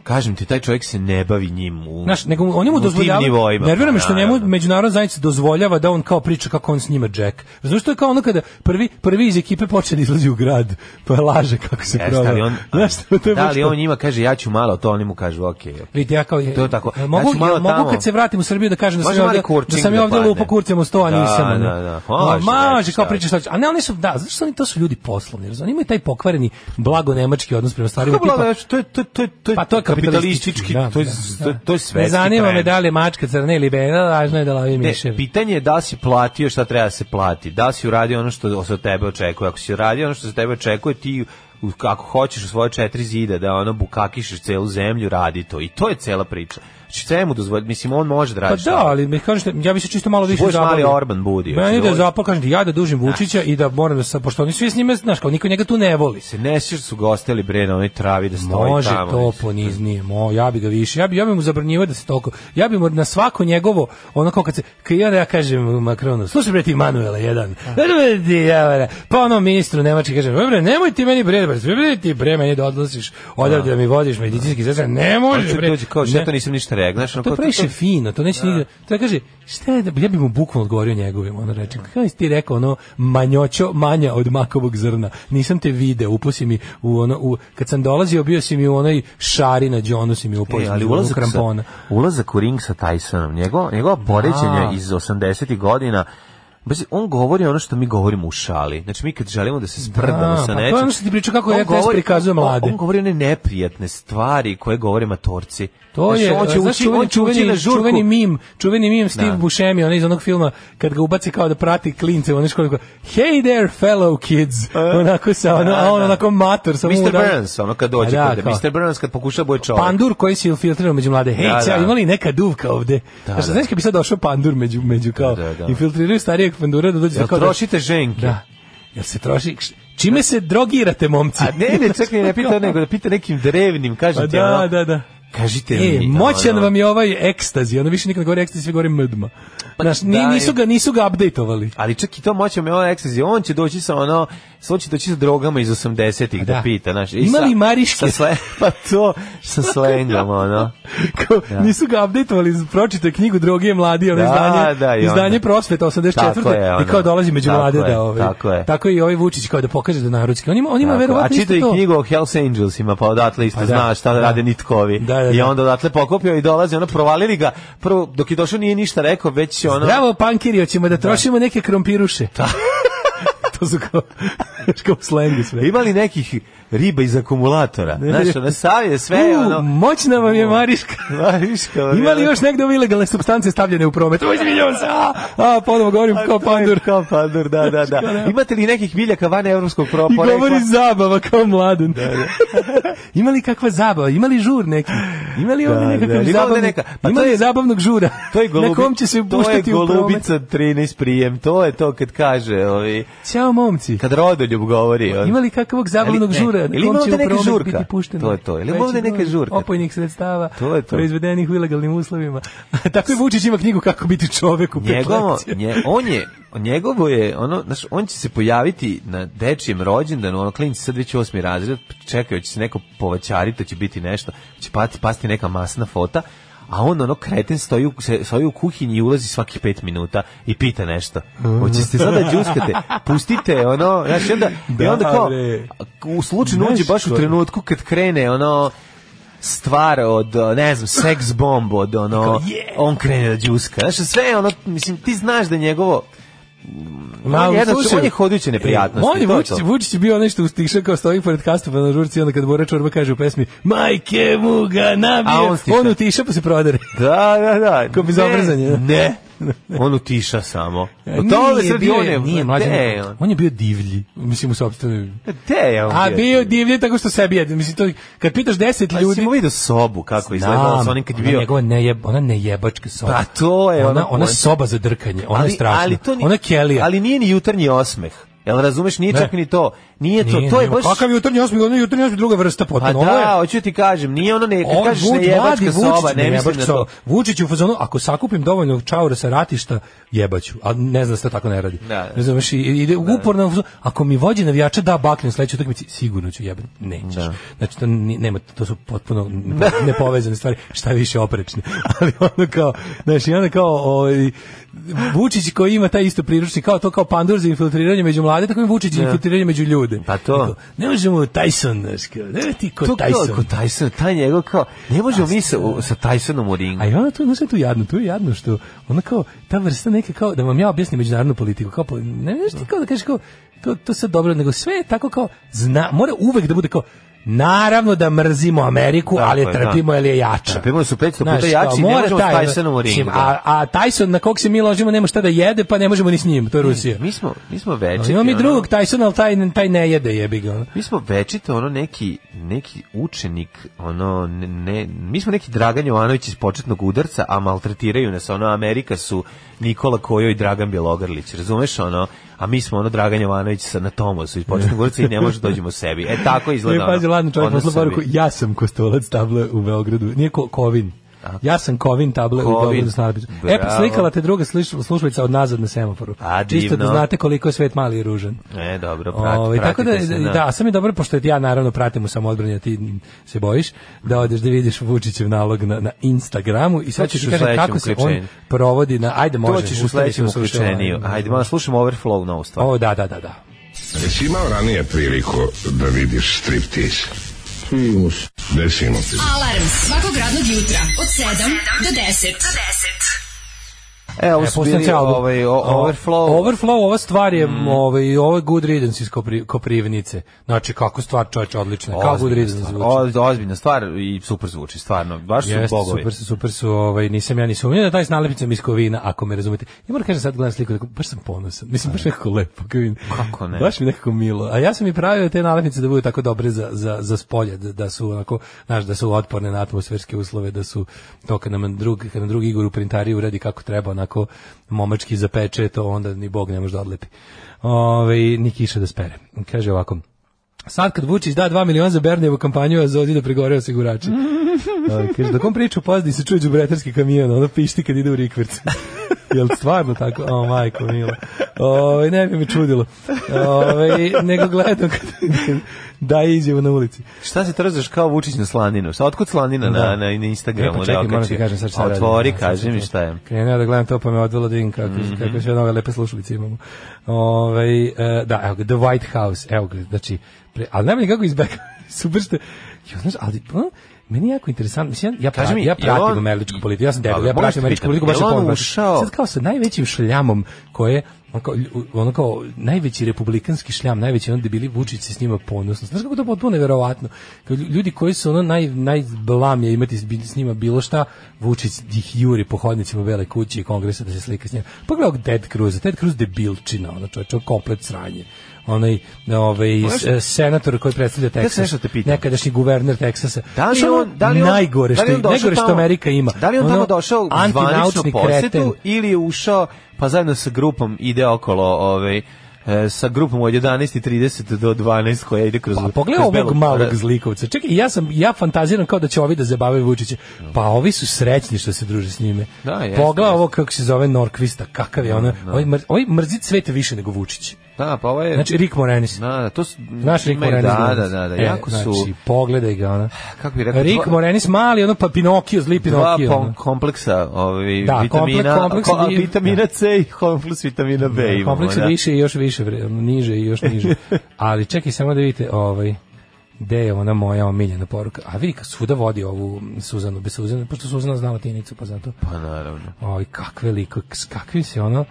H: Kažem ti, taj čovjek se ne bavi njim u,
G: Znaš, nego on njemu
H: u tim
G: dozvoljava.
H: nivoima. pa
G: Nervira me što njemu
H: Naravno.
G: međunarodna zajednica dozvoljava da on kao priča kako on s njima Jack. Razumeš što je kao ono kada prvi prvi iz ekipe počne da izlazi u grad, pa laže kako se
H: Jeste,
G: proba.
H: ali on,
G: <laughs> Znaš, to je
H: da
G: baš
H: li
G: to.
H: on njima kaže ja ću malo to, oni mu kažu ok.
G: Vidite, ja kao,
H: To je tako.
G: jel Mogu,
H: Ja ću malo
G: jel mogu
H: tamo.
G: kad se vratim u Srbiju da kažem da sam
H: Može
G: ja ovde,
H: mali
G: da
H: kurčing
G: sam ja
H: da
G: ovde
H: padne.
G: lupo kurcem u sto, a
H: Da,
G: nisam. ono.
H: da, da.
G: Ma,
H: Može,
G: Može,
H: znači,
G: kao
H: šta
G: pričaš šta će. A ne, oni su, da, zašto su oni, to su ljudi poslovni, razumiješ? Oni imaju taj pokvareni blago-nemački odnos prema stvarima.
H: Kako
G: tipa,
H: blago, to je to je- to je to je
G: Pa to je kapitalistički, da,
H: to je
G: da,
H: to je- to je
G: Ne
H: svetski.
G: zanima me
H: trend.
G: da li je mačka crna ili bela, važno je da lavi
H: Ne,
G: miševi.
H: pitanje je da li si platio šta treba da se plati, da li si uradio ono što se od tebe očekuje. Ako si uradio ono što se od tebe očekuje, ti u- ako hoćeš u svoje četiri zida da ono bukakišeš celu zemlju, radi to. I to je cela priča. Znači, sve mu dozvoli, mislim, on može da
G: Pa
H: radi šta
G: da, ali mi kažete, ja bi se čisto malo više
H: Budeš mali
G: zabavio.
H: Orban budi,
G: Meni
H: hoćeš
G: da
H: da
G: zapal, kažem ti, ja da dužim Vučića i da moram da sa, pošto oni svi s njime, znaš, kao niko njega tu ne voli.
H: se ne sjećaš da su ga ostali bre na onoj travi da stoji
G: Može
H: tamo.
G: to
H: mislim.
G: poniznije, mo, ja bi ga više, ja bi, ja bi mu zabranjivao da se toliko, ja bi mu na svako njegovo, ono kao kad se, kad ja, ja kažem Makronu, slušaj bre ti Manuela jedan, Bre, ti javara. pa ono ministru Nemački kažem, "Oj, bre, nemoj ti meni bre, bre, bre ti bre meni da odnosiš, odavde da mi vodiš medicinski sestre, ne
H: On
G: može
H: će
G: bre.
H: dođe Pa Znači, kao,
G: Ne.
H: šta to nisam ništa rekao. Znaš, ono,
G: To
H: kao,
G: je previše fino, to neće nigde. To ja kaže, šta je, da- ja bi mu bukvalno odgovorio njegovim, ono reče, kako si ti rekao, ono, manjoćo, manja od makovog zrna, nisam te video, upao si mi u ono, u, kad sam dolazio, bio si mi u onoj šari na džonu, si mi upao,
H: E, ali
G: u
H: ulazak,
G: krampona.
H: sa, ulazak u ring sa Tysonom, njegova, njegova poređenja
G: Da.
H: iz 80. godina, Bazi, on govori ono što mi govorimo u šali. Znači, mi kad želimo da se sprdamo
G: Da,
H: sa
G: pa to je
H: nečim...
G: ono što ti pričao kako
H: on
G: RTS prikazuje mlade.
H: On, on govori one neprijatne stvari koje govore matorci.
G: To
H: Znači,
G: je,
H: on će
G: znaš,
H: ući,
G: čuveni,
H: on će ući
G: čuveni,
H: na žurku.
G: čuveni mim, čuveni mim Steve
H: Da.
G: Buscemi, onaj iz onog filma, kad ga ubaci kao da prati klince, on je školiko, hey there fellow kids, onako sa, ono, a on
H: E, da.
G: onako mator, samo mu
H: Mr.
G: da-
H: Burns, ono kad dođe
G: A da,
H: kod
G: kao-
H: Mr. Burns kad pokuša boje čovjek.
G: Pandur koji se infiltrirao među mlade. Hej,
H: Da,
G: da,
H: da.
G: imali neka duvka ovde. Da,
H: da.
G: da. Znaš kad bi sad došao pandur među, među kao,
H: Da, da, da.
G: infiltriraju starijeg pandura da dođe
H: Jel
G: za kao
H: trošite ženke?
G: Da, da. Jel se troši? Čime se drogirate, momci?
H: A ne, ne, čak mi ne
G: <laughs>
H: pita nego da pita nekim drevnim,
G: Pa
H: kažete.
G: da,
H: ono,
G: da, da.
H: Kažite
G: E,
H: mi.
G: moćan
H: ono.
G: vam je ovaj ekstazi, ono više nikad ne govori ekstazi, sve govori mdma.
H: pa
G: Znaš, ni-
H: da,
G: nisu ga, nisu ga updateovali.
H: Ali čak i to moćan me on ekstazi, on će doći sa ono, on će doći sa drogama iz 80-ih da.
G: Da.
H: pita, znaš. i
G: Ima
H: sa-
G: li Mariške?
H: Sa sle, <laughs> pa to, sa slengom, ono.
G: Kao, Nisu ga updateovali, pročito je knjigu Drogije mladi, ono
H: Da,
G: izdanje,
H: da, i onda.
G: izdanje prosveta 84.
H: Tako je, ono.
G: I kao dolazi među
H: Tako
G: mlade
H: je,
G: da ove.
H: tako je.
G: Tako i ovaj Vučić kao da pokaže da je narodski. On ima, on ima
H: Tako, a
G: verovatno isto
H: čitao i
G: to.
H: knjigu o Hells Angelsima, pa odatle isto
G: Pa da,
H: znaš šta
G: da.
H: rade nitkovi.
G: Da, da,
H: I
G: da.
H: onda odatle pokopio i dolazi, ono, provalili ga. Prvo, dok je došao nije ništa rekao, već ono...
G: Bravo, pankiri, hoćemo da trošimo neke krompiruše. <laughs> to su kao, kao u slengu sve.
H: Ima li nekih riba iz akumulatora? Znaš, ono, sav je sve,
G: U,
H: <laughs> ono...
G: moćna vam je
H: <laughs>
G: Mariška.
H: Mariška, ono,
G: Ima li još negde ove ilegalne substance stavljene u promet? Uj, izvinjavam se, a, a, ponovo govorim
H: A
G: kao
H: to je
G: pandur.
H: <laughs> Kao pandur, da, da, da. Imate li nekih biljaka van evropskog pro-
G: I
H: porekla?
G: govori zabava kao mladen. <laughs> ima li kakva zabava? Ima li žur neki? Ima li ovde
H: Da,
G: nekakav
H: da, ima ovde
G: zabavni-
H: neka- pa
G: ima
H: to
G: li
H: je-
G: zabavnog žura?
H: To je golubi,
G: Na kom će se puštati
H: to
G: u
H: je
G: promet?
H: golubica 13 prijem, to je to kad kaže, ovi,
G: Ćao momci.
H: kad rodoljub govori. on-
G: Ima li kakvog zabavnog
H: ne,
G: žura? na
H: e, ili
G: kom
H: ima
G: će
H: ovde
G: u
H: neka
G: promet
H: žurka?
G: biti pušteno?
H: To je to. Ili ima
G: Veći
H: ovde neka
G: broj
H: žurka?
G: Opojnih sredstava,
H: To je to.
G: proizvedenih u ilegalnim uslovima. <laughs> Tako je Vučić ima knjigu kako biti čovek u pet
H: Njegovo,
G: lekcija.
H: nje, on je, njegovo je, ono, znaš, on će se pojaviti na dečijem rođendanu, ono, klinci sad već osmi razred, čekaju, će se neko povaćariti, to će biti nešto, će pati, pasti neka masna fota, a on, ono, kreten stoji u, se- stoji u kuhinji i ulazi svakih pet minuta i pita nešto. Hoćete sad da džuskate? Pustite, ono, znaš, i onda, i onda kao,
G: Dobre.
H: u slučaju uđe baš u
G: Nešto.
H: trenutku kad krene, ono, stvar od, ne znam, seks bomb od ono, on krene da džuska. Znaš, sve je ono, mislim, ti znaš da je njegovo Ma,
G: Ma,
H: on, je jedan,
G: slušaj,
H: on je hodajući neprijatnosti.
G: On je
H: to je
G: Vučić,
H: to.
G: Vučić je bio nešto ustišan kao stoji pored kastupa na žurci i onda kad Bora Čorba kaže u pesmi Majke mu ga
H: A
G: nabije,
H: on
G: on,
H: stiša.
G: utiša pa se
H: <laughs>
G: prodere.
H: Da, da, da.
G: Ko bi za
H: Ne,
G: obrezanje, da?
H: Ne. On utiša samo. O
G: Nije,
H: tome se radi,
G: bio
H: on
G: je-
H: je,
G: nije mlađe.
H: mlađe. je on?
G: on. je bio divlji, mislim u sopstvenoj.
H: Gde je on?
G: A bio divlji tako što sebi jede. Mislim to kad pitaš 10
H: ljudi.
G: ljudi,
H: Si Pa mu vidio sobu kako izgledala sa onim kad je
G: ona
H: bio.
G: njegova nejeb, ona nejebačka soba.
H: Pa to je
G: ona,
H: ono-
G: ona soba za drkanje, ona je strašna.
H: ni-
G: ona kelija.
H: Ali nije ni jutarnji osmeh. Jel razumeš, nije
G: Ne.
H: čak ni to. Nije, to,
G: Nije,
H: to je
G: nije.
H: baš...
G: Kakav jutarnji osmi, ono je jutarnji osmi druga vrsta
H: Pa
G: potpuno. Ovo je-
H: da, hoću ti kažem, nije ono ne, kad
G: On
H: kažeš
G: Vuč-
H: ne
G: mladi
H: jebačka soba,
G: Vučić,
H: ne mislim
G: jebačka
H: na
G: soba.
H: to.
G: Vučić je u fazonu, ako sakupim dovoljno čaura sa ratišta, jebaću. A ne znam da se to tako ne radi.
H: Da, da.
G: Razumeš, i- ide uporno, u fazonu, ako mi vođe navijača da bakne u sledećoj utakmici, sigurno ću jebati. Nećeš. Znači, to, ni- nema, to su potpuno nepo- nepovezane stvari, šta više oprečne. <laughs> Ali ono kao, znači, onda kao, ovaj, Vučić koji ima taj isto priručnik, kao to kao pandur za infiltriranje među mlade, tako i Vučić za infiltriranje među ljude.
H: Pa to.
G: Tako, Ne možemo Tyson, znaš, kao, ne ti ko
H: To kao
G: Tyson.
H: kod Tyson, taj njegov kao, ne možemo mi sa, u- sa Tysonom u ringu.
G: A i ona tu, znaš šta je tu jadno, tu je jadno što ona kao, ta vrsta neke kao, da vam ja objasnim međunarodnu politiku, kao, po- ne znaš ti kao da kažeš kao, to, to sad dobro, nego sve je tako kao, zna, mora uvek da bude kao, naravno da mrzimo Ameriku,
H: Tako
G: ali je
H: je, da.
G: trpimo, jer je jača.
H: Trpimo jer su 500 puta
G: Znaš, kao,
H: jači i ne
G: mora
H: možemo s
G: taj,
H: Tysonom u ringu,
G: mislim,
H: da.
G: A, a Tyson na kog se mi ložimo nema šta da jede, pa ne možemo ni s njim, to je Rusija.
H: Mi smo, mi smo
G: Ali
H: večiti.
G: imamo mi
H: ono.
G: drugog Tysona, ali taj, taj ne jede, jebi ga. ono.
H: Mi smo večito ono neki neki učenik ono ne, ne mi smo neki Dragan Jovanović iz početnog udarca a maltretiraju nas ono Amerika su Nikola Kojo i Dragan Bjelogrlić razumeš ono a mi smo ono Dragan Jovanović sa na Tomasu iz početnog udarca i ne može da dođemo sebi e
G: <laughs>
H: tako
G: Ne,
H: izgleda
G: pazi, ladno čovjek
H: ono
G: poslao poruku,
H: Srbi.
G: ja sam kostolac table u Beogradu, nije ko, Kovin. Ja sam Kovin table u
H: Kovin.
G: Beogradu s nadpisom. E,
H: Bravo.
G: slikala te druga sliš- slušalica od nazad na semaforu.
H: A,
G: Čisto da
H: divno.
G: znate koliko je svet mali i ružan.
H: e dobro prati,
G: Ovaj tako da,
H: pratite se,
G: da, sam je dobro, pošto ja naravno pratim u samoodbrani, a ti se bojiš, da odeš da vidiš Vučićev nalog na, na Instagramu i sad
H: To ćeš
G: ćeš
H: u
G: kažem
H: sledećem
G: kako se on
H: uključenju.
G: provodi na, ajde može.
H: to ćeš u
G: ustavi
H: sledećem
G: se u slušanje.
H: uključeniju
G: ovaj.
H: ajde malo slušamo Overflow novu stvar
G: O, da, da, da, da.
N: Jesi imao ranije priliku da vidiš striptiz? Primus. Desimo ti.
E: Alarm svakog radnog jutra od 7 do 10.
H: e ovo su
G: Pustim
H: bili
G: ti album.
H: ovaj, o-
G: O-
H: Overflow Mm.
G: Overflow, ova stvar je, ovaj, ovo je Good Riddance iz Kopri- Koprivnice. Znači, kako stvar čovječe odlična. Kako Good
H: Ozbiljna
G: Riddance
H: stvar,
G: zvuči.
H: oz- ozbiljna stvar i super zvuči, stvarno. Baš su
G: Jeste,
H: bogovi.
G: super su, super su, ovaj, nisam ja ni sumnio da taj s nalepnicom iz Kovina, ako me razumete. Ja moram kažem sad gledam sliku, tako, baš sam ponosan, mislim baš nekako lepo. Kao vidim.
H: Kako ne?
G: Baš mi nekako milo. A ja sam i pravio te nalepnice da budu tako dobre za, za, za spolje, da, da su onako, znaš, da su otporne na atmosferske uslove, da su to kad nam drug, kad nam drugi Igor u printari uradi kako treba, onako momački zapeče, to onda ni Bog ne može da odlepi. Ove, ni kiša da spere. Kaže ovako, Sad kad Vučić da 2 miliona za Bernijevu kampanju, a Zodi da pregore osigurači. A, Ovaj, Kaže, dok on priča u pozadini se čuje đubretarski kamion, ono pišti kad ide u rikverc. <laughs> Jel stvarno tako? O, majko mila. Ove, ne bi me čudilo. Ove, nego gledam kad <laughs> da je izjavu na ulici.
H: Šta se trzaš kao Vučić na slaninu? Sa otkud slanina na, na, na Instagramu?
G: E, pa čekaj,
H: da
G: moram ti
H: okači?
G: kažem sad šta
H: Otvori,
G: radim.
H: kaži
G: Sad
H: mi
G: sam-
H: šta je.
G: Krenuo da gledam to, pa me odvelo da vidim kako, kako
H: Mhm.
G: sve nove lepe slušalice imamo. Ove, da, evo ga, The White House, evo ga, znači, pre, ali najbolje kako izbeka, <laughs> super što, jo, znaš, ali, ono, meni je jako interesantno, mislim, ja, ja, pra,
H: Kaži
G: ja
H: mi, je li
G: pratim
H: on-
G: američku politiku, ja sam debil,
H: Ali
G: ja
H: možeš
G: pratim američku
H: pitam,
G: politiku, baš
H: je li on
G: ponosan.
H: ušao-
G: Sad kao sa najvećim šljamom koje on kao, lju- ono kao najveći republikanski šljam, najveći ono debili Vučić se s njima ponosno. Znaš kako je to potpuno neverovatno. Kao lju- ljudi koji su ono naj, najblamje imati s, bi- s njima bilo šta, Vučić ih juri po hodnicima Bele kuće i kongresa da se slika s njima. Pogledaj ovog Ted Cruz, Ted Cruz debilčina, ono čovječ, on komplet sranje. Onaj ovaj, s- e, senator koji predstavlja
H: sam
G: Teksas,
H: nešto te pitam.
G: nekadašnji guverner Teksasa.
H: Da li
G: Znaš, ono
H: on, da li on,
G: najgore
H: da
G: što,
H: li on došao
G: najgore što
H: tamo-
G: Amerika ima.
H: Da li je on
G: Ono,
H: tamo došao u zvaničnu
G: antinaučni kreten.
H: posetu ili je ušao pa zajedno sa grupom ide okolo ovaj, e, sa grupom od 11.30 do 12 koja ide kroz...
G: Pa pogledaj
H: kroz
G: ovog
H: Belu-
G: malog zlikovca. Čekaj, ja sam ja fantaziram kao da će ovi da zabave Vučića. Pa ovi su srećni što se druže s njime.
H: Da, jeste,
G: Pogledaj
H: jeste.
G: ovo kako se zove Norkvista, kakav je ona. Ovaj mr, ovaj mrzi cvete više nego Vučić.
H: Da, pa ovo je...
G: Znači Rick Moranis.
H: Da, da, to su...
G: Znaš Rick
H: imaju-
G: Moranis?
H: Da,
G: glumac?
H: da, da, da,
G: E,
H: jako su...
G: Znači, pogledaj ga ona.
H: Kako bi rekao...
G: Rick
H: dva-
G: Moranis mali, ono pa Pinokio, zli
H: dva
G: Pinokio.
H: pom-
G: ono.
H: kompleksa, ovaj
G: Da,
H: vitamina,
G: kompleks- kompleks
H: ko-
G: bi-
H: vitamina C i kompleks vitamina B imamo.
G: Kompleks je
H: da.
G: više i još više, vre- niže i još
H: <laughs>
G: niže. Ali čekaj samo da vidite, ovaj gde je ona moja omiljena poruka. A vidi, kad svuda vodi ovu Suzanu, bez Suzane, pošto Suzana zna latinicu, pa zato.
H: Pa naravno.
G: Oj, kakve liko, s kakvim se ono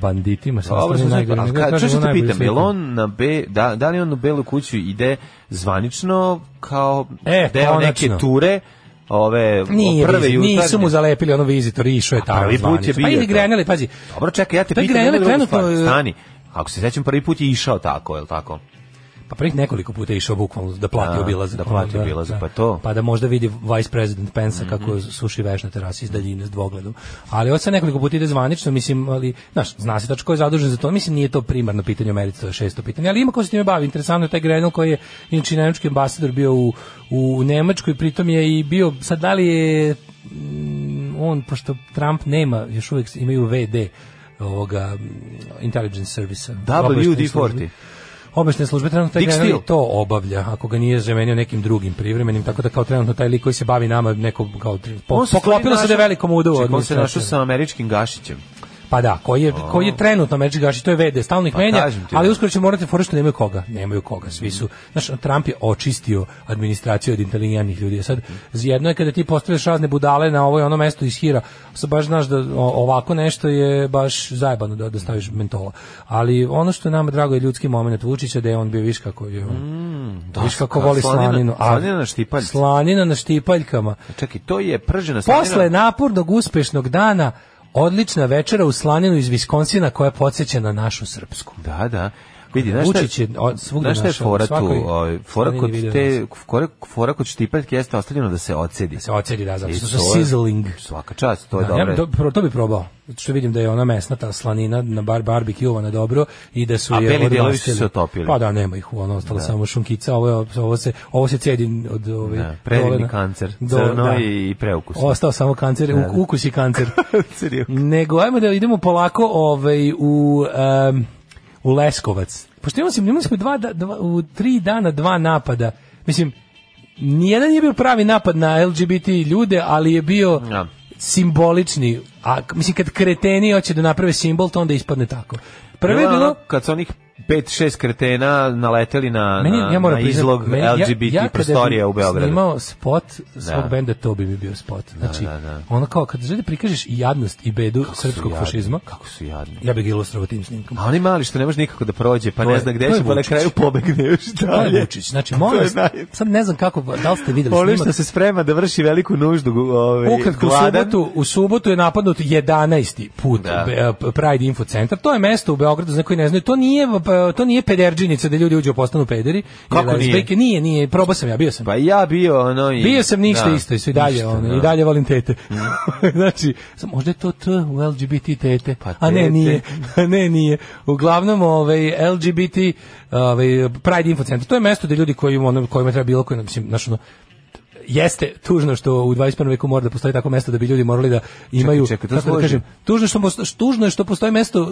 G: banditima sa
H: Dobro,
G: ostalim
H: sam
G: najgorim.
H: najgore.
G: nego ja
H: Kad,
G: kažem,
H: čuš te
G: najbolji
H: pitam, je
G: slikar.
H: li on na B, da, da li on u Belu kuću ide zvanično kao
G: E,
H: deo
G: konačno.
H: neke ture, ove
G: Nije,
H: prve
G: prve
H: jutarnje?
G: nisu mu zalepili ono vizitor, išao je tamo.
H: prvi put je
G: zvanično.
H: bio
G: Pa ili
H: to.
G: Greneli, pazi.
H: Dobro, čekaj, ja te
G: To je
H: pitam
G: Grenele
H: jednu drugu stvar.
G: trenutno, e,
H: Stani, ako se sećam, prvi put je išao tako, je li tako?
G: Pa prvih nekoliko puta je išao bukvalno da plati
H: Da,
G: obilazak.
H: da
G: ono,
H: plati obilazak, pa to. Mhm.
G: Pa da možda vidi vice president Pence kako suši veš na terasi iz daljine s dvogledom. Ali od sad nekoliko puta ide zvanično, mislim, ali, znaš, zna se tačno ko je zadužen za to, mislim, nije to primarno pitanje u Americi, to je šesto pitanje, ali ima ko se time bavi. Interesantno je taj Grenell koji je inače i nemački ambasador bio u, u Nemačkoj, pritom je i bio, sad da li je mm, on, pošto Trump nema, još uvijek imaju VD, ovoga mm, intelligence servisa. obaveštajnih službi.
H: WD-40.
G: Obešne službe trenutno taj
H: Dick
G: general
H: Steele.
G: i to obavlja, ako ga nije zamenio nekim drugim privremenim, tako da kao trenutno taj lik koji se bavi nama neko kao tri- po-
H: On se
G: poklopilo se da je
H: našao-
G: velikom udaru
H: Čekaj, on se našao
G: administracije.
H: sa američkim gašićem.
G: Pa da, koji je, koji je trenutno američki gaši, to je VD, stalno ih
H: Pa
G: menja,
H: kažem ti.
G: ali uskoro će morati fora što nemaju koga, nemaju koga, svi su, znaš, Trump je očistio administraciju od inteligentnih ljudi, a sad jedno je kada ti postavljaš razne budale na ovo i ono mesto iz hira, sad baš znaš da o- ovako nešto je baš zajebano da, da staviš mentola, ali ono što je nama drago je ljudski moment Vučića da je on bio viš kako je on, viš kako
H: ka-
G: voli
H: Mm. Pa slanina-
G: slaninu, a-
H: slanina na štipaljci.
G: slanina na štipaljkama,
H: Čekaj, to je pržena slanina.
G: Posle napornog uspešnog dana Odlična večera u slaninu iz Viskonsina koja podsjeća na našu srpsku.
H: Da, da. Vidi, znaš šta
G: Vučić je od- svugde
H: znaš šta je
G: našao,
H: fora
G: u
H: tu?
G: svakoj
H: ovaj, Fora
G: strani
H: kod,
G: video
H: te, fora, fora kod štipaljke jeste ostavljeno da se ocedi.
G: Da se ocedi, da, zato
H: I
G: što su
H: to je-
G: sizzling.
H: Svaka čast, to je
G: Da, ja bi
H: dobro.
G: do- pro- to bi probao. Zato što vidim da je ona mesnata slanina na bar barbekiovana dobro i da su
H: A
G: je
H: beli
G: odmastili.
H: dijelovi su se otopili.
G: Pa da, nema ih, ono ostala samo šunkica, ovo, je- ovo se ovo se cedi od ove
H: Da, predivni
G: dole na-
H: kancer,
G: dole,
H: crno
G: da.
H: i preukusno. <laughs>
G: Ostao samo kancer, uk- ukus i kancer.
H: Serio.
G: Nego ajmo da idemo polako ovaj, u, em, u Leskovac. Pošto imali smo, imali smo dva, da- dva- u tri dana dva napada. Mislim, nijedan je bio pravi napad na LGBT ljude, ali je bio
H: Ja.
G: simbolični. A, k- mislim, kad kreteni hoće da naprave simbol, to onda ispadne tako. Prvo je
H: Bilo je
G: bilo...
H: ono Kad su onih pet, šest kretena naleteli na, na,
G: moram
H: na
G: priznat,
H: izlog
G: meni- ja-
H: LGBT
G: ja kada
H: prostorija
G: bi
H: u Beogradu.
G: snimao spot svog
H: Da.
G: benda, to bi mi bio spot. Znači,
H: da, da.
G: ono kao, kad želi da prikažeš i jadnost i bedu
H: Kako su
G: srpskog
H: jadni,
G: fašizma,
H: Kako su jadni.
G: ja bih ga ilustrovao tim snimkom.
H: A oni mali što ne može nikako da prođe, pa
G: To
H: ne
G: je-
H: zna
G: to
H: gde
G: je
H: će, pa na
G: Vučić.
H: kraju pobegne još
G: To
H: <laughs> dalje.
G: je Vučić. Znači, molim
H: To je
G: vas,
H: naj-
G: sad ne znam kako, da li ste videli
H: Ono
G: snimak.
H: što se sprema da vrši veliku nuždu, gu- ovaj,
G: Ukratko, u
H: gladan.
G: subotu, u subotu je napadnut 11. put
H: Da.
G: Be- P- Pride Info Centar. To je mesto u Beogradu za koji ne znaju. To nije, p- to nije pederđinica da ljudi uđu postanu pederi.
H: Kako nije?
G: nije? Nije, nije. Probao sam ja, bio sam.
H: Pa i ja bio ono i...
G: Bio sam ništa isto, isto i dalje,
H: ništa,
G: ono,
H: da. Mm.
G: i dalje volim tete. <laughs> znači, sam- možda je to T u LGBT tete,
H: Pa
G: a ne
H: tete.
G: nije, <laughs> a ne nije. Uglavnom, ovaj, LGBT, ovaj, Pride Info Centar, to je mesto gde ljudi koji, ono, kojima treba bilo koji, mislim, znaš, ono, jeste tužno što u 21. veku mora da postoji tako mesto da bi ljudi morali da imaju
H: čekaj, to
G: kako da
H: složi.
G: kažem tužno je što posto- tužno je što postoji mesto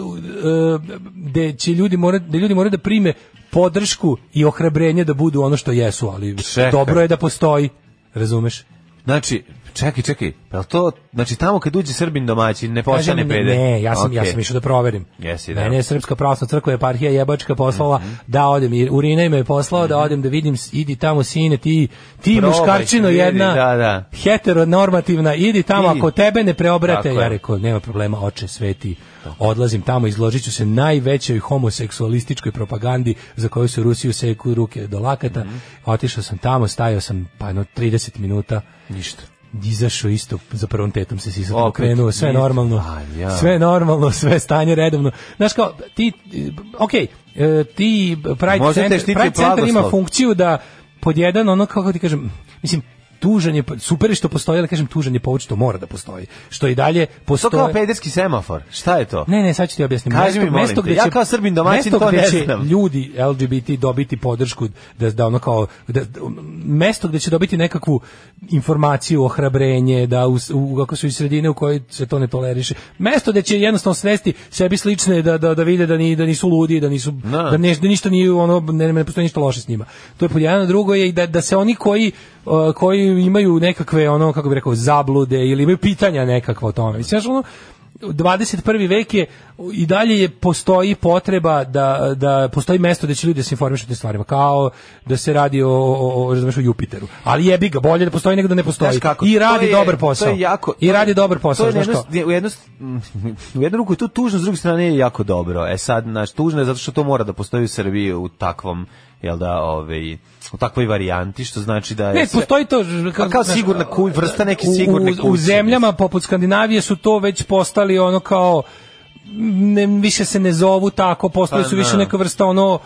G: gdje će ljudi morati da ljudi moraju da prime podršku i ohrabrenje da budu ono što jesu ali
H: Čekaj.
G: dobro je da postoji razumeš
H: Znači, čekaj, čekaj, pa jel to, znači tamo kad uđe Srbin domaćin, ne
G: Kažem,
H: postane peder?
G: Ne, ja sam, ja
H: Okej.
G: sam išao da proverim.
H: Jesi, da. Mhm.
G: Mene je Srpska pravoslavna crkva eparhija jebačka poslala da odem, i Urina me je poslao da odem da vidim, s- idi tamo sine, ti, ti
H: Probaj,
G: muškarčino
H: vidi,
G: jedna,
H: da, da.
G: heteronormativna, idi tamo,
H: Idi.
G: ako tebe ne preobrate,
H: Tako je.
G: ja rekao, nema problema, oče sveti, odlazim tamo, izložit ću se najvećoj homoseksualističkoj propagandi za koju su Rusiju seku ruke do lakata,
H: Mhm.
G: otišao sam tamo, stajao sam pa jedno 30 minuta,
H: Ništa.
G: izašao isto za prvom tetom se sisao
H: Opet
G: okrenuo sve
H: ništa.
G: normalno
H: A, ja.
G: sve normalno sve stanje redovno znaš kao ti ok ti Pride
H: Možda te
G: Center,
H: štiti
G: Pride Center ima
H: blagoslov.
G: funkciju da pod jedan ono kako ti kažem mislim tužan je super je što postoji ali kažem tužan je povod što mora da postoji što i dalje
H: To kao
G: postoji
H: pederski semafor, šta je to?
G: ne, ne, sad ću ti objasniti.
H: Kaži mi, molim te, ja kao Srbin domaćin to ne
G: će
H: znam.
G: ljudi LGBT dobiti podršku, da, da ono kao, da, da, mesto gde će dobiti nekakvu informaciju, ohrabrenje, da u, u, ako su iz sredine u kojoj se to ne toleriše. Mesto gde će jednostavno svesti sebi slične, da, da, da vide da, ni, da nisu ludi, da nisu,
H: Da.
G: da, ne, da ništa nije, ono, ne, ne postoji ništa loše s njima. To je pod jedan, drugo je i da, da se oni koji uh, koji imaju nekakve ono kako bih rekao zablude ili imaju pitanja nekakva o tome. Mislim znaš, ono 21. vek je i dalje je postoji potreba da, da postoji mesto da će ljudi da se informišu o tim stvarima, kao da se radi o, o, o, razumeš, o Jupiteru. Ali jebi ga, bolje da postoji nego da ne postoji.
H: Znaš kako,
G: I
H: to
G: radi
H: je-
G: dobar
H: to je
G: posao.
H: jako-
G: I
H: to-
G: radi dobar
H: To
G: posao.
H: je na
G: znaš
H: jednu,
G: kao.
H: je- u, jednu, <laughs> u jednu ruku je to tužno, s druge strane je jako dobro. E sad, naš, tužno je zato što to mora da postoji u Srbiji u takvom, jel da, ovaj, u takvoj varijanti, što znači da je...
G: Ne,
H: sve-
G: postoji to ž-
H: Pa kao sigurna kuj, vrsta neke sigurne
G: u, u,
H: kuće,
G: u zemljama poput Skandinavije su to već postali ono kao ne, više se ne zovu tako, postali
H: Pa
G: su više
H: da.
G: neka vrsta ono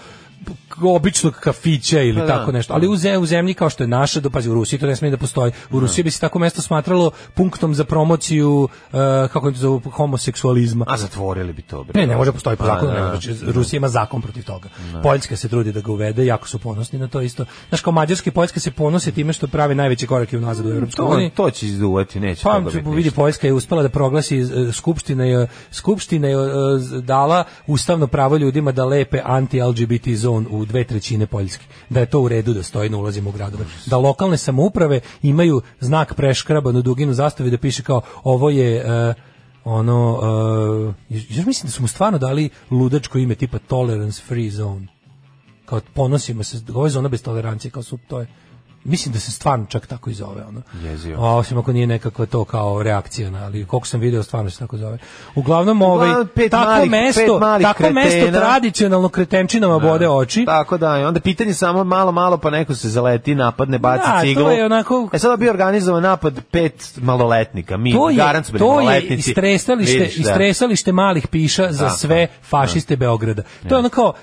G: k- običnog kafića ili
H: Pa da.
G: tako nešto. Ali u, ze- u zemlji kao što je naša, do pazi u Rusiji to ne smije da postoji. U Rusiji bi se tako mesto smatralo punktom za promociju e, kako im to zovu homoseksualizma.
H: A zatvorili bi to. Bre.
G: Ne, ne može postoji po
H: Pa,
G: zakonu,
H: da.
G: ne može. Znači, Rusija ima zakon protiv toga. Poljska se trudi da ga uvede, jako su ponosni na to isto. Znaš, kao Mađarska i Poljska se ponose time što prave najveći korake unazad u Evropskoj
H: To,
G: uniji.
H: to će izduvati, neće
G: Pa,
H: toga biti
G: vidi,
H: ništa.
G: Poljska je uspela da proglasi, e, skupština je, skupština je e, z- dala ustavno pravo ljudima da lepe anti-LGBT zon u dve trećine Poljske. Da je to u redu da stoji na ulazima u gradove. Da lokalne samouprave imaju znak preškraban u duginu zastave da piše kao ovo je... e, ono, e, još mislim da su mu stvarno dali ludačko ime tipa Tolerance Free Zone kao ponosimo se, ovo je zona bez tolerancije, kao su, to je, mislim da se stvarno čak tako i zove, ono.
H: Jezivo.
G: A, osim ako nije nekakva to kao reakcija, na, ali koliko sam video, stvarno se tako zove. Uglavnom, ovaj,
H: Uglavnom, pet
G: tako
H: malih-
G: mesto,
H: pet malih
G: tako mesto
H: kretena.
G: tradicionalno kretenčinama bode oči,
H: Tako da, i onda pitanje je samo malo, malo, pa neko se zaleti, napadne, baci
G: Da, to
H: ciglu.
G: je onako-
H: E sada bi organizovan napad pet maloletnika, mi,
G: to je,
H: garant su bili
G: to je
H: maloletnici.
G: istresalište,
H: Vidiš, da.
G: istresalište malih piša za
H: Tako,
G: sve fašiste Beograda. To je ono kao,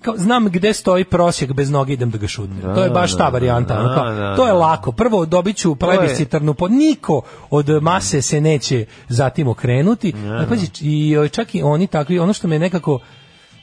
G: kao, znam gde stoji prosjek bez noge idem da ga šudnem. to je baš ta
H: da,
G: varijanta. ono
H: da,
G: kao,
H: da,
G: to je
H: da.
G: lako. Prvo dobit ću plebiscitarnu po niko od mase se neće zatim okrenuti. Ali pazi, i o, čak i oni takvi, ono što me nekako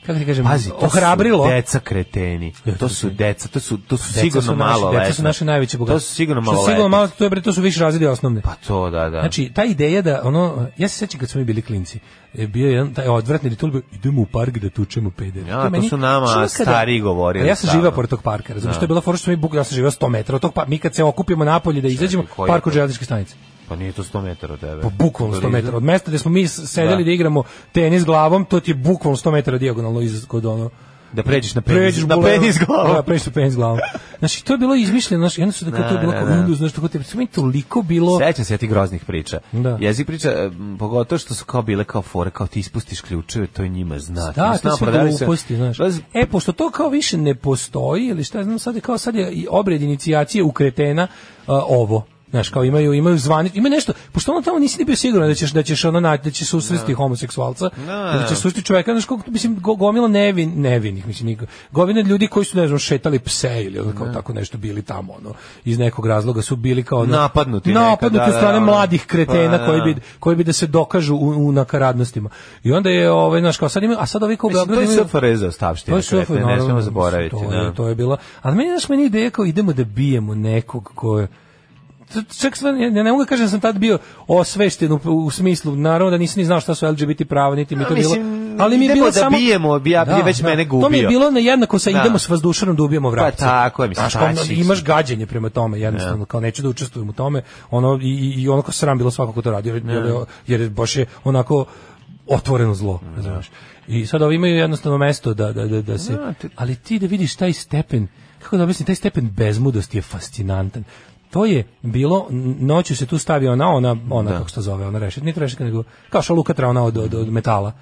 G: kako ti kažem,
H: Pazi, to
G: ohrabrilo. E,
H: su deca kreteni. To su deca, to su, to su
G: Deca
H: sigurno
G: su naši-
H: malo
G: Deca su naše najveće bogatstvo.
H: To su sigurno
G: Što
H: malo
G: sigurno malo, to je bre, to su više razredi osnovne.
H: Pa to, da, da.
G: Znači, ta ideja da, ono, ja se sećam kad smo mi bili klinci, je bio jedan taj odvratni ritul, bio, idemo u park da tučemo pedere.
H: Ja,
G: je
H: to su nama
G: što ono
H: stariji govorili
G: A Ja sam
H: stalno.
G: živao pored tog parka, razumiješ,
H: Da.
G: što je bila fora što mi buk, ja sam živao 100 metara od tog parka, mi kad se okupimo napolje da izađemo,
H: koji je
G: park
H: to?
G: od železničke stanice.
H: Pa nije to 100 metara od tebe.
G: Pa bukvalno 100 metara od mesta gde smo mi s- sedeli da,
H: Da.
G: igramo tenis glavom, to ti je bukvalno 100 metara dijagonalno iz kod ono
H: Da pređeš na penis,
G: pređeš
H: na
G: bulevar.
H: penis glavom.
G: Da, pređeš na penis glavom. Znači, to je bilo izmišljeno, znači, jedno su da, kao to je
H: Da,
G: bilo
H: da,
G: kao
H: da.
G: Windows, znaš, tako te, to mi je toliko bilo...
H: Sećam se ja tih groznih priča.
G: Da.
H: Jezik priča, e, m, pogotovo što su kao bile kao fore, kao ti ispustiš ključeve, to je njima znak.
G: Da,
H: Znaš,
G: to
H: nama
G: su
H: prodavali se-
G: gluposti, znaš.
H: Znaš,
G: E, pošto to kao više ne postoji, ili šta ja znam, sad je kao sad je i obred inicijacije u kretena a, ovo. Znaš, kao imaju imaju zvanič, ima nešto. Pošto ono tamo nisi ni bio siguran da ćeš da ćeš ono naći da će susresti homoseksualca,
H: Da,
G: da će
H: da.
G: susresti čoveka, znaš kako mislim go- gomila nevin nevinih, mislim niko. Gomila ljudi koji su ne znam šetali pse ili ono kao tako nešto bili tamo ono iz nekog razloga su bili kao ono,
H: Napadnuti nekad,
G: napadnuti
H: da,
G: od strane
H: da, ono.
G: mladih kretena
H: Pa,
G: koji
H: da.
G: bi koji bi da se dokažu u, u nakaradnostima. I onda je ovaj naš kao sad ima, a sad ovi kao u
H: Mislim, to
G: Beogradu
H: je
G: imaju-
H: SFRJ za ostavštine, krete, ne
G: naravno,
H: smemo
G: mislim,
H: zaboraviti,
G: To, je,
H: da.
G: to je bilo. Ali meni znaš meni ideja kao idemo da bijemo nekog ko je To- čak sve, ja ne mogu da kažem da sam tad bio osvešten u, u smislu, naravno da nisam ni znao šta su LGBT prava, niti mi je
H: A,
G: to
H: mislim,
G: bilo, ali mi je
H: idemo
G: bilo
H: da
G: samo...
H: bijemo, ja- je već mene
G: To mi je
H: gubio.
G: bilo na jednako sa
H: Da. Pa
G: idemo s vazdušanom da ubijemo vrapca.
H: tako je, mislim,
G: Znaš, kao,
H: šta će-
G: imaš gađenje prema tome, jednostavno, kao neću da učestvujem u tome, ono, i, i- i ono ko sram bilo svako ko to radi, jer, jer, je- jer je baš je onako otvoreno zlo, razumeš. I sad ovi imaju jednostavno mesto da, da, da, da se... Ali ti da vidiš taj stepen, kako da objasnim, taj stepen bezmudosti je fascinantan. To je bilo, n- noću se tu stavi ona, ona, ona, kako se to zove, ona rešetka, nije to rešetka, nego kao šalukatra ona od, od, od metala.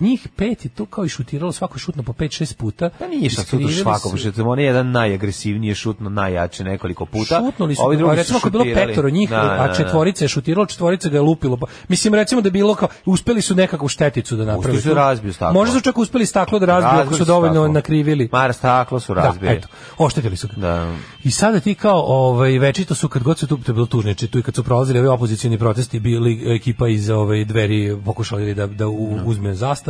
G: Njih pet je tu kao i šutiralo, svako je šutno po pet, šest puta.
H: Pa nije šta tu do
G: Iskrivili
H: švakom,
G: su-
H: što je on jedan najagresivniji, šutno najjače nekoliko puta.
G: Šutnuli su,
H: ovi drugi
G: a recimo
H: su
G: ako je bilo
H: šutirali.
G: petoro njih,
H: Da, da,
G: a
H: da.
G: četvorica je šutirala, četvorica ga je lupilo. Pa, mislim, recimo da je bilo kao, uspeli su nekakvu šteticu da naprave.
H: Uspeli su da razbiju staklo.
G: Možda su čak uspeli staklo da razbiju, ako
H: Razbili
G: su dovoljno
H: staklo.
G: nakrivili.
H: Mara staklo su
G: Da,
H: razbili.
G: eto, oštetili su ga.
H: Da.
G: I sada ti kao, ovaj, večito su, kad god su tu, to je bilo tužno, znači tu i kad su prolazili ovi opozicijni protesti, bili ekipa iz ovaj, dveri pokušali da, da u- uzme zastavu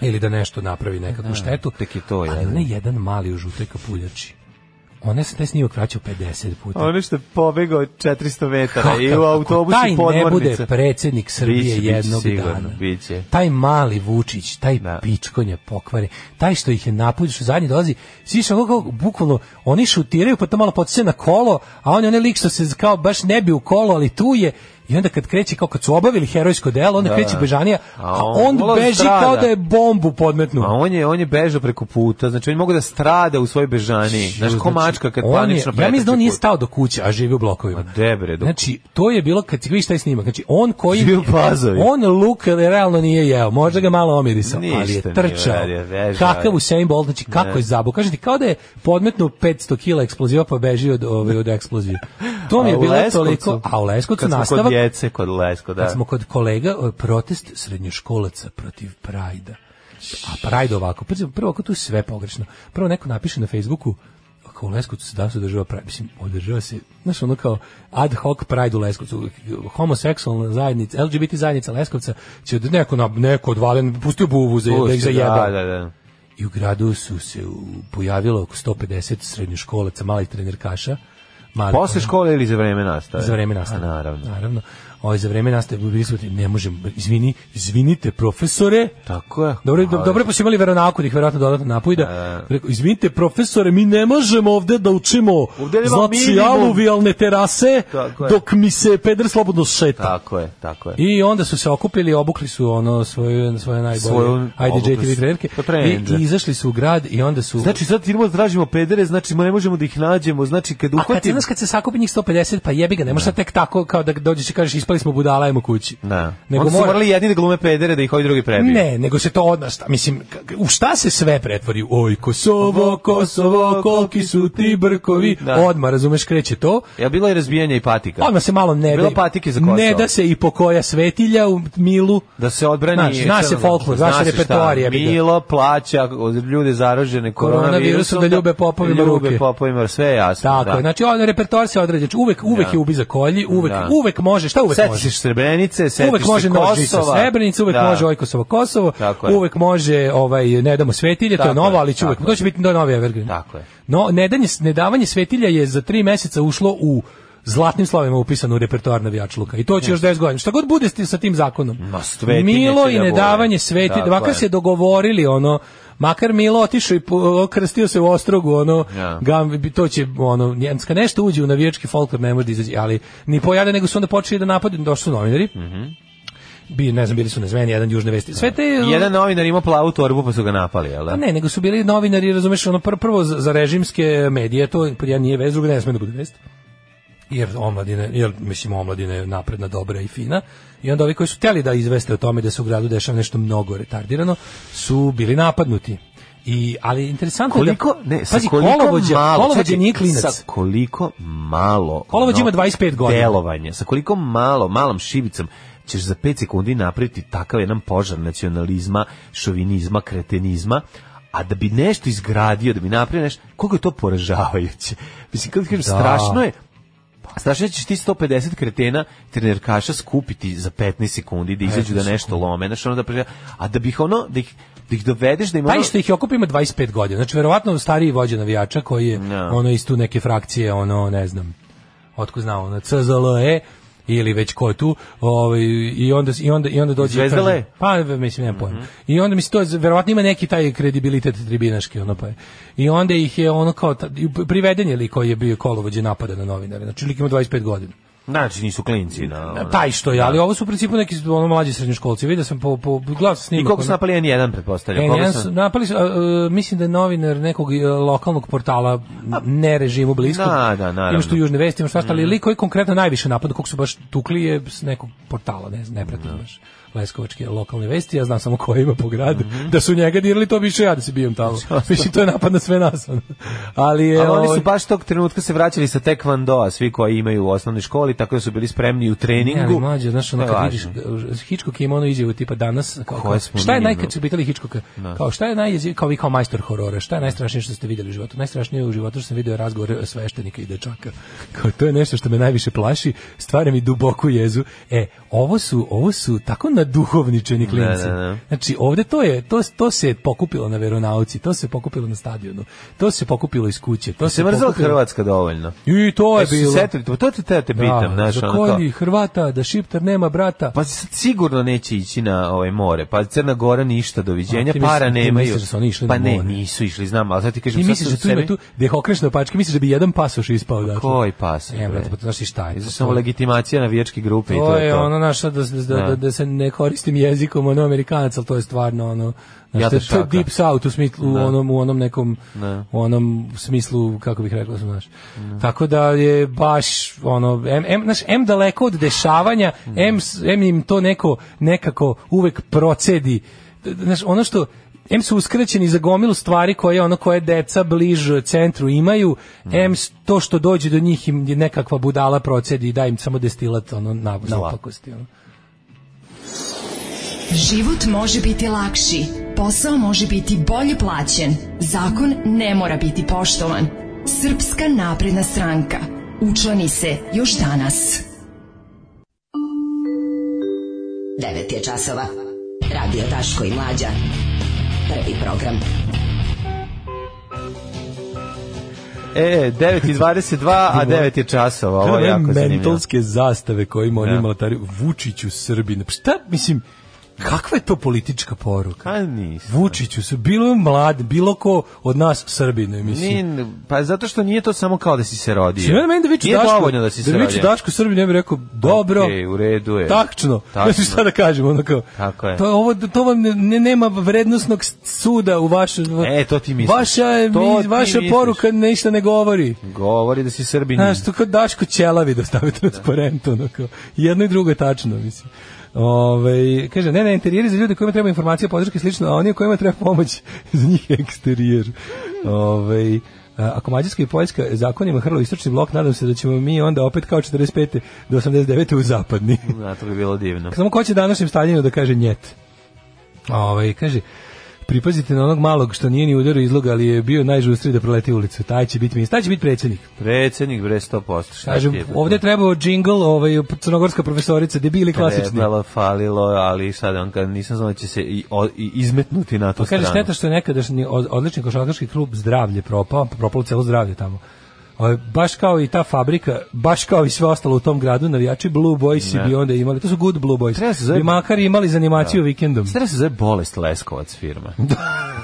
G: ili da nešto napravi nekakvu štetu.
H: tek je to,
G: Ali
H: jel?
G: ne jedan mali u žutoj kapuljači. Ona se taj snimak vraćao 50 puta.
H: Ono što je pobegao 400 metara i
G: Kakav,
H: u
G: ako
H: autobusu
G: taj
H: i
G: ne bude
H: podmornica.
G: predsjednik Srbije
H: Biće, biće
G: jednog
H: sigurno,
G: dana.
H: biće.
G: Taj mali Vučić, taj
H: Da.
G: pičkonje pokvare, taj što ih je napolju, što zadnji dolazi, svi su onako kao, bukvalno, oni šutiraju, pa to malo podsjeća na kolo, a on je onaj lik što se kao baš ne bi u kolo, ali tu je, I onda kad kreće, kao kad su obavili herojsko delo, onda
H: Da,
G: kreće
H: da.
G: bežanija,
H: A
G: a
H: on
G: on,
H: ulazi
G: beži
H: strada.
G: kao da je bombu podmetnuo.
H: A on je on je bežao preko puta, znači on mogu da strada u svojoj bežani. Znaš ko mačka kad
G: znači, On je-
H: panično
G: Ja mislim da on
H: pretrči
G: nije
H: put.
G: stao do kuće, a živi u blokovima.
H: Debre, dok
G: Znači, to je bilo, kad ti vidiš taj snimak, znači, on koji...
H: Živi u pazovi.
G: On luk realno nije jeo, možda ga malo omirisao,
H: Ništa
G: ali je
H: nije
G: trčao.
H: uradio, vežao je.
G: Kakav Usain Bolt, znači, kako
H: Ne.
G: je zabu. Kaže ti, kao da je podmetnuo 500 kila eksploziva pa beži od, ove, od eksplozije. To mi je
H: A u
G: bilo
H: Leskovcu-
G: toliko... A u Leskovcu
H: kad smo
G: nastavak...
H: Kod djece, kod Lesko, da.
G: Kad smo kod kolega, o, protest srednjoškolaca protiv Prajda. A Prajda ovako, prvo, prvo ako tu je sve pogrešno. Prvo neko napiše na Facebooku, ako u Leskovcu se danas održava Pride, mislim, održava se, znaš, ono kao ad hoc Pride u Leskovcu, homoseksualna zajednica, LGBT zajednica Leskovca će od neko, na, neko odvalen, pustio buvu za, da ih
H: Pusti,
G: zajebe.
H: Da, da, da.
G: I u gradu su se u, pojavilo oko 150 srednjoškolaca, malih trenerkaša, mali,
H: Posle škole ili za vreme nastave?
G: za vreme nastave.
H: E, A, naravno.
G: Naravno. Ovo za vreme nastave bili smo ti, ne možemo, izvini, izvinite profesore.
H: Tako je.
G: Dobro, do,
H: Ali- E.
G: dobro pa su imali veronaku da ih verovatno dodatno napojda. Rekao, izvinite profesore, mi ne možemo ovde da učimo
H: Ovde nema
G: znači
H: minimum.
G: aluvijalne terase
H: Tako je.
G: dok mi se peder slobodno šeta.
H: Tako je, tako je.
G: I onda su se okupili, obukli su ono svoje svoje najbolje
H: Svoju-
G: IDJ
H: obukli
G: TV
H: su-
G: trenerke
H: Pa trenerke.
G: i, i izašli su u grad i onda su
H: Znači sad idemo da tražimo pedere, znači ma ne možemo da ih nađemo, znači kad
G: A kad se,
H: uhvatim...
G: znaš, kad se sakupi njih 150, pa jebi ga, ne možeš sad tek tako kao da dođeš i kažeš ispali smo budala, ajmo kući.
H: Da.
G: Nego
H: Onda su
G: mora-
H: morali jedni da glume pedere da ih ovi drugi prebiju.
G: Ne, nego se to odnašta. Mislim, k- k- u šta se sve pretvori? Oj, Kosovo, Kosovo, koliki su ti brkovi.
H: Da.
G: Odmah, razumeš, kreće to.
H: Ja bilo je razbijanje i patika.
G: Odmah se malo ne
H: Bilo
G: da-
H: patike za Kosovo.
G: Ne da se i pokoja svetilja u milu.
H: da se odbrani
G: Znaš, zna se folklor, zna se repertoar, jebi ga.
H: Milo plaća od ljude zaražene
G: Koronavirusom,
H: koronavirusom
G: da ljube popovima
H: ljube
G: ruke.
H: popovima, sve je jasno
G: Tako
H: da.
G: je, znači on repertoar se određa. Znači, Uvek, uvek
H: Da.
G: je ubiza kolji, uvek,
H: Da.
G: uvek može, šta uvek
H: setiš
G: može?
H: se Srebrenice setiš
G: uvek
H: se
G: može nož žica
H: Kosova
G: Srebrenica, uvek
H: Da.
G: može ovaj- Ojkosovo Kosovo,
H: Tako je.
G: uvek može ovaj ne damo svetilje, to je
H: Tako
G: novo,
H: je,
G: ali će uvek,
H: tako
G: to će biti do novi Evergreen.
H: Tako je.
G: No, nedanje, nedavanje svetilja je za tri meseca ušlo u zlatnim slovima upisano u repertoar navijačluka. I to će još 10 godina. Šta god bude s tim- sa tim zakonom.
H: Ma, svetinje
G: Milo
H: će
G: i
H: da
G: nedavanje
H: vole.
G: svetilja,
H: Tako
G: makar
H: je.
G: se dogovorili ono Makar Milo otišao i po- krstio se u ostrogu, ono,
H: Ja.
G: gam, bi- to će, ono, njemska nešto uđe u navijački folklor, ne može da izađe, ali ni pojade, nego su onda počeli da napadnu, došli su novinari,
H: Mhm.
G: bi, ne znam, bili su nezveni, jedan južne vesti. Sve te...
H: jedan novinar ima plavu torbu pa su ga napali jel da?
G: Pa ne, nego su bili novinari, razumeš, ono pr- prvo za, za režimske medije, to pod jedan nije vez, drugo ne sme da bude vest. Jer omladine, jer mislim omladina je napredna, dobra i fina. I onda ovi koji su hteli da izveste o tome da se u gradu dešava nešto mnogo retardirano, su bili napadnuti. I, ali interesantno
H: koliko
G: je da...
H: ne sa
G: pazi,
H: koliko
G: kolovođa,
H: malo
G: kolovođa
H: čekaj,
G: nije klinac.
H: sa koliko malo
G: Kolovođa
H: ono,
G: ima 25 godina.
H: delovanja sa koliko malo malom šibicom ćeš za 5 sekundi napraviti takav jedan požar nacionalizma, šovinizma, kretenizma, a da bi nešto izgradio, da bi napravio nešto, koliko je to poražavajuće. Mislim, kako ti kažem, strašno je, strašno je da ćeš ti 150 kretena trenerkaša skupiti za 15 sekundi da izađu da nešto lome, znaš, ono da prežava, a da bi ih ono, da ih, da ih dovedeš da im
G: Taj
H: ono-
G: što Pa ih je okupio ima 25 godina. Znači verovatno stariji vođa navijača koji je
H: Ja.
G: ono iz tu neke frakcije, ono ne znam. ono, Otko znao, na CZLE E ili već ko je tu, ovaj i onda i onda i onda dođe i
H: Zvezda
G: kaže-
H: L E?
G: pa mislim nema
H: Mhm.
G: pojma. I onda mislim to je- verovatno ima neki taj kredibilitet tribinaški ono pa. je. I onda ih je ono kao ta- i priveden je lik koji je bio kolovođe napada na novinare. Znači lik ima 25 godina.
H: Znači, nisu klinci. Na, ono.
G: Taj što je, ali ovo su u principu neki ono mlađi srednjoškolci. Vidio sam po po glas snimak.
H: I koliko su
G: ono-
H: napali N1, pretpostavljam?
G: E,
H: Koliko
G: ne,
H: su-
G: su- napali su, a, e, mislim da je novinar nekog e, lokalnog portala ne režimu bliskog.
H: Da, da, naravno. Mm.
G: Ima što južne vesti, ima što ostali, ali koji konkretno najviše napada, kog su baš tukli je s nekog portala, ne znam, ne pratim baš leskovačke lokalne vesti, ja znam samo ko ima po gradu.
H: Mhm.
G: Da su njega dirali, to bi išao ja da se bijem
H: <laughs>
G: tamo. Mislim, to je napad na sve nas. ono. Ali, je,
H: Ali oni
G: ovaj,
H: su baš tog trenutka se vraćali sa tekvandoa, svi koji imaju u osnovnoj školi, tako da su bili spremni u treningu.
G: Ne, ali mlađe, znaš, ono
H: To je
G: kad vidiš,
H: važno.
G: Hitchcock ima ono izjavu tipa danas, kao, kao,
H: Koje smo
G: šta je
H: mi,
G: naj,
H: no?
G: kad su pitali Hitchcocka, kao šta je najjezi, kao vi kao majstor horora, šta je najstrašnije što ste vidjeli u životu? Najstrašnije u životu što sam vidio je razgovor sveštenika i dečaka. <laughs> Kao, to je nešto što me najviše plaši, stvara mi duboku jezu. E, ovo su, ovo su tako naduhovničeni klinci.
H: Da, da, da.
G: Znači, ovde to je, to, to se je pokupilo na veronauci, to se je pokupilo na stadionu, to se je pokupilo iz kuće, to se,
H: Se
G: je
H: mrzela
G: pokupilo-
H: Hrvatska dovoljno.
G: I pa to je
H: Jesu se
G: bilo.
H: setili, Pa to- to te te, te pitam. pitam, znaš,
G: za
H: ono kao-
G: kolji, Hrvata, da Šiptar nema brata.
H: Pa sad sigurno neće ići na ovaj more. Pa Crna Gora ništa, doviđenja,
G: A, ti misliš-
H: para
G: ti
H: nemaju.
G: misliš da su oni išli
H: pa
G: na
H: ne,
G: more?
H: nisu išli, znam, ali sad ti kažem...
G: Ti
H: sad
G: misliš
H: sam
G: da tu ima
H: sebi-
G: tu, da je okreš na pačke, misliš da bi jedan pasoš ispao odatle.
H: Koji pas?
G: E, brate, pa to znaš i šta je.
H: Znači,
G: to,
H: samo
G: to-
H: legitimacija navijačke grupe i
G: To
H: to je
G: je
H: to.
G: ono naš da, da, da, da, da se ne koristim jezikom ono Amerikanac, ali to je stvarno ono znaš,
H: Jata
G: to, je- to je
H: šaka.
G: deep south u, smislu, u,
H: Da.
G: onom, u onom nekom
H: Da.
G: u onom smislu kako bih rekao sam znaš. Tako da je baš ono em, em, znaš, em daleko od dešavanja, em, s- em im to neko nekako uvek procedi. D- d- Znaš, ono što em su uskraćeni za gomilu stvari koje ono koje deca bliž centru imaju, em s- to što dođe do njih im je nekakva budala procedi i da im samo destilat ono na, naopakosti. Ono.
J: Život može biti lakši, posao može biti bolje plaćen, zakon ne mora biti poštovan. Srpska napredna stranka. Učlani se još danas.
O: 9 je časova. Radio Daško i Mlađa. Prvi program.
H: E, 9 i 22, a 9 je časova, ovo je
G: Ove
H: jako zanimljivo.
G: mentolske zastave koje ima oni
H: Da.
G: malatari Vučiću Srbin. Šta mislim kakva je to politička poruka?
H: A nisam.
G: Vučiću su bilo mlad, bilo ko od nas Srbine, mislim.
H: Nije, pa zato što nije to samo kao da si se rodio.
G: Mislim, meni da viču
H: Nije
G: Znači, Daško,
H: dovoljno da si se
G: da
H: rodio.
G: viču Daško Srbin, ja bih rekao, dobro,
H: Okej, u redu je.
G: tačno. <laughs>
H: Tačno.
G: Znači šta da kažem, ono kao,
H: Tako je.
G: to, ovo, to vam ne, ne- nema vrednostnog s- suda u vašoj...
H: E, to ti misliš.
G: Vaša, je
H: To
G: mi-
H: ti
G: vaša
H: misliš.
G: poruka ništa ne govori.
H: Govori da si srbin.
G: Znaš, to kao Daško Ćelavi da stavi transparent, ono kao. Jedno i drugo je tačno, mislim. Ove, kaže, ne, ne, interijer je za ljude kojima treba informacija, podrška i slično, a oni kojima treba pomoć, <laughs> za njih je eksterijer. Ove, a, ako Mađarska i Poljska zakonima hrlo istočni blok, nadam se da ćemo mi onda opet kao 45. do 89. u zapadni. <laughs>
H: Da, to bi bilo divno.
G: Samo ko će današnjem Staljinu da kaže njet. Ovaj kaže pripazite na onog malog što nije ni udario izloga, ali je bio najžustriji da proleti ulicu. Taj će biti ministar, taj će biti predsjednik.
H: Predsednik bre 100%. Šta ti je
G: Kažem,
H: to?
G: ovdje je trebao džingl, ovaj, crnogorska profesorica, debili klasični.
H: Trebalo, falilo, ali sad on kad nisam znao da će se i, o- i izmetnuti
G: Pa
H: na tu
G: kaže,
H: stranu.
G: šteta što je nekadašnji od- odlični košarkaški klub zdravlje propao, propalo celo zdravlje tamo. Ovaj, baš kao i ta fabrika, baš kao i sve ostalo u tom gradu, navijači Blue Boysi
H: Ne.
G: bi onda imali, to su good Blue Boys,
H: Treba se zove-
G: bi makar imali zanimaciju vikendom.
H: Sada se zove Bolest Leskovac firma.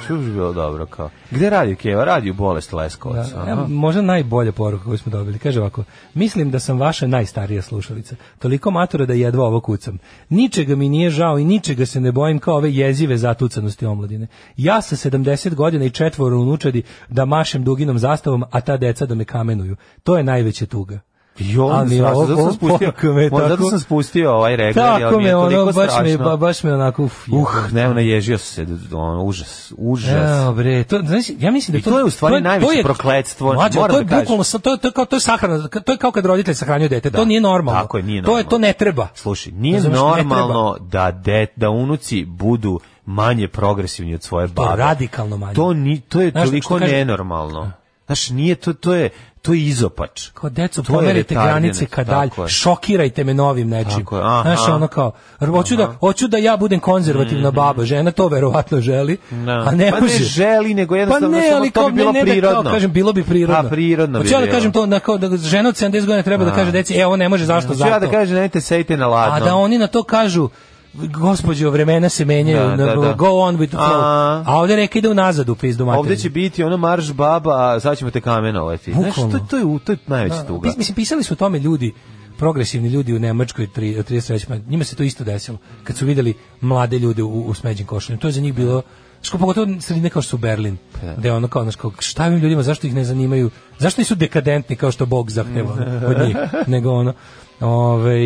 H: Što bi bilo dobro kao. Gde radi Keva? Radi u Bolest Leskovac. ono.
G: Da,
H: aha.
G: evo, možda najbolja poruka koju smo dobili. Kaže ovako, mislim da sam vaša najstarija slušalica. Toliko matura da jedva ovo kucam. Ničega mi nije žao i ničega se ne bojim kao ove jezive zatucanosti omladine. Ja sa 70 godina i četvoro unučadi da mašem duginom zastavom, a ta deca da me kamenuju. To je najveća tuga.
H: I on
G: Ali
H: strašno,
G: ovo-
H: zato sam
G: ovo <laughs>
H: spustio,
G: poruka me
H: možda
G: tako-
H: sam spustio ovaj regler, jer
G: Tako
H: mi je
G: me
H: toliko
G: ono, baš me,
H: strašno.
G: ba- baš me onako, uf,
H: Uh, ne, naježio sam se, ono, užas, užas.
G: Evo bre, to znaš, ja mislim da
H: I to je u stvari najveće prokletstvo,
G: Mlađo,
H: moram
G: to je
H: da kažem.
G: bukvalno sa- to je to je kao to je sahrana, to je kao kad roditelji sahranjuju dete, to nije normalno.
H: Tako je, nije
G: To je to
H: normalno.
G: ne treba.
H: Slušaj, nije
G: Razumeš, ne
H: normalno da de, da unuci budu manje progresivni od svoje
G: To je
H: babe.
G: radikalno manje.
H: To ni to je
G: Znaš,
H: toliko
G: što kaže-
H: nenormalno. Znaš, nije to to je to je izopač.
G: kao deco
H: To je
G: pomerite granice
H: retardiranost,
G: kad dalje
H: tako je.
G: šokirajte me novim nečim
H: Tako je, aha. Mhm.
G: znaš ono kao r- hoću da hoću da ja budem konzervativna baba žena to verovatno želi
H: Da.
G: a ne
H: Pa ne
G: može
H: želi, nego jednostavno
G: pa ne,
H: samo
G: ali
H: to
G: kao
H: bi bilo
G: ne, ne, da
H: prirodno.
G: kao, kažem bilo bi prirodno
H: Pa, prirodno bi
G: hoću ja da
H: bilo.
G: kažem to na kao da žena od 70 godina treba da
H: A.
G: kaže deci e ovo ne može zašto
H: Hoću
G: zato
H: ja da kažem, nemojte sejte na
G: a
H: ladno.
G: da oni na to kažu gospođo vremena se menjaju
H: Da,
G: na-
H: da, da.
G: go on with the flow
H: A.
G: a, ovdje reka ide unazad u pizdu materinu.
H: Ovde će biti ono marš baba, a sad ćemo te kamenovati. Znaš, to,
G: Bukvalno.
H: to je, u- to je najveća
G: Da,
H: tuga.
G: pis- Mislim, pisali su o tome ljudi, progresivni ljudi u Nemačkoj tri- od 33. Njima se to isto desilo. Kad su vidjeli mlade ljude u, u smeđim košuljama. To je za njih bilo Što pogotovo sredine kao što su Berlin,
H: Da.
G: gde je ono kao, znaš, kao, šta je ovim ljudima, zašto ih ne zanimaju, zašto nisu dekadentni kao što Bog zahteva od
H: <laughs>
G: njih, nego ono, Ove,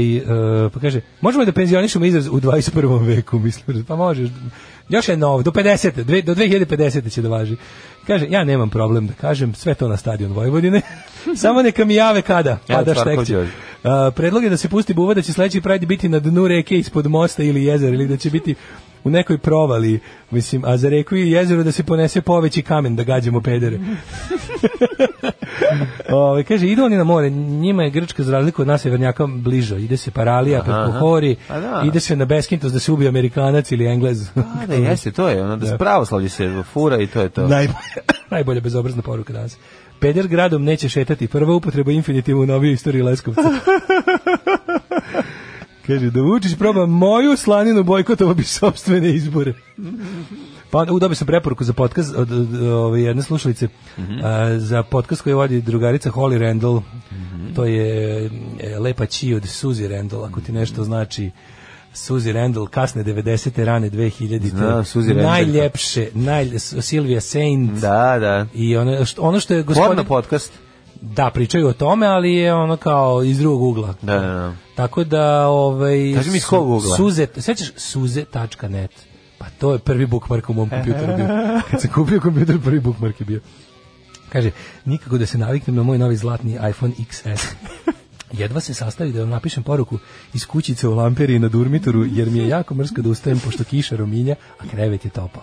G: pa kaže, možemo da penzionišemo izraz u 21. veku, mislim, pa može, još je novo, do 50. dve- do 2050. će da važi. Kaže, ja nemam problem da kažem, sve to na stadion Vojvodine, <laughs> samo neka mi jave kada,
H: Evo,
G: pa da
H: Slavko
G: štekće.
H: Đorđe.
G: A, predlog je da se pusti buva da će sledeći Pride biti na dnu reke ispod mosta ili jezera ili da će biti u nekoj provali, mislim, a za reku i jezero da se ponese poveći kamen da gađamo
H: <laughs>
G: pedere. Ove, kaže, idu oni na more, njima je Grčka za razliku od nas severnjaka bliža, ide se paralija preko
H: aha.
G: hori,
H: A da.
G: ide se na Beskintos da se ubije Amerikanac ili
H: <laughs>
G: Englez.
H: Pa da, jeste, to je, ono da, s pravoslavlje se fura i to je to.
G: Najbolja, <laughs> najbolja bezobrazna
H: <laughs>
G: poruka danas. Peder gradom neće šetati. Prva upotreba infinitiva u novijoj istoriji Leskovca. Kaže, da Vučić proba moju slaninu bojkotovo bi sobstvene izbore. Pa onda udobio sam preporuku za podcast od, od, ove jedne slušalice,
H: Mhm.
G: a, za podcast koji vodi drugarica Holly Randall,
H: Mhm.
G: to je e, lepa čiji od Suzy Randall, ako ti
H: Mhm.
G: nešto znači Suzy Randall, kasne 90. rane 2000.
H: Znam, Suzy Randall.
G: Najljepše, naj, Silvia Saint.
H: Da, da.
G: I ono, što- ono što je
H: Porno
G: gospodin...
H: podcast.
G: Da, pričaju o tome, ali je ono kao iz drugog ugla.
H: Da, da, da.
G: Tako da, ovaj...
H: Kaži mi iz
G: su-
H: kog ugla?
G: Suze, sećaš suze.net? Pa to je prvi bookmark u mom kompjuteru bio. Kad sam kupio kompjuter, prvi bookmark je bio. Kaže, nikako da se naviknem na moj novi zlatni iPhone XS. Jedva se sastavi da vam napišem poruku iz kućice u Lamperi na Durmitoru, jer mi je jako mrsko da ustajem pošto kiša rominja, a krevet je topao.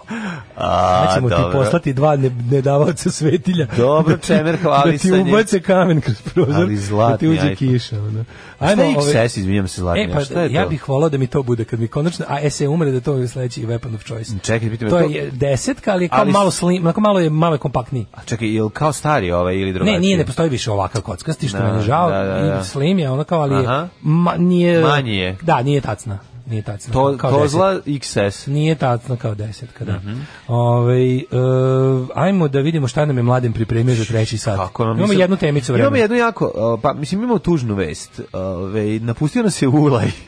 H: A,
G: Ja ćemo ti
H: Pa dobro.
G: poslati dva ne, nedavaoca svetilja.
H: Dobro,
G: ti-
H: Čemer, hvalisanje.
G: Da ti ubace kamen kroz prozor,
H: Ali zlatni
G: da ti uđe
H: iPhone.
G: kiša. Ono.
H: Šta je
G: ovaj-
H: XS, izvinjam se, zlatni,
G: E,
H: a šta
G: pa,
H: je to?
G: ja bih volao da mi to bude kad mi konačno, a e, SE umre da to je sledeći weapon of choice.
H: Čekaj, pitam,
G: To
H: je to-
G: je desetka, ali je kao
H: Ali s-
G: malo slim, onako malo je malo je kompaktniji.
H: A čekaj, je li kao stari ovaj ili drugačiji?
G: Ne, nije, ne postoji više ovakav kockasti, što
H: Da,
G: meni žao.
H: da, da, da.
G: I slim je ono kao, ali
H: Aha.
G: je, ma, nije...
H: Manji je.
G: Da, nije tacna. Nije tacna.
H: To,
G: kao
H: to
G: desetka.
H: zla XS.
G: Nije tacna kao desetka, da.
H: Mhm.
G: Ovaj, e, ajmo da vidimo šta nam je mladen pripremio za treći sat.
H: Kako nam,
G: Imamo
H: mislim-
G: jednu temicu vremena.
H: Imamo jednu jako, uh, pa mislim imamo tužnu vest. Ove, napustio nas je Ulaj. <laughs>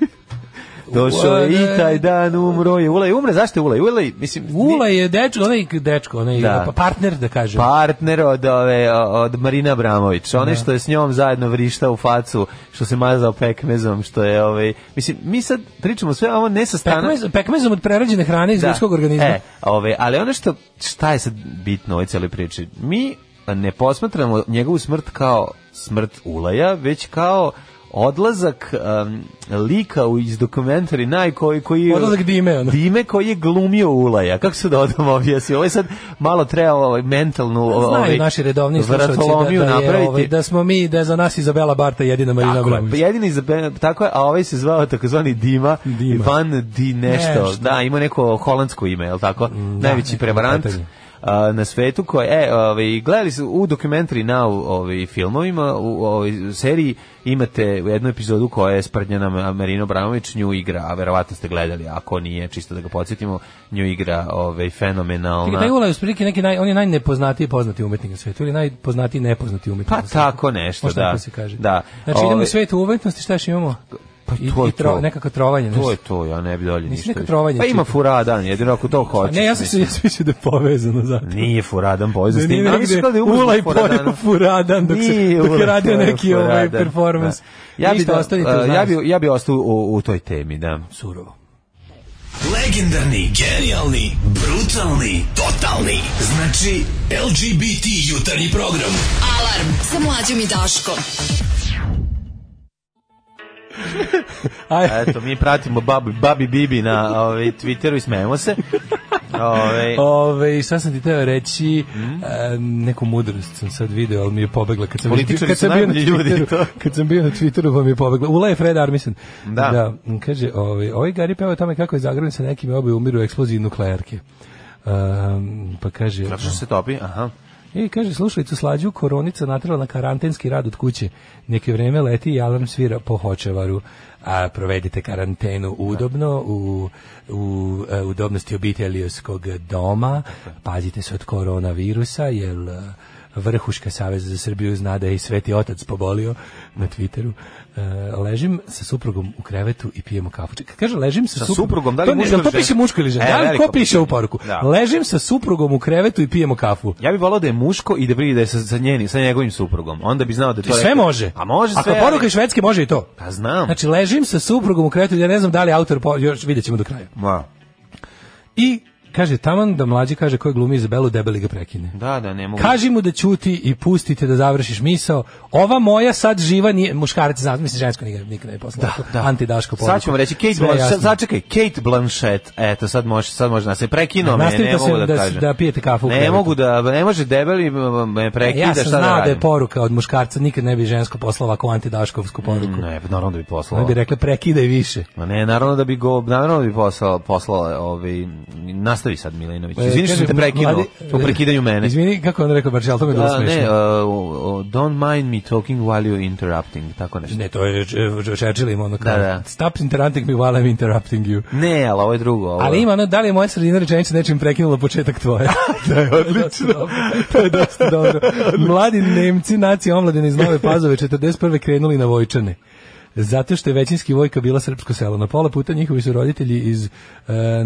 H: Došao je i taj dan, umro je Ulaj. Umre, zašto je Ulaj? Ulaj, mislim... nije-
G: Ula je dečko, onaj dečko, onaj
H: Da.
G: pa partner, da kažem.
H: partner od ove od Marina Abramović. One što je s njom zajedno vrišta u facu, što se mazao pekmezom, što je ovaj mislim mi sad pričamo sve ovo ne sa strane
G: Pekmez, pekmezom od prerađene hrane iz ljudskog organizma.
H: E, ove, ali ono što, šta je sad bitno u ovoj cijeloj priči? Mi ne posmatramo njegovu smrt kao smrt Ulaja, već kao odlazak em, lika u, iz dokumentari naj koji koji je-
G: Odlazak Dime, ono.
H: Dime koji je glumio Ulaja kako se da odam objasni ovo je sad malo treba ovaj mentalnu ovaj
G: Znaju naši redovni slušalci
H: vratolomiju
G: da, da, je,
H: napraviti
G: ovaj, da smo mi, da je za nas Izabela Barta jedina Marina
H: tako je,
G: Abramović.
H: pa jedini za tako je, a ovaj se zvao takozvani Dima,
G: Dima.
H: Van Di nešto,
G: Nešto.
H: da, ima neko holandsko ime, je tako? Najveći
G: neko
H: prevarant
G: pitanje.
H: a, na svetu koji e ovaj gledali su u dokumentari na ovaj filmovima u ovoj seriji imate u jednu epizodu koja je sprdnjena Ma- Marino Bramović nju igra a verovatno ste gledali ako nije čisto da ga podsjetimo nju igra ovaj
G: Čekaj,
H: fenomenalna
G: taj Ula je otprilike neki naj, on je najnepoznatiji poznati umetnik na svetu ili najpoznatiji nepoznati umetnik
H: pa
G: na svetu.
H: tako nešto
G: Možda
H: da
G: tako se kaže.
H: da
G: Znači idemo
H: Ovaj,
G: u svet umetnosti, šta još imamo?
H: Pa
G: I-
H: to
G: i
H: je
G: tro-
H: to.
G: nekako trovanje,
H: To
G: nešto.
H: je to, ja ne bi dolje ništa.
G: neka
H: više.
G: trovanja
H: Pa ima
G: čitati.
H: furadan, jedino ako to
G: A
H: hoćeš.
G: ne, ja sam se ja sam mislio da je povezano zato.
H: Nije furadan, bojza
G: Da
H: s
G: nije
H: tim. Ali su
G: negde
H: kada je umro
G: Ula i
H: zbog furadana.
G: pojeo furadan dok, se,
H: Nije
G: dok
H: Ula
G: je radio
H: pojeo
G: neki ovaj
H: furadan,
G: performans.
H: da. Ja bi,
G: Ništa,
H: da,
G: ostanite
H: a,
G: uz nas.
H: ja bi, ja bi ostao u, u toj temi, da.
G: Surovo.
P: Legendarni, genijalni, brutalni, totalni. Znači, LGBT jutarnji program.
J: Alarm sa mlađom i Daškom.
G: Aj,
H: Eto, mi pratimo babi, babi Bibi na ovaj, Twitteru i smejemo se. Ovaj,
G: Ove, i sad sam ti teo reći,
H: Mhm.
G: e, neku mudrost sam sad video, ali mi je pobegla. Kad sam,
H: Političari
G: kad
H: su
G: sam bio na
H: najbolji ljudi,
G: Twitteru,
H: to.
G: kad sam bio na Twitteru, pa mi je pobegla. Ula je Fred Armisen.
H: Da.
G: m, kaže, ovaj, ovaj Gari peva o tome kako je zagrljen sa nekim i oboje umiru u eksploziji nuklearke. Um, pa kaže...
H: Zato što se topi, aha.
G: I E, kaže, slušalicu slađu, koronica natrala na karantenski rad od kuće. Neke vreme leti i alarm svira po hočevaru. A provedite karantenu udobno u, u e, udobnosti obiteljskog doma. Pazite se od koronavirusa, jer e, vrhuška Saveza za Srbiju zna da je i Sveti Otac pobolio na Twitteru. E, ležim sa suprugom u krevetu i pijemo kafu. Čekaj, kaže, ležim sa,
H: Sa suprugom, da li
G: to, ne-
H: muško
G: jel
H: ili
G: to
H: žensko?
G: piše muško ili žena?
H: E,
G: da li
H: veliko
G: ko piše u
H: pitanje.
G: poruku?
H: Da.
G: Ležim sa suprugom u krevetu i pijemo kafu.
H: Ja bih volao da je muško i da vidi da je sa, sa, njeni, sa njegovim suprugom. Onda bi znao da je to...
G: Sve
H: rekao.
G: može.
H: A može sve.
G: Ako poruka
H: ali-
G: iz Švedske može i to.
H: Pa znam.
G: Znači, ležim sa suprugom u krevetu, ja ne znam da li je autor, po- još vidjet ćemo do kraja.
H: Ma,
G: I kaže, taman da mlađi kaže koji glumi Izabelu, debeli ga prekine.
H: da, da, ne mogu.
G: Kaži mu da ćuti i pustite da završiš misao. Ova moja sad živa nije, muškarac, znam, mislim, žensko nikad, nikad ne poslao.
H: Da.
G: Antidaško poruku.
H: Sad ćemo reći Kate
G: Sve je
H: Blanchett,
G: jasno.
H: začekaj, Kate Blanchett, eto sad može, sad može da se prekino me,
G: Nastavite
H: ne
G: se
H: mogu da,
G: da-
H: kažem.
G: da pijete kafu u
H: Ne
G: krevetu.
H: mogu da, ne može debeli m- m- me prekida,
G: Ja sam
H: šta da
G: znao da je
H: radim?
G: poruka od muškarca, nikad ne bi žensko poslao ovako antidaškovsku poruku.
H: Ne, pa naravno da bi poslao.
G: Oni bi rekli prekidaj više.
H: Ma ne, naravno da bi go, naravno da bi poslao, poslao ovaj, nas nastavi sad Milinović. Izvini što sam te prekinuo po prekidanju mene.
G: E, Izvini, kako on rekao, baš, ali to mi je bilo
H: A,
G: smešno.
H: ne, uh, uh, don't mind me talking while you're interrupting, tako nešto.
G: Ne, to je Č- Churchill ima ono kao,
H: Da, da.
G: stop interrupting me while I'm interrupting you.
H: Ne, ali ovo je drugo. Ovo.
G: Ali ima ono, da li je moja sredina rečenica nečim prekinula početak tvoje?
H: Da je
G: Dosta dobro. to je dosta dobro. Mladi Nemci, nacija omladine iz Nove Pazove, 41. krenuli na Vojčane. Zato što je većinski vojka bila srpsko selo. Na pola puta njihovi su roditelji iz e,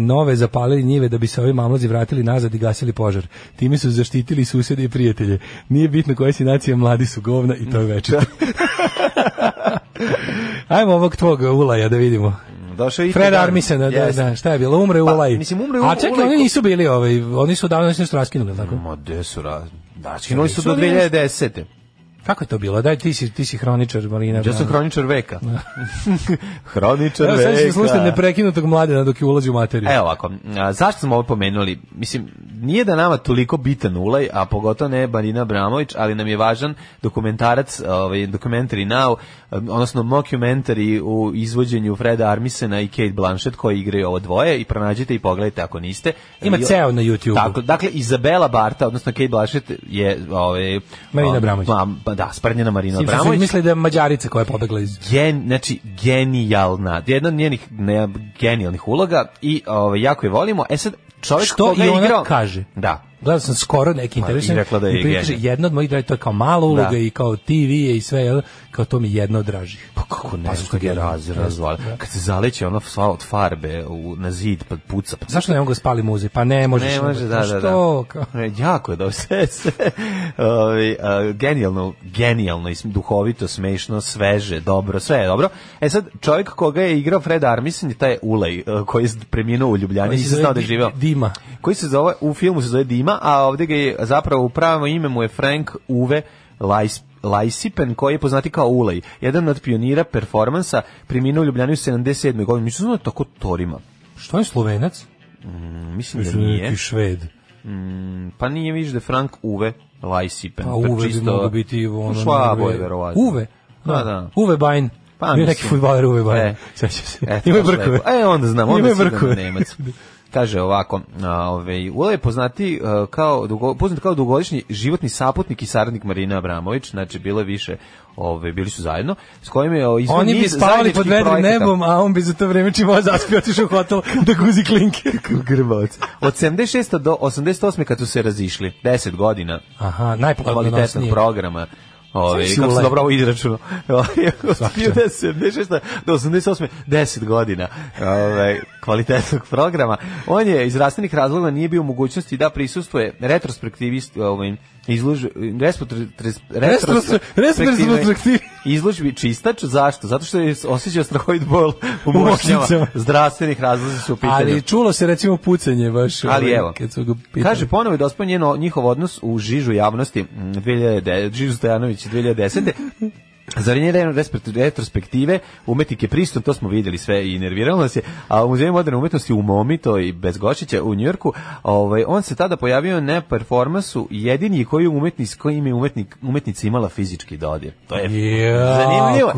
G: Nove zapalili njive da bi se ovi mamlazi vratili nazad i gasili požar. Time su zaštitili susede i prijatelje. Nije bitno koje si nacije, mladi su govna i to je večer. Ajmo ovog tvog ulaja da vidimo.
H: Došao je i
G: Fred
H: Tedan.
G: Armisena, da,
H: Yes.
G: da, šta je bilo? Umre
H: Pa,
G: Ulaj.
H: mislim, umre
G: A čekaj,
H: Ulaj
G: oni
H: ko-
G: nisu bili, ovaj, oni su odavno nešto raskinuli, tako?
H: Ma, gde su raz... Da, skinuli su do 2010.
G: Kako je to bilo? Daj, ti si, ti si hroničar, Marina.
H: Ja sam
G: Brana.
H: hroničar veka. <laughs> hroničar
G: Evo, sad ćete
H: veka.
G: slušati neprekinutog mladena dok je ulazi u materiju.
H: Evo ovako, a, zašto smo ovo pomenuli? Mislim, nije da nama toliko bitan ulaj, a pogotovo ne Marina Bramović, ali nam je važan dokumentarac, ovaj, documentary now, em, odnosno mockumentary u izvođenju Freda Armisena i Kate Blanchett koji igraju ovo dvoje i pronađite i pogledajte ako niste.
G: Ima
H: I-
G: ceo na YouTube-u.
H: Tako, dakle, Izabela Barta, odnosno Kate Blanchett je... Ovaj,
G: Marina
H: on-
G: Abramović.
H: Ma, ba- da, sprnjena Marina
G: Tim što su
H: Bramović
G: mislili da je Mađarica koja je pobegla iz...
H: gen, znači genijalna, jedna od njenih ne, genijalnih uloga i ovaj jako je volimo. E sad čovjek
G: Što
H: koga
G: i
H: je
G: ona
H: igrao,
G: kaže.
H: Da.
G: Gledao sam skoro neki
H: Ma, i
G: intervju.
H: rekla da je
G: i kaže,
H: genij.
G: jedna od mojih dražih, to je kao mala uloga
H: Da.
G: i kao TV je i sve, jel? kao to mi je jedna od dražih.
H: Pa kako ne,
G: Pazi što
H: što je
G: genijalno.
H: raz, razvala.
G: Da.
H: Kad se zaleće ona sva od farbe u, na zid, pa puca. Pa
G: Zašto ne mogu da spali muze? Pa ne možeš.
H: Ne može, da,
G: Pa
H: da,
G: Što?
H: da.
G: Kao-
H: E, <laughs> Jako je da sve, sve. Ovaj, a, genijalno, genijalno, i sm- duhovito, smešno, sveže, dobro, sve je dobro. E sad, čovjek koga je igrao Fred Armisen je taj Ulej, e, koji je preminuo u Ljubljani,
G: Koji se
H: nisam
G: zove
H: znao da je
G: Di-
H: živeo.
G: Dima.
H: Koji se zove, u filmu se zove Dima, a ovdje ga je, zapravo, u pravo ime mu je Frank Uwe Lajs, Lajsipen, koji je poznati kao Ulej, jedan od pionira performansa, preminuo u Ljubljani u 77. godini. Mislim, znao tako torima.
G: Što je slovenac?
H: Mm, Mislim da
G: Mislim, da je
H: nije.
G: neki šved.
H: Mm, pa nije viš da je Frank Uwe Lajsipen.
G: Pa uve bi mogao biti ono...
H: Švabo
G: Norve-
H: pa je verovatno.
G: Uve?
H: Da, da.
G: Uve Bajn.
H: Pa,
G: Bio je neki
H: mislim.
G: fudbaler Uve Bajn.
H: E.
G: <laughs> Sećam se.
H: E,
G: Ima
H: to je
G: brkove.
H: lepo. E, onda znam, onda
G: Imaju
H: si
G: brkove.
H: Nemac. Kaže ovako, a, ovaj, Ula je poznati, e, kao, dugo, poznat kao dugogodišnji životni saputnik i saradnik Marina Abramović, znači bilo je više, ove, bili su zajedno, s kojim je o, izveo
G: Oni bi
H: niz
G: spavali pod
H: zajedničkih
G: vedrim
H: projekata.
G: nebom, a on bi za to vreme čim ovo zaspio otišao u
H: <laughs>
G: hotel da guzi klinke.
H: Grbac. Od 76. do 88. kad su se razišli, 10 godina
G: Aha,
H: kvalitetnog
G: najplodonosnije.
H: programa. Ove,
G: Sve si
H: kako se Ovaj,
G: ulep.
H: dobro ovo <laughs> izračuno. Od <laughs>
G: Svaka
H: 1976 do 88. 10 godina ove, kvalitetnog programa. On je iz rastanih razloga nije bio u mogućnosti da prisustuje retrospektivist ovim izluž, respotr- tres-
G: Restrospe- retrospektivnoj-
H: izložbi čistač. Zašto? Zato što je osjećao strahovit bol u moćnjama.
G: moćnicama.
H: Zdravstvenih razloga su u pitanju.
G: Ali čulo se recimo pucanje baš.
H: Ali
G: ovaj,
H: evo,
G: Kad su ga pitali.
H: kaže ponovo je dospao njen njihov odnos u žižu javnosti mm, 2009, Žižu Stojanović
G: <laughs>
H: 2010. Zarenje retrospektive, umetnik je pristup, to smo vidjeli sve i nerviralo nas je, a u Muzeju moderne umetnosti u Momi, to i bez Gočića u Njujorku, ovaj, on se tada pojavio na performansu jedini koji je umetnik, s kojim je umetnik, umetnica imala fizički dodir. To je
G: Ja,
H: zanimljivo.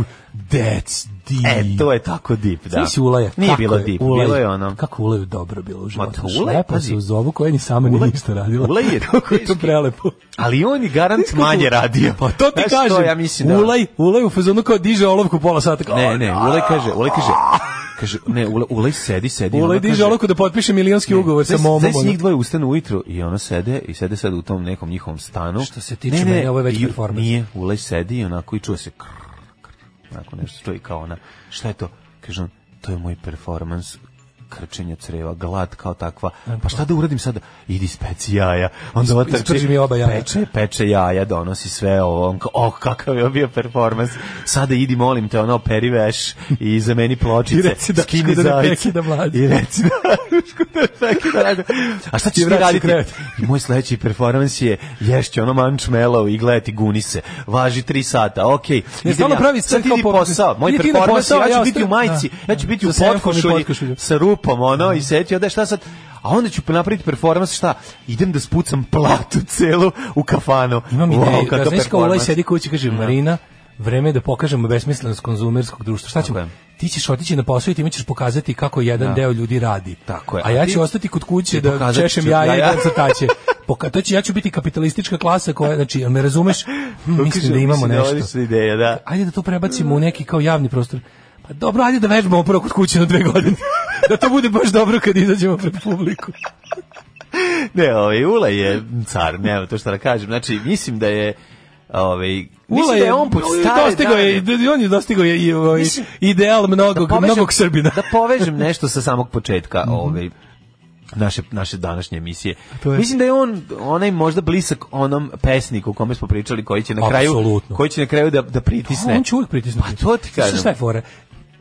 G: That's deep.
H: E, to je tako dip, da.
G: Znaš si ulaja?
H: Nije
G: kako
H: bilo
G: je
H: dip,
G: Ulaj-
H: bilo je ono.
G: Kako ulaju dobro bilo u životu.
H: to Ulaj,
G: Šlepa
H: pazi.
G: se uz ovu koja ni sama nije
H: Ulaj-
G: ništa radila.
H: Ulaj
G: <laughs>
H: je
G: Kako je to
H: teški.
G: prelepo.
H: Ali on je garant <laughs> manje radio.
G: Pa to ti
H: Znaš što,
G: kažem.
H: ja mislim da-
G: Ulaj, ulaj u fazonu kao diže olovku pola sata. Kao,
H: Ne, ne, Ulej kaže, Ulej kaže, kaže, ne, Ulej, Ulej sedi, sedi.
G: Ulaj
H: ona
G: diže
H: kaže-
G: olovku da potpiše milionski ugovor sa
H: Znaš-
G: momom.
H: znaš,
G: ono.
H: njih dvoje ustanu ujutru i ona sede i sede sad u tom nekom njihovom stanu.
G: Što se tiče mene, ovo je već
H: i-
G: performans.
H: Nije, Ulej sedi i onako i čuje se krr, krr, onako nešto čuje kao ona. Šta je to? Kaže on, to je moj performans krčenja creva, glad kao takva.
G: E,
H: Pa šta da uradim sada? Idi speći jaja. Onda ova trči,
G: isprži mi oba jaja.
H: Peče, peče jaja, donosi sve ovo. On kao, oh, kakav je ovo bio performans. Sada idi, molim te, ono, peri veš i zameni
G: <laughs>
H: pločice.
G: I reci Dašku
H: skini
G: da ne
H: zajice.
G: prekida mlađu.
H: I reci Dašku da ne prekida mlađu. A šta ćeš ti
G: vraćaš
H: raditi?
G: krevet.
H: I moj sledeći performans je ješće ono mančmelov i gledati Gunise. Važi tri sata, okej. idem
G: stvarno
H: ja.
G: pravi
H: Sad
G: sve
H: ti
G: kao
H: idi
G: po-
H: posao. Moj
G: Idi ti na
H: performans je,
G: posao,
H: ja ću
G: ja
H: biti u
G: ostajem.
H: majici,
G: Da.
H: ja ću biti u
G: Sa senkom i
H: potkošulji,
G: potkošuljom.
H: sa rupom, ono, i seti, onda šta sad? A onda ću napraviti performans, šta? Idem da spucam platu celu u kafanu.
G: Imam
H: Wow,
G: ideju,
H: kakav
G: da znaš kao
H: performans.
G: ulaj sedi kući, kaže Marina, vreme je da pokažemo besmislenost konzumerskog društva. Šta ćemo? Ti ćeš otići na posao i ti mi ćeš pokazati kako jedan
H: Da.
G: deo ljudi radi.
H: Tako je.
G: A ja
H: ti-
G: ću ostati kod
H: ti
G: kuće da
H: pokazat
G: češem
H: ću-
G: jaja i
H: jaja.
G: da se taće. Poka- to će, ja ću biti kapitalistička klasa koja, znači, jel me
H: <laughs>
G: razumeš? Hm, mislim da imamo nešto.
H: odlična ideja, da.
G: Ajde da to prebacimo u neki kao javni prostor. Pa dobro, ajde da vežbamo prvo kod kuće na dve godine. <laughs> da to bude baš dobro kad izađemo pred publiku.
H: Ne, ovaj, Ula je car, ne, to što da kažem. Znači, mislim da je... Ovaj,
G: Ula
H: mislim da je on pod stare
G: dostigao je,
H: dane.
G: on je dostigao je i ovaj
H: Mislim-
G: ideal mnogog,
H: povežem-
G: mnogog Srbina.
H: <laughs>
G: Mhm.
H: da povežem nešto sa samog početka ovaj, naše, naše današnje emisije.
G: To je-
H: Mislim da je on onaj možda blisak onom pesniku o kome smo pričali koji će na kraju
G: Apsolutno.
H: koji će na kraju da da pritisne.
G: On će uvijek pritisnuti.
H: Pa to ti
G: Znaš
H: kažem.
G: Šta je fora?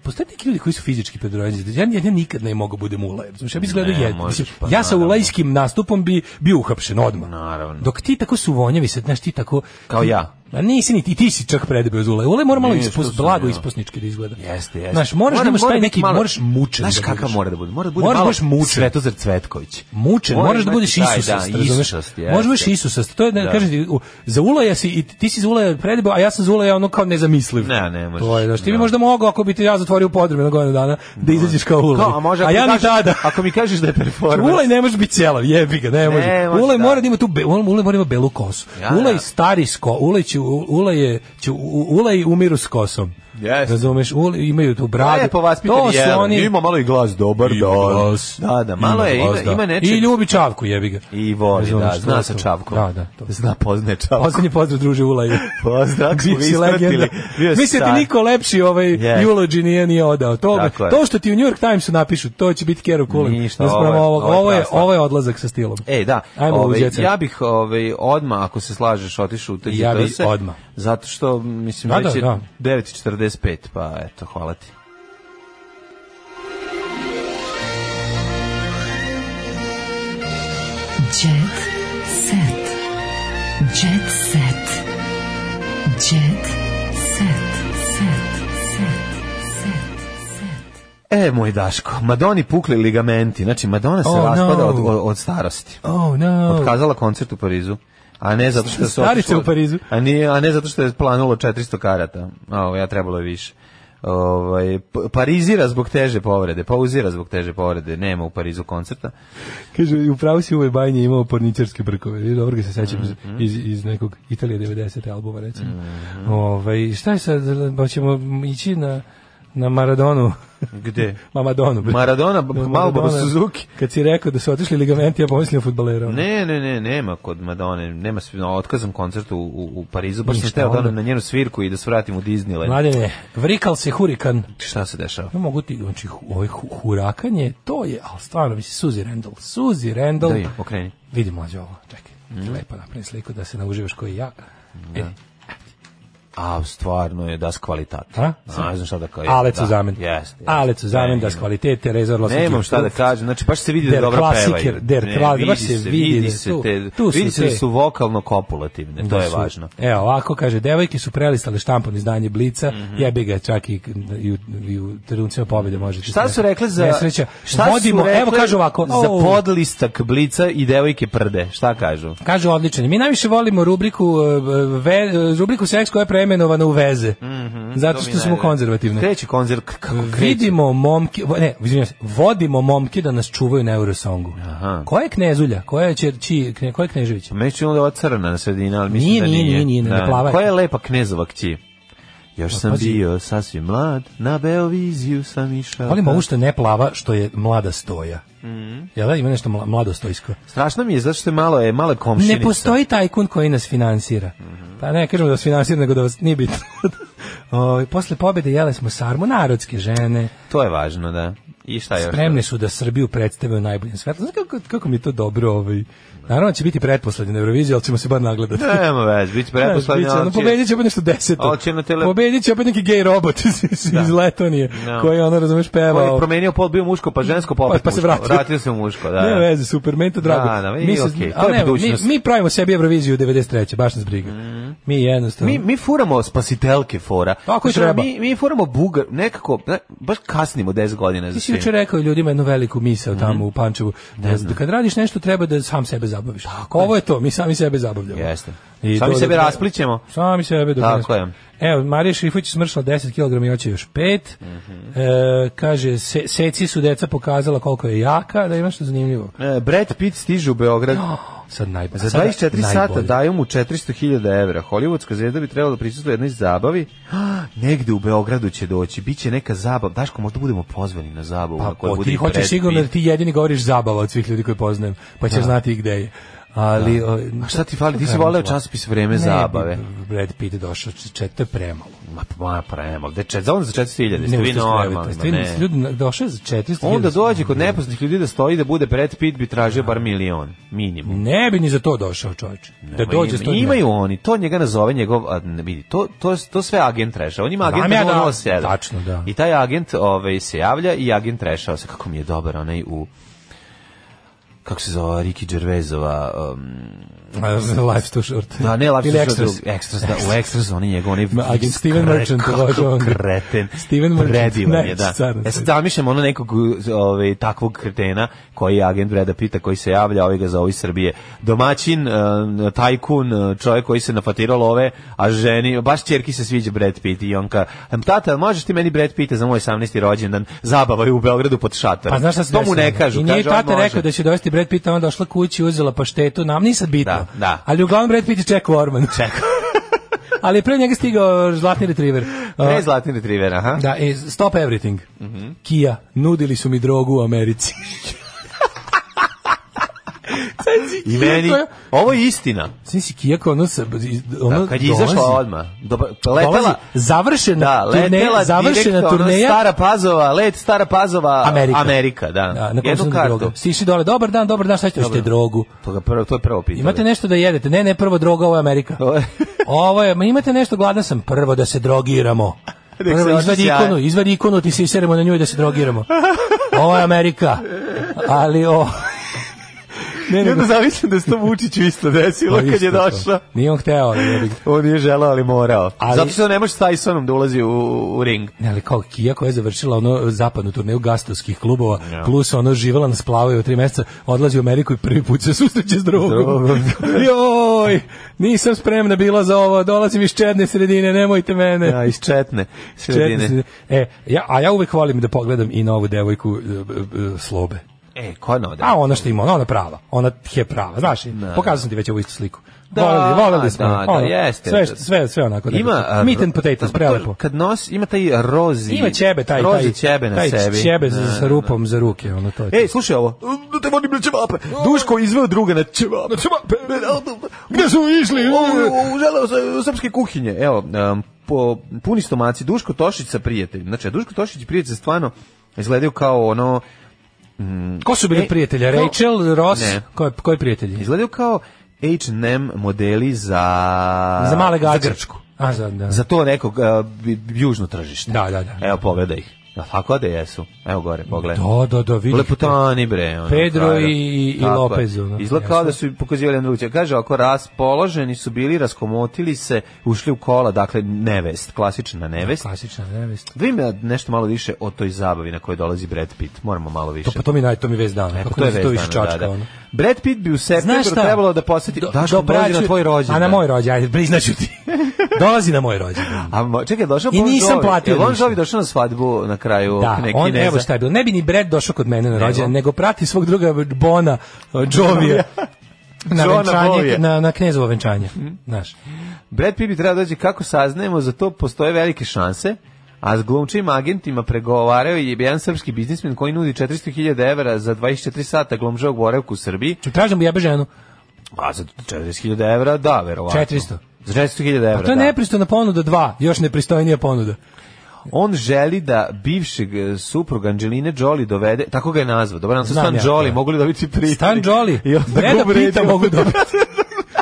G: Postoje neki ljudi koji su fizički predrođeni. Ja, ja, ja nikad ne mogu budem ulaj. Znači, ja bi izgledao
H: Ne,
G: jedno.
H: možeš,
G: Mislim,
H: pa
G: ja sa
H: naravno.
G: ulajskim nastupom bi bio uhapšen odmah.
H: Naravno.
G: Dok ti tako su vonjavi, sad, znaš, ti tako...
H: Kao ja.
G: A nisi ni ti, ti si čak predebeo za ulaj. Ulaj mora malo
H: Nije, što
G: ispos,
H: sam
G: blago
H: ja.
G: ispusnički da izgleda.
H: Jeste, jeste.
G: Znaš, moraš
H: Mora-
G: da imaš
H: mora
G: taj
H: biti
G: neki,
H: malo-
G: moraš mučen.
H: Znaš
G: da
H: kakav
G: budeš.
H: mora da bude? Mora da bude
G: Moraš
H: malo
G: baš mučen.
H: Svetozar Cvetković.
G: Mučen,
H: Mora
G: moraš da
H: imati
G: budeš
H: taj,
G: Isus,
H: da,
G: razumeš?
H: Isusast,
G: Možeš budeš
H: jeste.
G: Isusast. To je da,
H: Da.
G: kažem ti, u- za ulaja si i ti si za ulaja predebeo, a ja sam za ulaja ono kao nezamisliv.
H: Ne, ne možeš.
G: To je, znaš, ti bi
H: Da.
G: možda mogao ako bi ti ja zatvorio podrum na godinu dana da izađeš kao ulaj.
H: Kao, a može ako
G: ja
H: mi
G: ni
H: kažeš-
G: tada.
H: Ako mi kažeš da je performans.
G: Ulaj ne može biti celav, jebi ga, ne može.
H: može,
G: ulaj
H: da.
G: mora da ima tu be, ulaj mora da ima belu kosu.
H: Ja,
G: ulaj
H: da.
G: stari sko, ulaj će, ulaj je, će, u- ulaj umiru s kosom.
H: Jeste.
G: Razumeš, ulaj, imaju tu bradu.
H: Lepo vaspitan
G: E, to su
H: jelen.
G: oni,
H: Ima malo i glas dobar,
G: Ima
H: da.
G: glas.
H: Da, da, malo je,
G: glas,
H: ima,
G: da.
H: ima nečeg.
G: I ljubi čavku, jebi ga.
H: I voli,
G: Razumeš,
H: da,
G: to
H: zna
G: je
H: sa
G: to.
H: čavkom.
G: Da, da, to.
H: Zna, poznaje čavku.
G: Poslednji pozdrav, druže Ulaj.
H: <laughs>
G: <laughs>
H: Pozdrav, ako
G: Bio
H: smo
G: si legenda.
H: ispratili. Bio si
G: Mislim da
H: car.
G: ti niko lepši ovaj
H: Yes.
G: yes. eulogy nije, nije odao. To,
H: Tako je.
G: to što ti u New York Timesu napišu, to će biti Kero Kulen.
H: Ništa,
G: Naspram
H: ovo je-
G: ovog.
H: ovo je
G: Ovo je,
H: krasno.
G: ovo je odlazak sa stilom.
H: E, da.
G: Ajmo u
H: ovaj,
G: Jet Set.
H: ja bih ovaj, odmah, ako se slažeš, otišao u te
G: Ja bih
H: Jetose,
G: odmah.
H: Zato što, mislim,
G: Da,
H: već
G: da,
H: je
G: da.
H: 9.45, pa eto, hvala ti.
J: Jet set. Jet set. Jet set. Set. Set. Set.
H: E, moj Daško, Madoni pukli ligamenti. Znači, Madonna se
G: Oh,
H: raspada
G: no.
H: od, od, od starosti.
G: Oh, no.
H: Otkazala koncert u Parizu. A ne zato što se
G: Starice u Parizu.
H: A, nije, a ne zato što je planulo 400 karata. A ovo ja trebalo je više. Ovaj P- Parizira zbog teže povrede, pauzira zbog teže povrede, nema u Parizu koncerta.
G: Kaže, upravo si u ovoj bajnji imao porničarske brkove. I Dobro ga se sećam iz-
H: Mhm.
G: iz, iz nekog Italije 90. albuma, recimo. Ovaj, šta je sad, pa ćemo ići na, na Maradonu?
H: Gde?
G: Ma Madonu. bre.
H: Maradona,
G: Na
H: Marlboro Suzuki.
G: Kad si rekao da su otišli ligamenti, ja pomislio futbalera.
H: Ne, ne, ne, nema kod Madone, nema svi, no, otkazan koncert u, u, u Parizu, baš sam
G: Ništa, ono-
H: hteo da
G: onda.
H: odem na njenu svirku i da se vratim u Disneyland.
G: Mladene, vrikal se hurikan.
H: Šta se dešava?
G: Ja mogu ti, znači, hu- ovaj hu- hurakanje, to je, ali stvarno, mislim, Suzy Randall, Suzy Randall.
H: Da Mm. vidim, okreni.
G: Vidi mlađe ovo, čekaj. Lepo napravim sliku da se nauživaš koji ja. E,
H: A, stvarno je das kvalitat.
G: A?
H: A, ne znam šta E, da kažem.
G: Alet su zamen.
H: Jeste. jeste.
G: Alet su zamen,
H: Ne,
G: das kvalitete, rezor Los
H: Ne imam šta da kažem, znači baš se vidi da
G: Der
H: dobro
G: Klassiker,
H: pevaju.
G: Der
H: Ne,
G: Klassiker,
H: vidi
G: baš se vidi
H: vidi
G: da
H: se
G: tu-
H: te,
G: tu su
H: vidi se da
G: te-
H: su vokalno kopulativne, to
G: Da
H: je
G: su-
H: važno.
G: Evo, ovako kaže, devojke su prelistale štampano izdanje Blica,
H: Mhm.
G: jebi ga čak i, i, u, i u trenucima pobjede možete.
H: Šta su rekle za
G: Nesreća.
H: Šta
G: Vodimo,
H: su rekle
G: evo kaže ovako,
H: za
G: "O,
H: podlistak blica i devojke prde. Šta kažu?
G: Kaže odličan. je. Mi najviše volimo rubriku e, ve, e, rubriku seks koja je preimenovana u veze.
H: Mm.
G: Mhm, zato
H: To mi
G: što smo
H: najde.
G: konzervativni.
H: Kreće konzerv kako kreće.
G: Vidimo momke, vo- ne, izvinjavam se, vodimo momke da nas čuvaju na Eurosongu.
H: Aha.
G: Koja je knezulja? Koja je Čerči, kne- koja je Knežević?
H: Meni se onda ova crna na sredini, ali mislim
G: Nije,
H: da nije.
G: nije, nije, nije, ne, ne, plava je.
H: Koja je lepa knezova kći? Još sam
G: pazi.
H: bio sasvim mlad, na Beoviziju sam išao.
G: Volim ovu što ne plava, što je mlada stoja.
H: Mm.
G: Jel da, ima nešto mla- mlado stojsko.
H: Strašno mi je zato što je malo je male komšinica.
G: Ne postoji tajkun koji nas finansira. Pa ne kažemo da vas finansira, nego da vas nije bitno. <laughs> Ovaj, posle pobjede jele smo sarmu narodske žene.
H: To je važno, da. I šta još?
G: Spremne su da Srbiju predstave u najboljem svetlu. Znaš kako, kako mi je to dobro? Ovaj. Naravno će biti pretposlednje na Euroviziji, ali ćemo se bar nagledati. <laughs>
H: Nema vez, bit će pretpostavljeno.
G: Znaš, bit će, ono, pobedit će opet nešto deseto.
H: Ali će na tele-
G: Pobedit će opet neki gej robot <laughs> iz, iz, iz Letonije,
H: Da.
G: koji ono, razumeš, peva.
H: Ko je promenio pol, bio muško, pa žensko, pa
G: Pa-
H: opet
G: pa se
H: muško.
G: vratio.
H: se u muško, da.
G: Ne
H: da.
G: veze, super, meni to drago.
H: Da, da, i
G: mi, se-
H: okej, to
G: ali
H: je
G: ne, mi,
H: budućnost. Mhm.
G: mi pravimo sebi Euroviziju 93. baš nas briga. Mi jednostavno.
H: Mi, mi furamo spasitelke fora.
G: Tako i
H: Znaš, ono,
G: Pa, treba.
H: Mi, mi furamo bugar, nekako, ne, baš kasnimo 10 godina za
G: Ti si
H: svim.
G: juče rekao ljudima jednu veliku misao
H: Mhm.
G: tamo u Pančevu, da, da kad radiš nešto treba da sam sebe zabaviš. Ovo je to, mi sami sebe zabavljamo.
H: Jeste.
G: I
H: Sami
G: to
H: sebe
G: dok ne-
H: rasplićemo.
G: Sami sebe dok ne
H: Tako
G: rasplićemo. Evo, Marija Šrifović je smršala 10 kg i hoće još 5.
H: Mhm.
G: e, kaže, se, seci su deca pokazala koliko je jaka, da ima što zanimljivo.
H: E, Brad Pitt stiže u Beograd. <gasps>
G: sad naj,
H: Za
G: sada
H: 24 sata
G: najbolje.
H: daju mu 400.000 evra. Hollywoodska zvezda bi trebala da prisustuje jednoj zabavi. <gasps> Negde u Beogradu će doći. Biće neka zabava. Daško, možda budemo pozvani na zabavu. na
G: Pa,
H: kojoj
G: ko,
H: bude
G: ti
H: i
G: hoćeš
H: Brad
G: sigurno da
H: Pitt.
G: ti jedini govoriš zabava od svih ljudi koje poznajem, pa ćeš
H: Da.
G: znati i gde je. Ali, o,
H: A šta ti fali? Ti si voleo časopis Vreme
G: Ne bi
H: zabave.
G: Brad Pitt došao, č- čet- to je premalo.
H: Ma, pa, ma prema. Deče, za onda za 400.000. Ste
G: Ne,
H: vi
G: to je
H: normalni.
G: prelepo.
H: ma ne.
G: Ljudi na- došao je za 400
H: Onda dođe kod nepoznatih ljudi da stoji da bude Brad Pitt bi tražio bar milion. Minimum.
G: Ne bi ni za to došao, čovječe. Da
H: Ma
G: dođe
H: ima-
G: sto
H: imaju oni, to njega nazove njegov, a, ne vidi, to, to, to sve agent rešava. On ima
G: Znam
H: agent
G: ja da,
H: 007.
G: tačno, da.
H: I taj agent ovaj, se javlja i agent rešava se kako mi je dobar onaj u kako se zove Ricky Gervaisova um,
G: A, Life's too short.
H: Da, ne, Life's
G: Ili
H: too short.
G: Extras.
H: Extras. Extras, da, u Extras on je njegov, on je
G: Ma, agent Steven
H: kre-
G: Merchant,
H: kako <laughs>
G: bože, on-
H: kreten.
G: Steven Merchant,
H: Predivan je, da.
G: najveći car na
H: E sad zamišljam ono nekog ovaj, takvog kretena koji je agent Breda Pita koji se javlja, ovaj ga zove iz Srbije. Domaćin, eh, tajkun, eh, čovjek koji se nafatirao love, a ženi, baš čerki se sviđa Brad Pitt i on ka, tata, možeš ti meni Brad Pitta za moj 18. rođendan, zabava je u Beogradu pod šatorom.
G: Pa znaš šta se
H: To mu ne
G: desilo?
H: kažu,
G: I nije
H: kaže, on
G: tata
H: može.
G: rekao da će dovesti Brad Pitt, a onda došla kući, uzela paštetu, nam nije sad bitno.
H: Da, da.
G: Ali uglavnom Brad Pitt je čekao
H: <laughs>
G: Orman. Čekao. <laughs> Ali je pre njega stigao zlatni retriever.
H: Ne
G: Uh,
H: zlatni retriever, aha.
G: <laughs> Da, e, stop everything.
H: Mhm.
G: Kia, nudili su mi drogu u Americi. <laughs> Sad si
H: I
G: Kia
H: meni,
G: koja-
H: ovo je istina.
G: Svi si Kia koja ono, sa- ono
H: Da, Pa kad je izašla
G: dolazi-
H: odmah. Dobar, letela,
G: dolazi završena
H: da, letela
G: turneja, završena
H: direkt, ono,
G: turneja.
H: Stara Pazova, let Stara Pazova
G: Amerika.
H: da.
G: Da, na kom
H: Jednu
G: sam
H: kartu.
G: drogu. Stišli dole, dobar dan, dobar dan, šta ćete? Ste
H: Dobro.
G: drogu.
H: To, ga prvo, to je prvo pitanje. <laughs>
G: Imate nešto da jedete? Ne, ne, prvo droga, ovo je Amerika. Ovo je, ma imate nešto, gladan sam, prvo da se drogiramo.
H: <laughs> Nek se
G: Prvo, izvadi
H: osjeća-
G: ikonu, izvadi ikonu, ti se iseremo na nju i da se drogiramo. Ovo je Amerika. Ali
H: <laughs>
G: o... Ne,
H: I
G: nego-
H: onda zamislim da se to Vučiću isto desilo
G: Pa
H: kad je
G: isto to.
H: došao.
G: Nije on hteo, ali jebi ga.
H: On nije želao, ali morao.
G: Ali-
H: Zato što ne može s Tysonom da ulazi u, u
G: <laughs>
H: ring.
G: Ne, ali kao Kija koja je završila ono zapadnu turneju gastovskih klubova,
H: Ja.
G: plus ono živela na splavaju tri mjeseca, odlazi u Ameriku i prvi put se susreće s drogom.
H: drogom.
G: <laughs> Joj, nisam spremna bila za ovo, dolazim iz čedne sredine, nemojte mene.
H: Ja, iz Četne.
G: Četne
H: Sredine.
G: sredine. E, ja, a ja uvek volim da pogledam i novu devojku e, e, e, slobe.
H: E, ko je nove?
G: A ona što ima, ona, ona prava, ona je prava, znaš, pokazao sam ti već ovu istu sliku.
H: Da,
G: volim, volim da smo,
H: da, da,
G: ono,
H: jeste.
G: sve, sve, sve onako. nekako.
H: Ima a,
G: meat and
H: ro-
G: potatoes,
H: to-
G: prelepo.
H: Kad nos ima taj rozi.
G: Ima ćebe taj
H: rozi
G: taj
H: ćebe na
G: taj
H: sebi.
G: ćebe sa,
H: Da,
G: sa
H: da, E,
G: rupom za ruke, ono to je. to.
H: Ej, slušaj ovo. Da te vodim na ćevape. Duško izveo druga na ćevape. Gde su išli? Želeo se u srpske kuhinje. Evo, em, po, puni stomaci. Duško Tošić sa prijateljem. Znači, Duško Tošić i prijatelj stvarno izgledaju kao ono...
G: ko su bili
H: e,
G: prijatelji?
H: ko-
G: Rachel, Ross,
H: Ne.
G: koji koji prijatelji?
H: Izgledaju kao H&M modeli za...
G: Za male gaće.
H: Za Grčku.
G: A za da.
H: Za E. to nekog e, bi- južno tržište.
G: Da, da, da.
H: Evo, pogledaj ih. Da, tako da jesu. Evo gore, pogledaj.
G: Da, da, da, vidi.
H: Lepotani bre. ono,
G: Pedro
H: frajer.
G: i- i- i
H: Tako je.
G: Lopez, ono,
H: Izgleda kao
G: jasno.
H: da su pokazivali jedan drugog. Kaže, ako raspoloženi su bili, raskomotili se, ušli u kola, dakle, nevest, klasična nevest.
G: Klasična nevest.
H: Da ima nešto malo više o toj zabavi na kojoj dolazi Brad Pitt. Moramo malo
G: To
H: više.
G: pa to mi naj to mi vez dana.
H: E, pa
G: Kako to je to
H: vest
G: više
H: dana,
G: čačka
H: da, da.
G: ono.
H: Brad Pitt bi u septembru
G: šta?
H: E, trebalo da posjeti...
G: Do-
H: Daško,
G: dobraću-
H: dođi na tvoj rođendan.
G: A na moj rođendan, ajde, priznaću ti.
H: <laughs>
G: Dolazi na moj rođendan.
H: A mo- čekaj, došao
G: I
H: Bon
G: nisam
H: Jovi.
G: platio
H: Jel on
G: ništa.
H: Jovi došao na svadbu na kraju
G: Da,
H: neke
G: on,
H: Kineza?
G: evo šta je bilo. Ne bi ni Brad došao kod mene na
H: Nego?
G: rođendan, nego prati svog druga Bona, Jovija. Na,
H: Johna
G: venčanje,
H: Bovija.
G: na, na knezovo venčanje.
H: Mhm.
G: Znaš.
H: Brad Pitt bi trebao dođe kako saznajemo, za to postoje velike šanse. A s glumčim agentima pregovarao je jedan srpski biznismen koji nudi 400.000 evra za 24 sata glumčevog boravka u Srbiji.
G: Tražim mu jebe ženu.
H: A za 40.000 evra, da, verovatno.
G: 400.
H: Za 400.000 evra,
G: A Pa to je
H: da.
G: nepristojna ponuda dva, još nepristojnija ponuda.
H: On želi da bivšeg e, supruga Angelina Jolie dovede, tako ga je nazvao, dobro, nam se
G: Znam
H: Stan
G: ja.
H: Jolie, mogu li dobiti prijatelj?
G: Stan Jolly,
H: I onda ga
G: Breda Pita
H: uvredio.
G: mogu dobiti.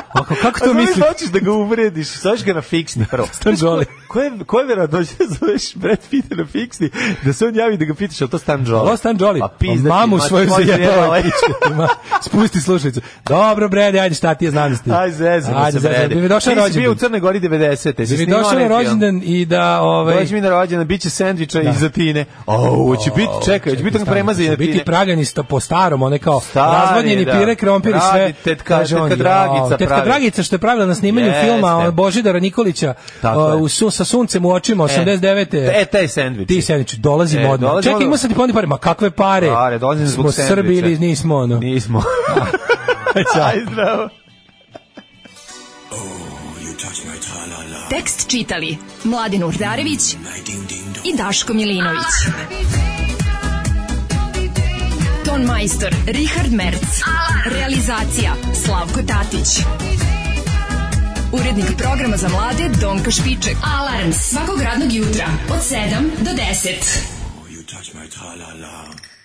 H: <laughs>
G: Ako, kako to
H: A
G: misliš?
H: znaš, Pa hoćeš da ga uvrediš, staviš ga na fiksni
G: <laughs>
H: prvo.
G: Stan Jolly.
H: Ko je, ko je verovatnoće da zoveš Brad Pitta na fiksni, da se on javi da ga pitaš, ali to Stan Jolly?
G: Alo, Stan Jolly,
H: Pa pizda ti,
G: mamu
H: ma, ovaj.
G: svoju
H: tvoj
G: zajebala
H: zajebala.
G: pička. Ma, Spusti slušalicu. Dobro, Brede, ajde šta ti je znam da ste.
H: <laughs> Aj, zezamo se,
G: zezamo.
H: Brede.
G: Bi mi došao
H: Ti si bio u
G: rođendan.
H: Crnoj Gori
G: Bi
H: 90.
G: mi došao na rođendan i da... Ovaj,
H: ono, Dođi mi na rođendan, bit će sendviča iz Atine. O, hoće biti, čekaj, hoće biti ono tako premazi iz
G: Će
H: Atine.
G: biti pragani sta po starom, one kao
H: Stari,
G: razvodnjeni
H: da.
G: pire, krompir i sve.
H: Radi tetka-
G: Kaže on,
H: tetka Dragica
G: "Jao, Tetka
H: pravi."
G: Dragica Dragica što je pravila na snimanju
H: Jeste.
G: filma ono, Božidara Nikolića
H: Tako
G: o,
H: je.
G: u su, sa suncem u očima 89.
H: E, taj sendvič.
G: Ti sendvič, dolazimo
H: E,
G: odmah.
H: dolazimo
G: Čekaj, ima
H: odmah.
G: sad i pondi pare. Ma kakve pare?
H: Pare, dolazim zbog
G: Smo
H: sendviča.
G: Srbi ili nismo ono? <laughs>
H: Nismo. Aj, zdravo.
J: Tekst čitali Mladin Urdarević i Daško Milinović. Ton majstor Richard Merc. Realizacija Slavko Tatić. Urednik programa za mlade Donka Špiček. Alarms svakog radnog jutra od 7 do 10.
Q: You touch my tra-la-la.